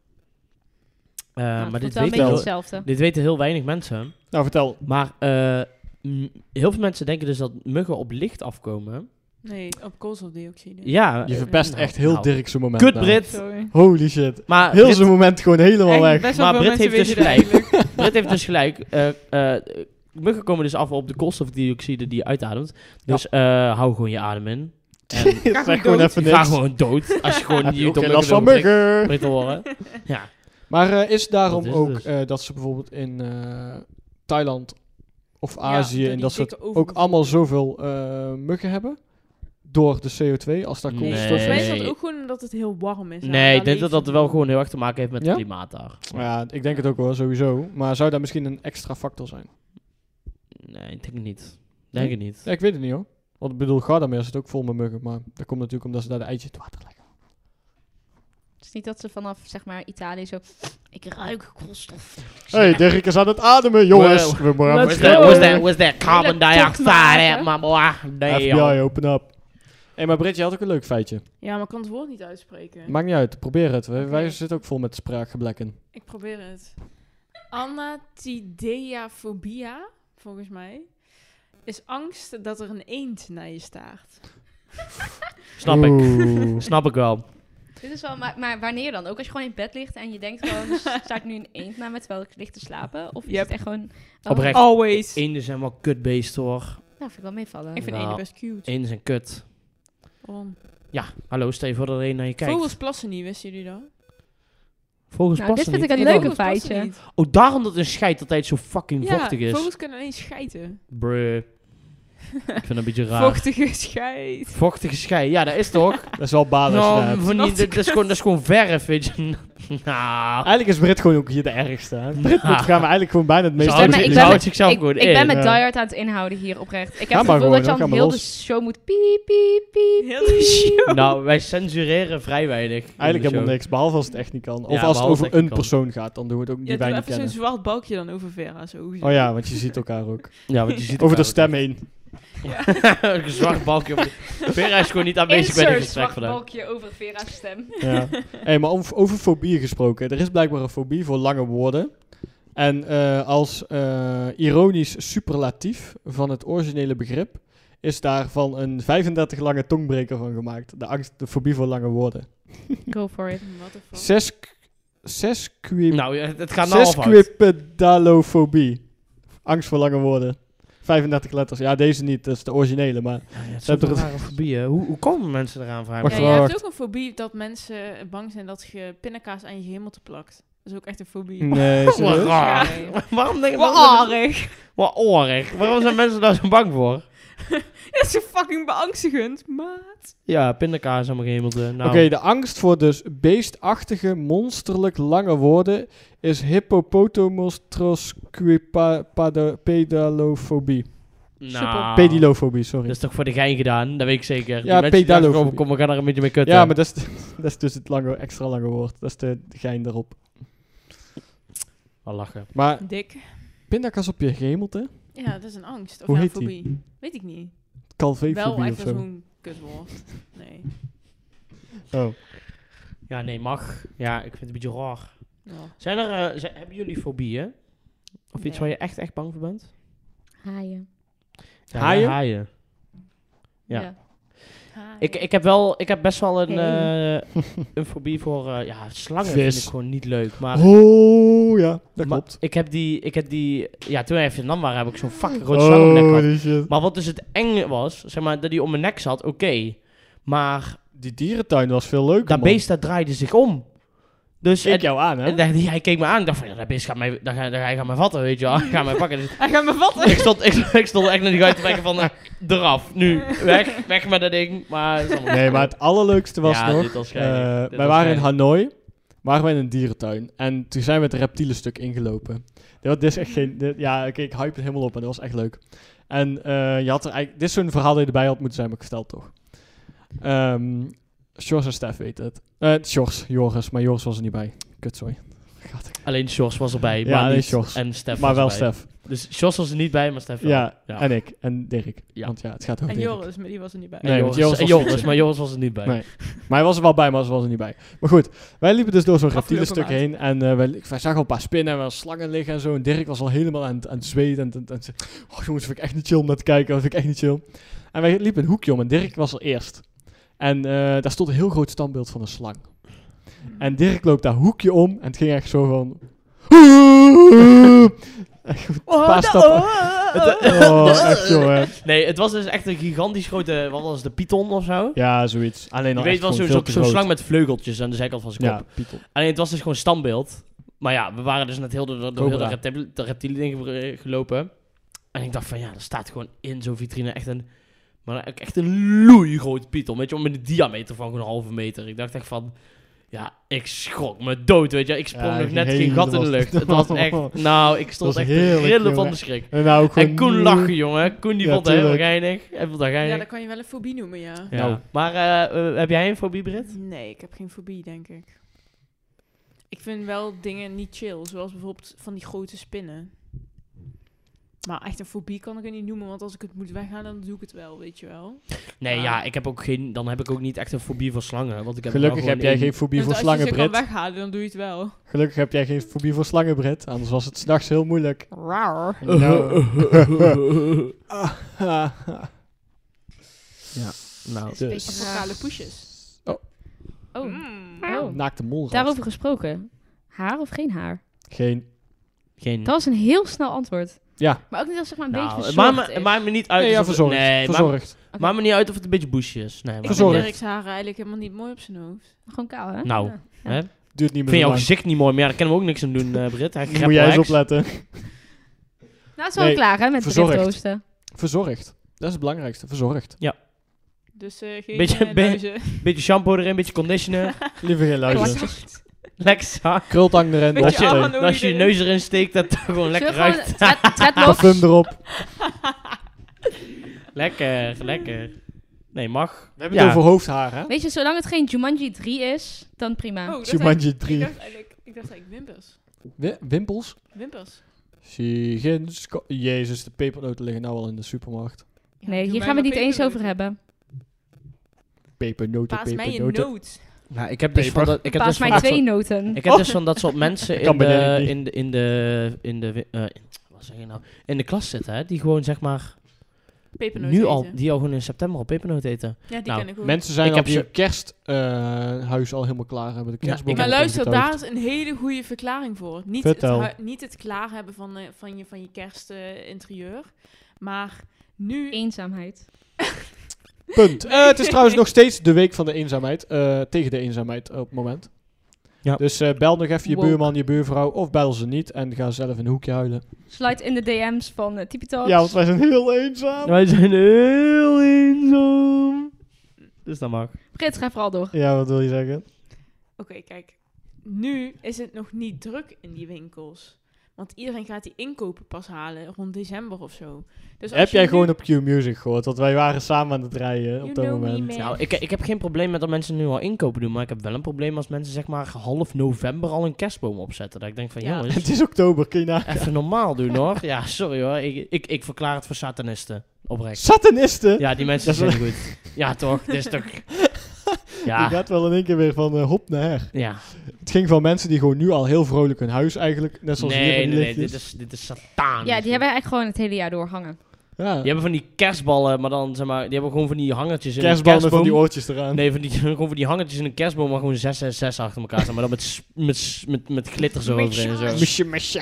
S3: Eh,
S4: Nou,
S3: maar dit
S4: het voelt wel
S3: weten,
S4: een beetje
S3: heel,
S4: hetzelfde.
S3: dit weten heel weinig mensen.
S2: Nou, vertel.
S3: Maar eh, m- heel veel mensen denken dus dat muggen op licht afkomen.
S1: Nee, op koolstofdioxide.
S3: Ja.
S2: Je
S3: eh,
S2: verpest
S3: nou,
S2: echt heel
S3: nou.
S2: Dirk zijn moment.
S3: Kut,
S2: nou.
S3: Brit.
S1: Sorry.
S2: Holy shit.
S3: Maar
S2: Heel
S3: Brit,
S2: zijn moment gewoon helemaal
S1: Echt,
S2: weg.
S1: best wel
S3: Maar
S1: veel
S3: Brit
S1: mensen
S3: heeft dus
S1: weten dit eigenlijk.
S3: Brit heeft dus gelijk. eh, eh, muggen komen dus af op de koolstofdioxide die je uitademt. Dus eh, hou gewoon je adem in. En
S2: Zeg gewoon even
S3: ga
S2: niks.
S3: gewoon dood. Als je gewoon
S2: Heb je
S3: niet
S2: ook geen
S3: op
S2: last van
S3: muggen wil
S2: muggen.
S3: prikken- prikken horen. Ja.
S2: Maar eh, is daarom
S3: Dat is
S2: ook
S3: het dus.
S2: eh, dat ze bijvoorbeeld in eh, Thailand of Azië
S1: door
S2: en
S1: die
S2: dat soort
S1: dikke
S2: ook
S1: overbevolking.
S2: allemaal zoveel eh, muggen hebben? Door de CO2, als daar
S3: Nee.
S1: Nee,
S2: koolstof
S1: volgens mij is
S2: is.
S1: dat
S3: Nee.
S1: ook gewoon omdat het heel warm is.
S3: Nee, ik denk dat dat wel gewoon heel erg te maken heeft met
S2: Ja?
S3: het klimaat daar.
S2: Ja, ik denk het ook wel, sowieso. Maar zou daar misschien een extra factor zijn?
S3: Nee, ik denk het niet. Denk het niet.
S2: Ja, ik weet het niet hoor. Want ik bedoel, Gardameer zit ook vol met muggen. Maar dat komt natuurlijk omdat ze daar de eitjes in het water leggen.
S4: Het is niet dat ze vanaf, zeg maar, Italië zo... Ik ruik koolstof.
S2: hey, Dirk is aan het ademen,
S3: jongens.
S2: We
S3: Where's
S1: Let's
S3: that,
S1: go.
S3: where's that, where's that carbon
S4: Hele tocht
S3: dioxide
S4: maken.
S3: at, my boy?
S2: FBI,
S3: Damn.
S2: open up. hey, maar Brit, je had ook een leuk feitje.
S1: Ja, maar ik kan het woord niet uitspreken.
S2: Maakt niet uit, probeer het. Wij, wij
S1: Oké.
S2: zitten ook vol met spraakgeblekken.
S1: Ik probeer het. Anatideafobia, volgens mij, is angst dat er een eend naar je staart.
S3: Snap ik.
S2: Oeh.
S3: Snap ik wel.
S4: Dit is wel, maar, maar wanneer dan? Ook als je gewoon in bed ligt en je denkt gewoon... "Er staat nu een eend naar me terwijl ik lig te slapen? Of is
S1: Yep.
S4: het echt gewoon... Oh,
S3: Oprecht.
S1: Always.
S3: Eenden zijn wel kutbeesten hoor.
S4: Nou, vind ik wel meevallen.
S1: Ik vind
S3: Nou.
S1: eenden best cute.
S3: Eenden zijn kut.
S1: Waarom?
S3: Ja, hallo, stel je voor dat er een naar je kijkt.
S1: Vogels plassen niet, wisten jullie dat?
S3: Vogels
S4: Nou, dit
S3: passen
S4: vind ik
S3: niet.
S4: een
S1: Vogels
S4: leuke
S1: plassen
S4: feitje.
S1: niet.
S3: Oh, daarom dat een scheid altijd zo fucking
S1: Ja,
S3: vochtig is.
S1: vogels kunnen alleen schijten.
S3: Bruh. ik vind dat een beetje raar.
S1: Vochtige scheid.
S3: Vochtige scheid, ja, dat is toch?
S2: Dat is wel balen
S3: Nou,
S2: snap.
S3: van die, dat, dat is gewoon, dat is gewoon verf, weet je. nou,
S2: Eigenlijk is Brit gewoon ook hier de ergste. hè. Brit
S3: Ja.
S2: gaan we eigenlijk gewoon bijna het meest
S4: Zeg maar,
S2: uit-
S4: ik
S3: die
S4: ben,
S3: houdt
S4: met,
S3: zichzelf
S4: ik,
S3: gewoon
S4: ik ben
S3: in,
S4: met
S2: ja.
S4: Diehard aan het inhouden hier oprecht. Ik
S2: Ga
S4: heb het
S2: maar
S4: gevoel
S2: gewoon,
S4: dat je
S2: hoor,
S4: al
S2: ga maar
S4: heel de
S2: los.
S4: show moet piep, piep, piep.
S1: Heel de show.
S3: nou, wij censureren vrij weinig. in
S2: Eigenlijk
S3: de
S2: helemaal
S3: show.
S2: niks, behalve als het echt niet kan. Of als het
S3: Ja, behalve
S2: over
S3: als het echt
S2: een
S3: niet kan.
S2: persoon gaat, dan doen we het ook niet
S1: Ja, doe
S2: bij niet
S1: even zo'n
S2: kennen.
S1: zwart balkje dan over Vera. Zo.
S2: Oh ja, want je ziet elkaar ook.
S3: Ja, want je ziet
S2: Over de
S3: elkaar
S2: stem heen.
S3: ook. een zwart balkje op de... Vera is gewoon niet aanwezig bij dit
S4: Insert
S3: gesprek
S4: zwart
S3: vandaag.
S4: balkje over Vera's stem.
S2: Ja. hey, maar om- over fobie gesproken. Er is blijkbaar een fobie voor lange woorden. En eh, als eh, ironisch superlatief van het originele begrip is daarvan een 35 lange tongbreker van gemaakt. De, angst, de fobie voor lange woorden.
S4: Go for it.
S1: What the fuck?
S2: Sesqu... Sesqui...
S3: Nou, ja, het gaat nou al fout.
S2: Sesquipedalofobie. Angst voor lange woorden. 35 letters. Ja, deze niet. Dat is de originele, maar...
S3: Ja, het
S2: Ze
S3: zijn
S2: hebben
S3: toch
S2: er-
S3: rare fobieën. Hoe, hoe komen mensen eraan, vraag ik
S2: Wacht,
S3: me
S1: Ja,
S3: af.
S1: je hebt
S2: wacht.
S1: ook een fobie dat mensen bang zijn dat je pindakaas aan je hemeltje plakt. Dat is ook echt een fobie.
S2: Nee,
S3: Wat
S2: serieus?
S3: Ah. raar. Waarom denk je
S1: Wat aardig.
S3: Wat orig. Waarom zijn mensen daar zo bang voor?
S1: Dat is zo fucking beangstigend, maat.
S3: Ja, pindakaas is allemaal gehemeld. eh, Nou,
S2: Oké, de angst voor dus beestachtige, monsterlijk lange woorden is hippopotomostrosquipedalofobie.
S3: nou,
S2: Pedilofobie, sorry.
S3: Dat is toch voor de gein gedaan, dat weet ik zeker.
S2: Ja,
S3: Die mensen die
S2: pedalo-
S3: dachten, Kom, we gaan er een beetje mee kutten.
S2: ja, maar dat is, dat is dus het lange, extra lange woord. Dat is de gein daarop.
S3: Wel lachen.
S2: Maar
S1: Dik.
S2: pindakaas op je gemelte?
S1: Ja, dat is een angst. Of
S2: Hoe
S1: ja,
S2: heet die?
S1: fobie. Weet ik niet. Wel
S2: Calvé-fobie of
S1: echt als
S2: zo.
S1: zo'n kutwoord. Nee.
S2: Oh.
S3: Ja, nee, mag. Ja, ik vind het een beetje raar.
S1: Ja.
S3: Zijn er, eh, zijn- hebben jullie fobieën? Of iets
S1: Nee.
S3: waar je echt, echt bang voor bent?
S4: Haaien.
S3: Ja,
S2: Haaien?
S3: Haaien. Ja.
S1: Hi.
S3: Ik, ik heb wel, ik heb best wel een,
S4: Hey.
S3: eh, een fobie voor, eh, ja, slangen vind
S2: Vis.
S3: ik gewoon niet leuk. Maar,
S2: Oh, ja, dat
S3: maar
S2: klopt.
S3: ik heb die, ik heb die, ja, toen wij in Vietnam waren heb ik zo'n fucking groot slang om mijn nek
S2: Oh,
S3: gehad.
S2: die shit.
S3: Maar wat dus het enge was, zeg maar, dat die om mijn nek zat, oké. Maar
S2: Die dierentuin was veel leuker,
S3: dat
S2: man.
S3: beest, dat draaide zich om. Dus,
S2: Keek
S3: en,
S2: jou aan, hè?
S3: en hij- hij keek me aan, ik dacht van, ja, dat beest gaat mij, dat, gaat- dat, hij gaat mij vatten, weet je wel. Hij gaat mij pakken. Dus
S1: Hij gaat me vatten.
S3: ik stond, ik, ik stond echt naar die guy te kijken van, eh, eraf, nu, weg, weg met dat ding. Maar, het is allemaal-
S2: Nee, maar het allerleukste was
S3: Ja,
S2: nog...
S3: dit was
S2: eh,
S3: geinig. Dit
S2: wij
S3: was
S2: waren in
S3: geinig.
S2: Hanoi, waren wij in een dierentuin. En toen zijn we het reptielenstuk ingelopen. Dit, was- dit is echt geen... dit- ja, oké, ik hype het helemaal op en dat was echt leuk. En eh, je had er eigenlijk... Dit is zo'n verhaal dat je erbij had moeten zijn, maar ik vertel het toch. Ehm Sjors en Stef weten het. Eh Sjors, Joris, maar Joris was er niet bij. Kut, sorry. Gaat ik.
S3: Alleen Sjors was erbij,
S2: Ja,
S3: maar
S2: alleen
S3: niet.
S2: Sjors.
S3: En Stef
S2: Maar
S3: was
S2: wel
S3: erbij.
S2: Stef.
S3: Dus Sjors was er niet bij, maar Stef wel.
S2: Ja,
S3: Ja.
S2: en ik. En Dirk.
S3: Ja.
S2: Want ja, het gaat over
S1: En
S2: Dirk.
S1: Joris, maar die was er niet bij.
S3: En
S2: Nee, want
S3: Joris,
S2: Joris
S3: en
S2: was
S3: Joris,
S2: fietsen.
S3: maar Joris was er niet bij.
S2: Nee. Maar hij was er wel bij, maar ze was er niet bij. Maar goed, wij liepen dus door zo'n
S1: Afgelopen
S2: reptielenstuk
S1: maand.
S2: heen. En eh, wij, wij zagen al een paar spinnen en wel slangen liggen en zo. En Dirk was al helemaal aan, het- aan het zweten. En, en, en ze- oh jongens, vind ik echt niet chill om naar te kijken. Dat vind ik echt niet chill. En wij liepen een hoekje om en Dirk was er eerst. En eh, daar stond een heel groot standbeeld van een slang. En Dirk loopt daar hoekje om en het ging echt zo van...
S1: Oh, da-
S2: paar stappen.
S1: oh, oh, oh, oh.
S2: Oh, echt jongen.
S3: Nee, het was dus echt een gigantisch grote, wat was het, de python of zo?
S2: Ja, zoiets. Alleen
S3: Je
S2: al
S3: weet
S2: nou, echt gewoon
S3: wel,
S2: veel
S3: zo'n zo,
S2: te
S3: zo'n
S2: groot.
S3: slang met vleugeltjes aan de zijkant van zijn
S2: Ja,
S3: kop.
S2: Python.
S3: Alleen het was dus gewoon standbeeld. Maar ja, we waren dus net heel door, door heel de,
S2: Cobra.
S3: reptiel, de reptielen ding ge- eh, gelopen. En ik dacht van ja, er staat gewoon in zo'n vitrine echt een... Maar ook echt een loeigroot python, weet je wel, met een diameter van gewoon een halve meter. Ik dacht echt van... Ja, ik schrok me dood, weet je. Ik sprong
S2: Ja,
S3: nog
S2: ik
S3: net
S2: ging
S3: geen gat in
S2: helemaal-
S3: de lucht. Het was echt... Nou, ik stond
S2: was
S3: echt te
S2: heerlijk,
S3: rillen van
S2: jongen.
S3: de schrik.
S2: En nou ook gewoon...
S3: En Koen lachen, jongen. Koen die
S2: Ja,
S3: vond het helemaal
S2: tuurlijk.
S3: geinig. Hij vond dat
S1: Ja,
S3: geinig.
S1: dat kan je wel een fobie noemen, ja.
S3: Ja.
S2: Nou.
S3: Maar eh, eh, heb jij een fobie, Britt?
S1: Nee, ik heb geen fobie, denk ik. Ik vind wel dingen niet chill, zoals bijvoorbeeld van die grote spinnen. Maar echt een fobie kan ik het niet noemen, want als ik het moet weggaan, dan doe ik het wel, weet je wel.
S3: Nee,
S1: Ja.
S4: Ah.
S3: ja, ik heb ook geen... Dan heb ik ook niet echt een fobie voor slangen. Want ik heb
S2: Gelukkig
S3: wel
S2: heb jij
S3: gewoon één-
S2: geen fobie
S1: Want
S2: voor
S1: als je
S2: slangen,
S1: ze kan
S2: Brit.
S1: weghalen, dan doe je het wel.
S2: Gelukkig heb jij geen fobie voor slangen, Brit. Anders was het s'nachts heel moeilijk.
S1: Raar.
S2: Nou.
S3: Nou,
S4: Is een beetje
S2: Dus.
S4: raar.
S1: Vocale pushes.
S2: Oh,
S4: Oh,
S1: Mm.
S4: Oh.
S2: naakte mol.
S4: daarover gesproken. Haar of geen haar?
S2: Geen.
S3: geen...
S4: Dat was een heel snel antwoord.
S2: Ja.
S4: Maar ook niet als zeg maar een
S3: Hm. Nou,
S4: beetje
S3: het maakt me-
S4: verzorgd
S3: het
S4: is.
S3: maakt me niet uit.
S2: Nee, ja,
S3: alsof-
S2: verzorgd.
S3: Nee, maakt
S2: verzorgd.
S4: Oké.
S3: maakt me niet uit of het een beetje boesje is. Nee, maar-
S1: Ik vind
S2: Verzorgd.
S1: Dirk's haren eigenlijk helemaal niet mooi op zijn hoofd.
S4: Gewoon kaal, hè?
S3: Nou,
S4: Ja.
S3: hè?
S2: Duurt niet meer
S3: Ik vind
S2: zo
S3: jouw
S2: lang.
S3: gezicht niet mooi, maar ja, daar kunnen we ook niks aan doen, eh Britt. Hij
S2: Moet
S3: kreppelt
S2: jij eens
S3: heks.
S2: opletten.
S4: Nou, het is wel
S2: Nee,
S4: klaar, hè? Met
S2: verzorgd.
S4: driftoosten.
S2: Verzorgd. Dat is het belangrijkste. Verzorgd.
S1: Dus eh geen
S3: Beetje-
S1: eh,
S3: ben-
S1: luizen.
S3: Beetje shampoo erin, beetje conditioner.
S2: Liever geen luizen.
S1: Exact.
S3: lekker zacht.
S2: Krultang
S1: Beetje
S2: erin. Dat
S3: Als
S2: je erin.
S1: armhanolie
S3: je, als je je
S1: erin.
S3: neus erin steekt, dat het gewoon lekker
S4: Zullen we
S3: ruikt.
S4: gewoon thread- threadlocks?
S2: Parfum erop.
S3: Lekker, lekker. Nee, mag.
S2: We hebben het over hoofdhaar, hè?
S4: Weet je, zolang het geen Jumanji 3 is, dan prima.
S1: Oh, dat
S2: Jumanji
S1: eigenlijk-
S2: 3.
S1: Ik dacht eigenlijk, ik dacht eigenlijk wimpers.
S2: Wi- Wimpels.
S1: Wimpers.
S2: Geen sco- Jezus, de pepernoten liggen nou al in de supermarkt.
S1: Ja,
S4: nee,
S1: doe
S4: hier
S1: mij
S4: gaan we
S1: maar
S4: het niet eens over
S1: pepernoten.
S4: hebben.
S2: Pepernoten,
S1: Paas mij een
S2: pepernoten.
S1: noot.
S3: Nou, ik heb dus
S2: Peper.
S3: van dat, ik heb
S4: Paas
S3: dus van
S4: mij
S3: dat
S4: twee
S3: soort,
S4: noten.
S3: ik heb dus van dat soort mensen
S2: Oh. kan
S3: in
S2: bij
S3: de,
S2: Dirk niet.
S3: in de, in de, in de, eh, wat zeg je nou, in de klas zitten, hè, die gewoon zeg maar
S1: Pepernoot
S3: nu al,
S1: eten.
S3: die al gewoon in september al pepernoot eten.
S1: Ja, die
S3: Nou,
S1: ken ik ook.
S2: Mensen zijn
S3: Ik
S2: al
S3: heb
S2: die
S3: ze-
S2: kersthuis al helemaal klaar hebben. De
S3: Ja,
S2: kerstboom
S3: ik
S1: maar
S3: heb
S2: opgetuigd.
S1: luister, daar is een hele goede verklaring voor. Niet het,
S2: Vertel.
S1: hui- niet het klaar hebben van, eh, van je, van je kerstinterieur. maar nu...
S4: Eenzaamheid.
S2: Punt. Eh, het is trouwens nog steeds de week van de eenzaamheid. eh, tegen de eenzaamheid op het moment.
S3: Ja.
S2: Dus eh, bel nog even je
S4: Woke.
S2: buurman, je buurvrouw of bel ze niet en ga zelf in een hoekje huilen.
S7: Slide in de DM's van
S4: eh,
S7: uh, Talks.
S2: Ja, want wij zijn heel eenzaam.
S3: Wij zijn heel eenzaam. Dus dat mag.
S4: Brits, ga vooral door.
S2: Ja, wat wil je zeggen?
S1: Oké, kijk. Nu is het nog niet druk in die winkels. Want iedereen gaat die inkopen pas halen rond december of zo. Dus als
S2: Heb
S1: je
S2: jij
S1: nu-
S2: gewoon op Q-Music gehoord? Want wij waren samen aan het rijden
S1: You
S2: op dat
S1: know me,
S2: moment.
S1: man.
S3: Nou, ik, ik heb geen probleem met dat mensen nu al inkopen doen, maar ik heb wel een probleem als mensen zeg maar half november al een kerstboom opzetten. Dat ik denk van,
S1: Ja.
S3: jongens,
S2: het is oktober, kun je na-
S3: even normaal doen hoor. Ja, sorry hoor. Ik, ik, ik verklaar het voor satanisten. Oprecht.
S2: Satanisten!
S3: Ja, die mensen
S2: Dat
S3: zijn
S2: is
S3: goed. Ja, toch? Dit is toch...
S2: Je
S3: Ja,
S2: gaat wel in één keer weer van eh, hop naar her.
S3: ja.
S2: Het ging van mensen die gewoon nu al heel vrolijk hun huis eigenlijk, net zoals hier
S3: Nee,
S2: in die
S3: nee, nee.
S2: lichtjes.
S3: Dit is, dit is sataan.
S4: Ja, die hebben we eigenlijk gewoon het hele jaar door hangen.
S2: Ja,
S3: Die hebben van die kerstballen, maar dan zeg maar... Die hebben gewoon van die hangertjes in een
S2: kerstballen
S3: kerstboom.
S2: van die oortjes eraan.
S3: Nee, van die, gewoon van die hangertjes in een kerstboom, maar gewoon 6 en 6 achter elkaar staan. Maar dan met, s- met, s- met, met glitter zo overheen en zo.
S2: Mesje, mesje.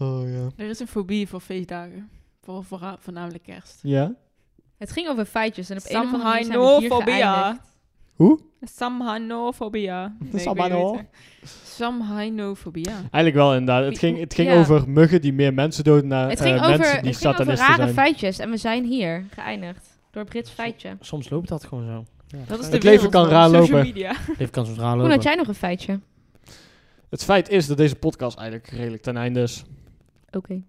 S2: Oh ja.
S1: Er is een fobie voor feestdagen. Voor, voorna- voornamelijk kerst.
S2: Ja?
S4: Het ging over feitjes en op een of andere manier zijn we hier
S1: Samhainofobia.
S4: geëindigd.
S2: Hoe?
S1: Samhainofobia. Nee, ik weet niet
S2: Samhaino.
S1: hoe het heet. Samhainofobia.
S2: Eigenlijk wel inderdaad. Het ging, het ging
S4: Ja.
S2: over muggen die meer mensen doden naar
S4: Het ging, over,
S2: Eh, mensen die
S4: het ging over
S2: satanisten
S4: rare
S2: zijn.
S4: feitjes en we zijn hier geëindigd. Door Brits feitje.
S3: Soms loopt dat gewoon zo.
S1: Dat is de
S2: Het leven
S1: wereld
S2: kan
S1: van
S2: raar
S1: social
S2: lopen.
S1: media.
S3: Dit kan soms raar
S4: Hoe
S3: lopen.
S4: had jij nog een feitje?
S2: Het feit is dat deze podcast eigenlijk redelijk ten einde is.
S4: Oké.